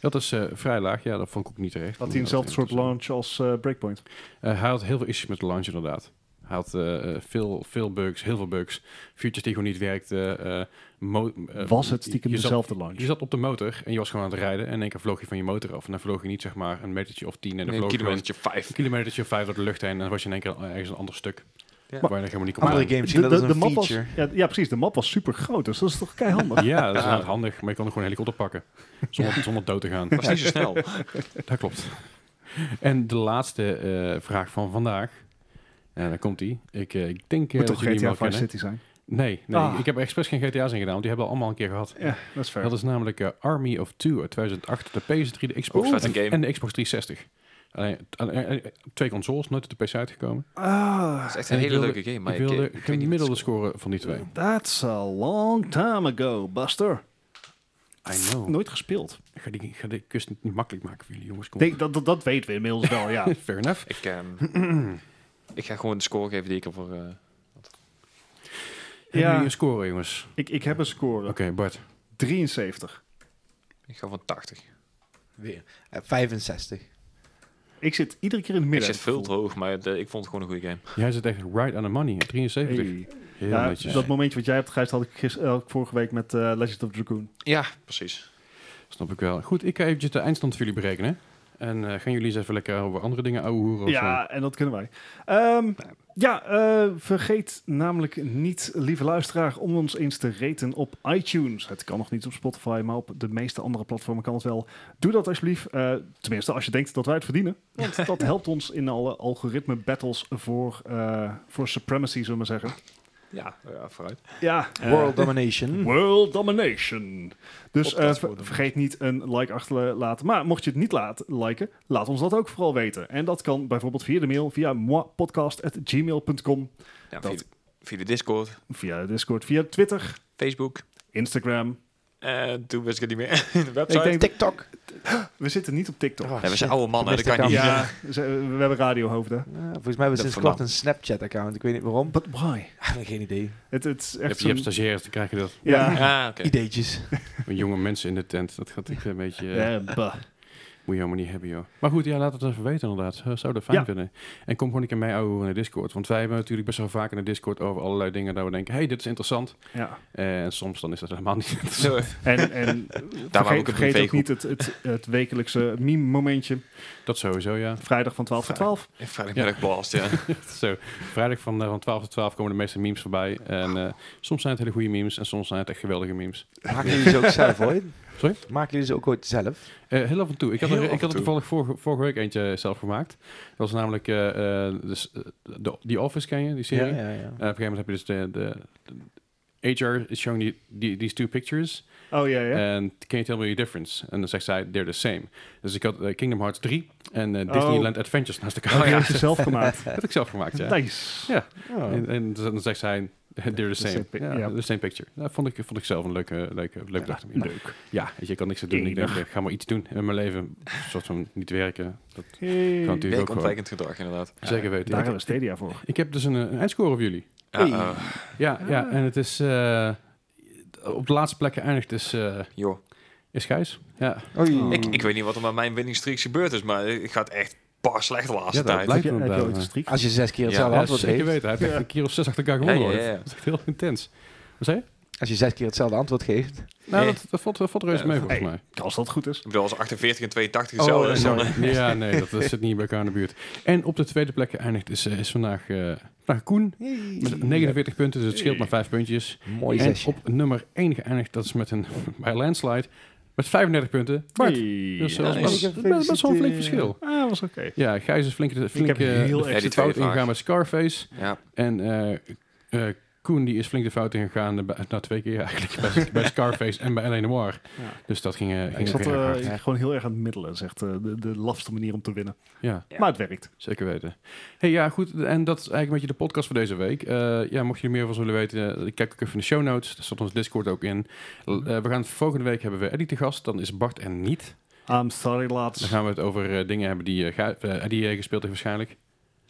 B: Dat is eh, vrij laag, ja, dat vond ik ook niet terecht.
A: Had hij eenzelfde soort launch als eh, Breakpoint.
B: Eh, hij had heel veel issues met de launch, inderdaad. Hij Hij had eh, eh, veel, veel bugs, heel veel bugs. Futures die gewoon niet werkten. eh, mo- eh,
A: Was het stiekem
B: je zat-
A: dezelfde launch?
B: Je zat op de motor en je was gewoon aan het rijden en in één keer vloog je van je motor af. En dan vloog je niet zeg maar een metertje of tien en dan
C: Nee,
B: vloog je gewoon
C: kilometertje 5.
B: een kilometertje of vijf door de lucht heen en dan was je in één keer ergens een ander stuk.
C: Ja.
B: Waar je helemaal niet kon
D: Andere
B: rijden.
D: games zien dat als een
A: map was,
D: feature.
A: ja, ja, precies. De map was super groot, dus dat is toch keihandig.
B: Ja, dat is inderdaad handig, maar je kan er gewoon een helikopter pakken. Zonder, zonder dood te gaan.
C: Dat was niet zo snel.
B: Dat klopt. En de laatste eh, vraag van vandaag. Eh daar komt die. Ik, eh, ik denk eh,
A: Moet
B: dat
A: toch
B: jullie hem
A: GTA 5
B: wel kennen.
A: City zijn?
B: Nee, nee
A: Ah.
B: ik heb er expres geen GTA's in gedaan, want die hebben we allemaal een keer gehad.
A: Ja, dat is fair.
B: Dat is namelijk eh, Army of Two uit 2008, de PS3, de Xbox
C: Oeh, vette game.
B: en, en de Xbox 360. Alleen, alleen- eh, twee consoles, nooit op de PC uitgekomen.
A: Ah,
C: Dat is echt
B: En
C: een
B: ik
C: hele
B: wilde-
C: leuke game. Maar
B: ik wilde
C: ik, ik weet niet
B: gemiddelde
C: wat-
B: scoren van die twee.
A: that's a long time ago, Buster.
B: I know.
A: Nooit gespeeld.
B: Ik ga die, ik ga die kust niet makkelijk maken voor jullie jongens. Kom.
A: Denk, dat, dat, dat weten we inmiddels wel, ja.
B: Fair enough.
C: Ik, ehm, ik ga gewoon de score geven die ik ervoor... eh
B: Hebben jullie een score jongens?
A: Ik, ik heb een score.
B: Oké, Bart.
A: 73.
C: ik ga van 80.
D: Weer. Eh, 65.
A: Ik zit iedere keer in het
C: Ik
A: midden.
C: zit veel te hoog, maar de- ik vond het gewoon een goede game.
B: Jij zit echt right on the money. 73.
A: Hey.
B: Heel
A: Ja,
B: netjes.
A: dat momentje wat jij hebt, Gijs, had ik gis- eh, vorige week met eh, Legend of Dragoon.
C: Ja, precies.
B: Snap ik wel. Goed, ik ga eventjes de eindstand voor jullie berekenen. En eh, gaan jullie eens even lekker over andere dingen ouwehoeren of zo?
A: Ja, en dat kunnen wij. Ehm, ja, eh, vergeet namelijk niet, lieve luisteraar, om ons eens te raten op iTunes. Het kan nog niet op Spotify, maar op de meeste andere platformen kan het wel. Doe dat alsjeblieft. Eh, tenminste, als je denkt dat wij het verdienen. Want dat helpt ons in alle algoritme battles voor, eh, voor supremacy, zullen we maar zeggen.
C: Ja, ja vooruit.
A: Ja, eh,
D: World Domination.
A: World Domination. Dus
C: Podcast
A: eh, ver-
C: worden.
A: vergeet niet een like achter te laten. Maar mocht je het niet laat, liken, laat ons dat ook vooral weten. En dat kan bijvoorbeeld via de mail, via moipodcast.gmail.com,
C: Ja,
A: Dat-
C: via, de- via de Discord,
A: via Discord, via Twitter,
C: Facebook.
A: Instagram.
C: En Eh, toen wist ik het niet meer in de website.
A: Ik denk-
D: TikTok.
A: We zitten niet op TikTok.
D: Oh,
C: Ja, we
D: shit.
C: zijn oude mannen, dat
D: Mr.
C: kan je niet.
D: Kamp.
A: Ja, ze- we hebben radiohoofden.
D: Ja, Eh, volgens mij hebben we
C: Dat
D: sinds kort
C: verlam.
D: een Snapchat-account. Ik weet niet waarom.
A: But why?
D: Geen idee.
A: Het, het is
B: Je hebt,
A: echt
B: je hebt
A: zo'n-
B: stagiaires, dan krijg je dat.
A: Ja, ja.
C: Ah, oké.
D: Ideetjes.
B: Met jonge mensen in de tent. Dat gaat echt een beetje... eh,
A: bah.
B: Moet je helemaal niet hebben, joh. Maar goed, ja, laat het even weten inderdaad. Eh, Zou dat fijn
A: Ja.
B: vinden. En kom gewoon een keer mee ouwe naar Discord. Want wij hebben natuurlijk best wel vaak in de Discord over allerlei dingen... dat we denken, hey, dit is interessant.
A: Ja.
B: Eh, en soms dan is dat helemaal niet interessant.
C: Zo,
A: En, en
C: Daar
A: vergeet,
C: waren ook een
A: vergeet ook
C: privégroep.
A: niet het, het, het wekelijkse meme-momentje.
B: Dat sowieso, ja.
A: Vrijdag van 12 tot 12.
C: in vrijdagmiddag blast, ja.
B: Zo, vrijdag van, eh, van 12 tot 12 komen de meeste memes voorbij. En eh, soms zijn het hele goede memes en soms zijn het echt geweldige memes.
D: Maken jullie ze ook zelf ooit?
B: Sorry?
D: Maken jullie ze ook ooit zelf?
B: Eh, heel af en toe. Ik had,
C: Heel
B: er,
C: af
B: ik
C: en
B: had er
C: toe.
B: toevallig vorige, vorige week eentje eh, zelf gemaakt. Dat was namelijk eh, eh, dus, eh, de, die Office, ken je, die serie?
D: Ja, ja, ja.
B: Eh, op een gegeven moment heb je dus de... de, de- HR is showing die, die, these two pictures.
A: Oh ja, ja.
B: En can you tell me the difference? En dan zegt zij, they're the same. Dus ik had eh, Kingdom Hearts 3 en eh,
A: Oh.
B: Disneyland Adventures naast elkaar.
A: Oh, je hebt het zelf gemaakt.
B: Dat heb ik zelf gemaakt, ja.
A: Nice.
B: Ja.
D: Oh.
B: En, en dan zegt zij, they're the same.
A: same pic-
B: Ja,
A: ja.
B: The same picture. Dat vond ik, vond ik zelf een leuke, leuke, leuke dag. om hier-
A: Leuk.
B: Ja, weet je, ik kan niks aan doen. Ik denk,
A: Enig.
B: ik ga maar iets doen met mijn leven. Een soort van niet werken. Dat
A: Hey.
B: kan natuurlijk ook gewoon.
C: Werkontwijkend gedrag, inderdaad.
B: Zeker weten.
A: Daar
B: Ik,
A: hebben we Stadia voor.
B: ik heb dus een, een eindscore op jullie.
C: Ja,
D: Hey.
C: eh,
B: Ja, ja en het is... eh, op de laatste plek geëindigd is, eh
C: joh.
B: is Gijs. Ja,
D: Oei.
A: Oh.
C: Ik, ik weet niet wat er met mijn winning streaks gebeurd is, maar ik ga het echt paar slecht de laatste
B: Ja, dat
C: tijd.
B: blijkt.
A: Heb je, heb je
B: inderdaad,
A: ooit
B: ja.
A: een streak?
D: Als je zes keer
C: Ja,
D: hetzelfde
B: ja
D: antwoord
B: zeker
D: geeft.
B: weten. Hij heeft echt
A: Ja.
B: een keer of zes achter elkaar gewonnen.
C: Ja, ja,
B: hoor.
C: ja.
B: Dat is echt heel intens. Wat zei je?
D: Als je zes keer hetzelfde antwoord geeft.
B: Nou,
C: Nee.
B: dat, dat valt, dat valt reuze
C: Ja,
B: mee
C: dat-
B: volgens
A: Hey.
B: mij.
A: Als dat goed is.
C: Ik bedoel, als 48 en 82
D: Oh,
C: hetzelfde is,
D: sorry.
C: dan... eh,
B: Ja, nee, dat, dat zit niet bij elkaar in de buurt. En op de tweede plek geëindigd is, eh, is vandaag, eh, vandaag Koen. Met 49 punten, dus het scheelt maar 5 puntjes.
D: Mooi
B: En
D: zesje.
B: op nummer 1 geëindigd, dat is met een bij landslide, met 35 punten. Bart.
A: Hey.
B: Dus
A: Ja,
B: dat
C: nice.
B: is best- best, best wel een flink verschil.
A: Ah, was oké.
B: Ja, Gijs is flink, flink
A: heb
B: eh,
A: heel
B: de
A: erg
C: die
B: fout
C: twee
B: ingegaan
C: vragen.
B: met Scarface.
C: ja.
B: En eh, eh, Koen die is flink de fout ingegaan, eh, bij- nou twee keer eigenlijk, bij, bij Scarface en bij L.A. Noir.
A: Ja.
B: Dus dat ging, eh, ging
A: Ik
B: ook
A: zat
B: heel erg
A: eh,
B: hard.
A: ik- gewoon heel erg aan het middelen. Zegt eh, de, de lafste manier om te winnen.
B: Ja.
C: Ja.
A: Maar het werkt.
B: Zeker weten. hey, ja, goed. En dat is eigenlijk een beetje de podcast voor deze week. Eh, ja, mocht je er meer van willen weten, eh, kijk ook even in de show notes. Daar staat ons Discord ook in. L-
C: Mhm.
B: eh, we gaan volgende week hebben we Eddie te gast. Dan is Bart en niet.
A: I'm sorry,
B: Dan
A: lads.
B: gaan we het over eh, dingen hebben die, eh, Gij- eh, Eddie eh, gespeeld heeft waarschijnlijk.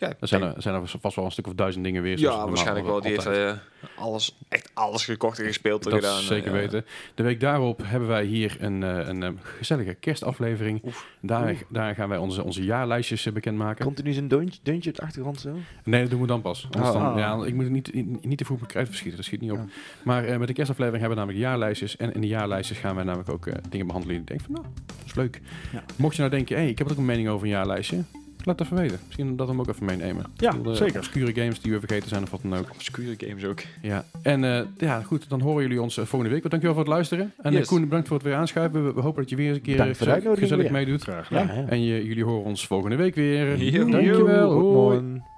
C: Ja,
B: Er zijn, er, zijn er vast wel een stuk of duizend dingen weer. zoals dus
C: ja
B: normaal
C: waarschijnlijk wel. Die heeft
B: altijd.
C: eh, alles, echt alles gekocht en gespeeld en
B: dat
C: gedaan. eh,
B: zeker
C: Ja.
B: weten. De week daarop hebben wij hier een, eh, een eh, gezellige kerstaflevering. Daar, daar gaan wij onze, onze jaarlijstjes eh, bekendmaken.
D: Komt er nu zo'n deuntje, deuntje op de achtergrond zo?
B: Nee, dat doen we dan pas. Anders
D: Oh.
B: dan,
A: Oh.
B: ja, ik moet het niet, niet, niet te vroeg op mijn kruid verschieten, dat schiet niet op.
D: Ja.
B: Maar eh, met de kerstaflevering hebben we namelijk jaarlijstjes. En in de jaarlijstjes gaan wij namelijk ook eh, dingen behandelen die je denkt van, nou, dat is leuk.
A: Ja.
B: Mocht je nou denken, hé, hey, ik heb ook een mening over een jaarlijstje. Laat het even weten. Misschien dat we hem ook even meenemen.
D: Ah,
B: Ik
A: Ja,
B: bedoel, eh,
A: zeker.
B: Obscure games die we vergeten zijn of wat dan ook.
C: Obscure games ook.
B: Ja. En eh, ja, goed, dan horen jullie ons eh, volgende week. Dankjewel voor het luisteren. En eh,
C: Yes.
B: Koen, bedankt voor het weer aanschuiven. We, we hopen dat je weer eens een keer
D: Dank voor de
B: gez-
D: uitnodiging
B: gezellig
D: weer.
B: meedoet.
A: Graag.
D: Ja, ja.
B: En je, jullie horen ons volgende week weer.
C: Yo.
B: Dankjewel.
D: Goed
B: Hoi.
D: morgen.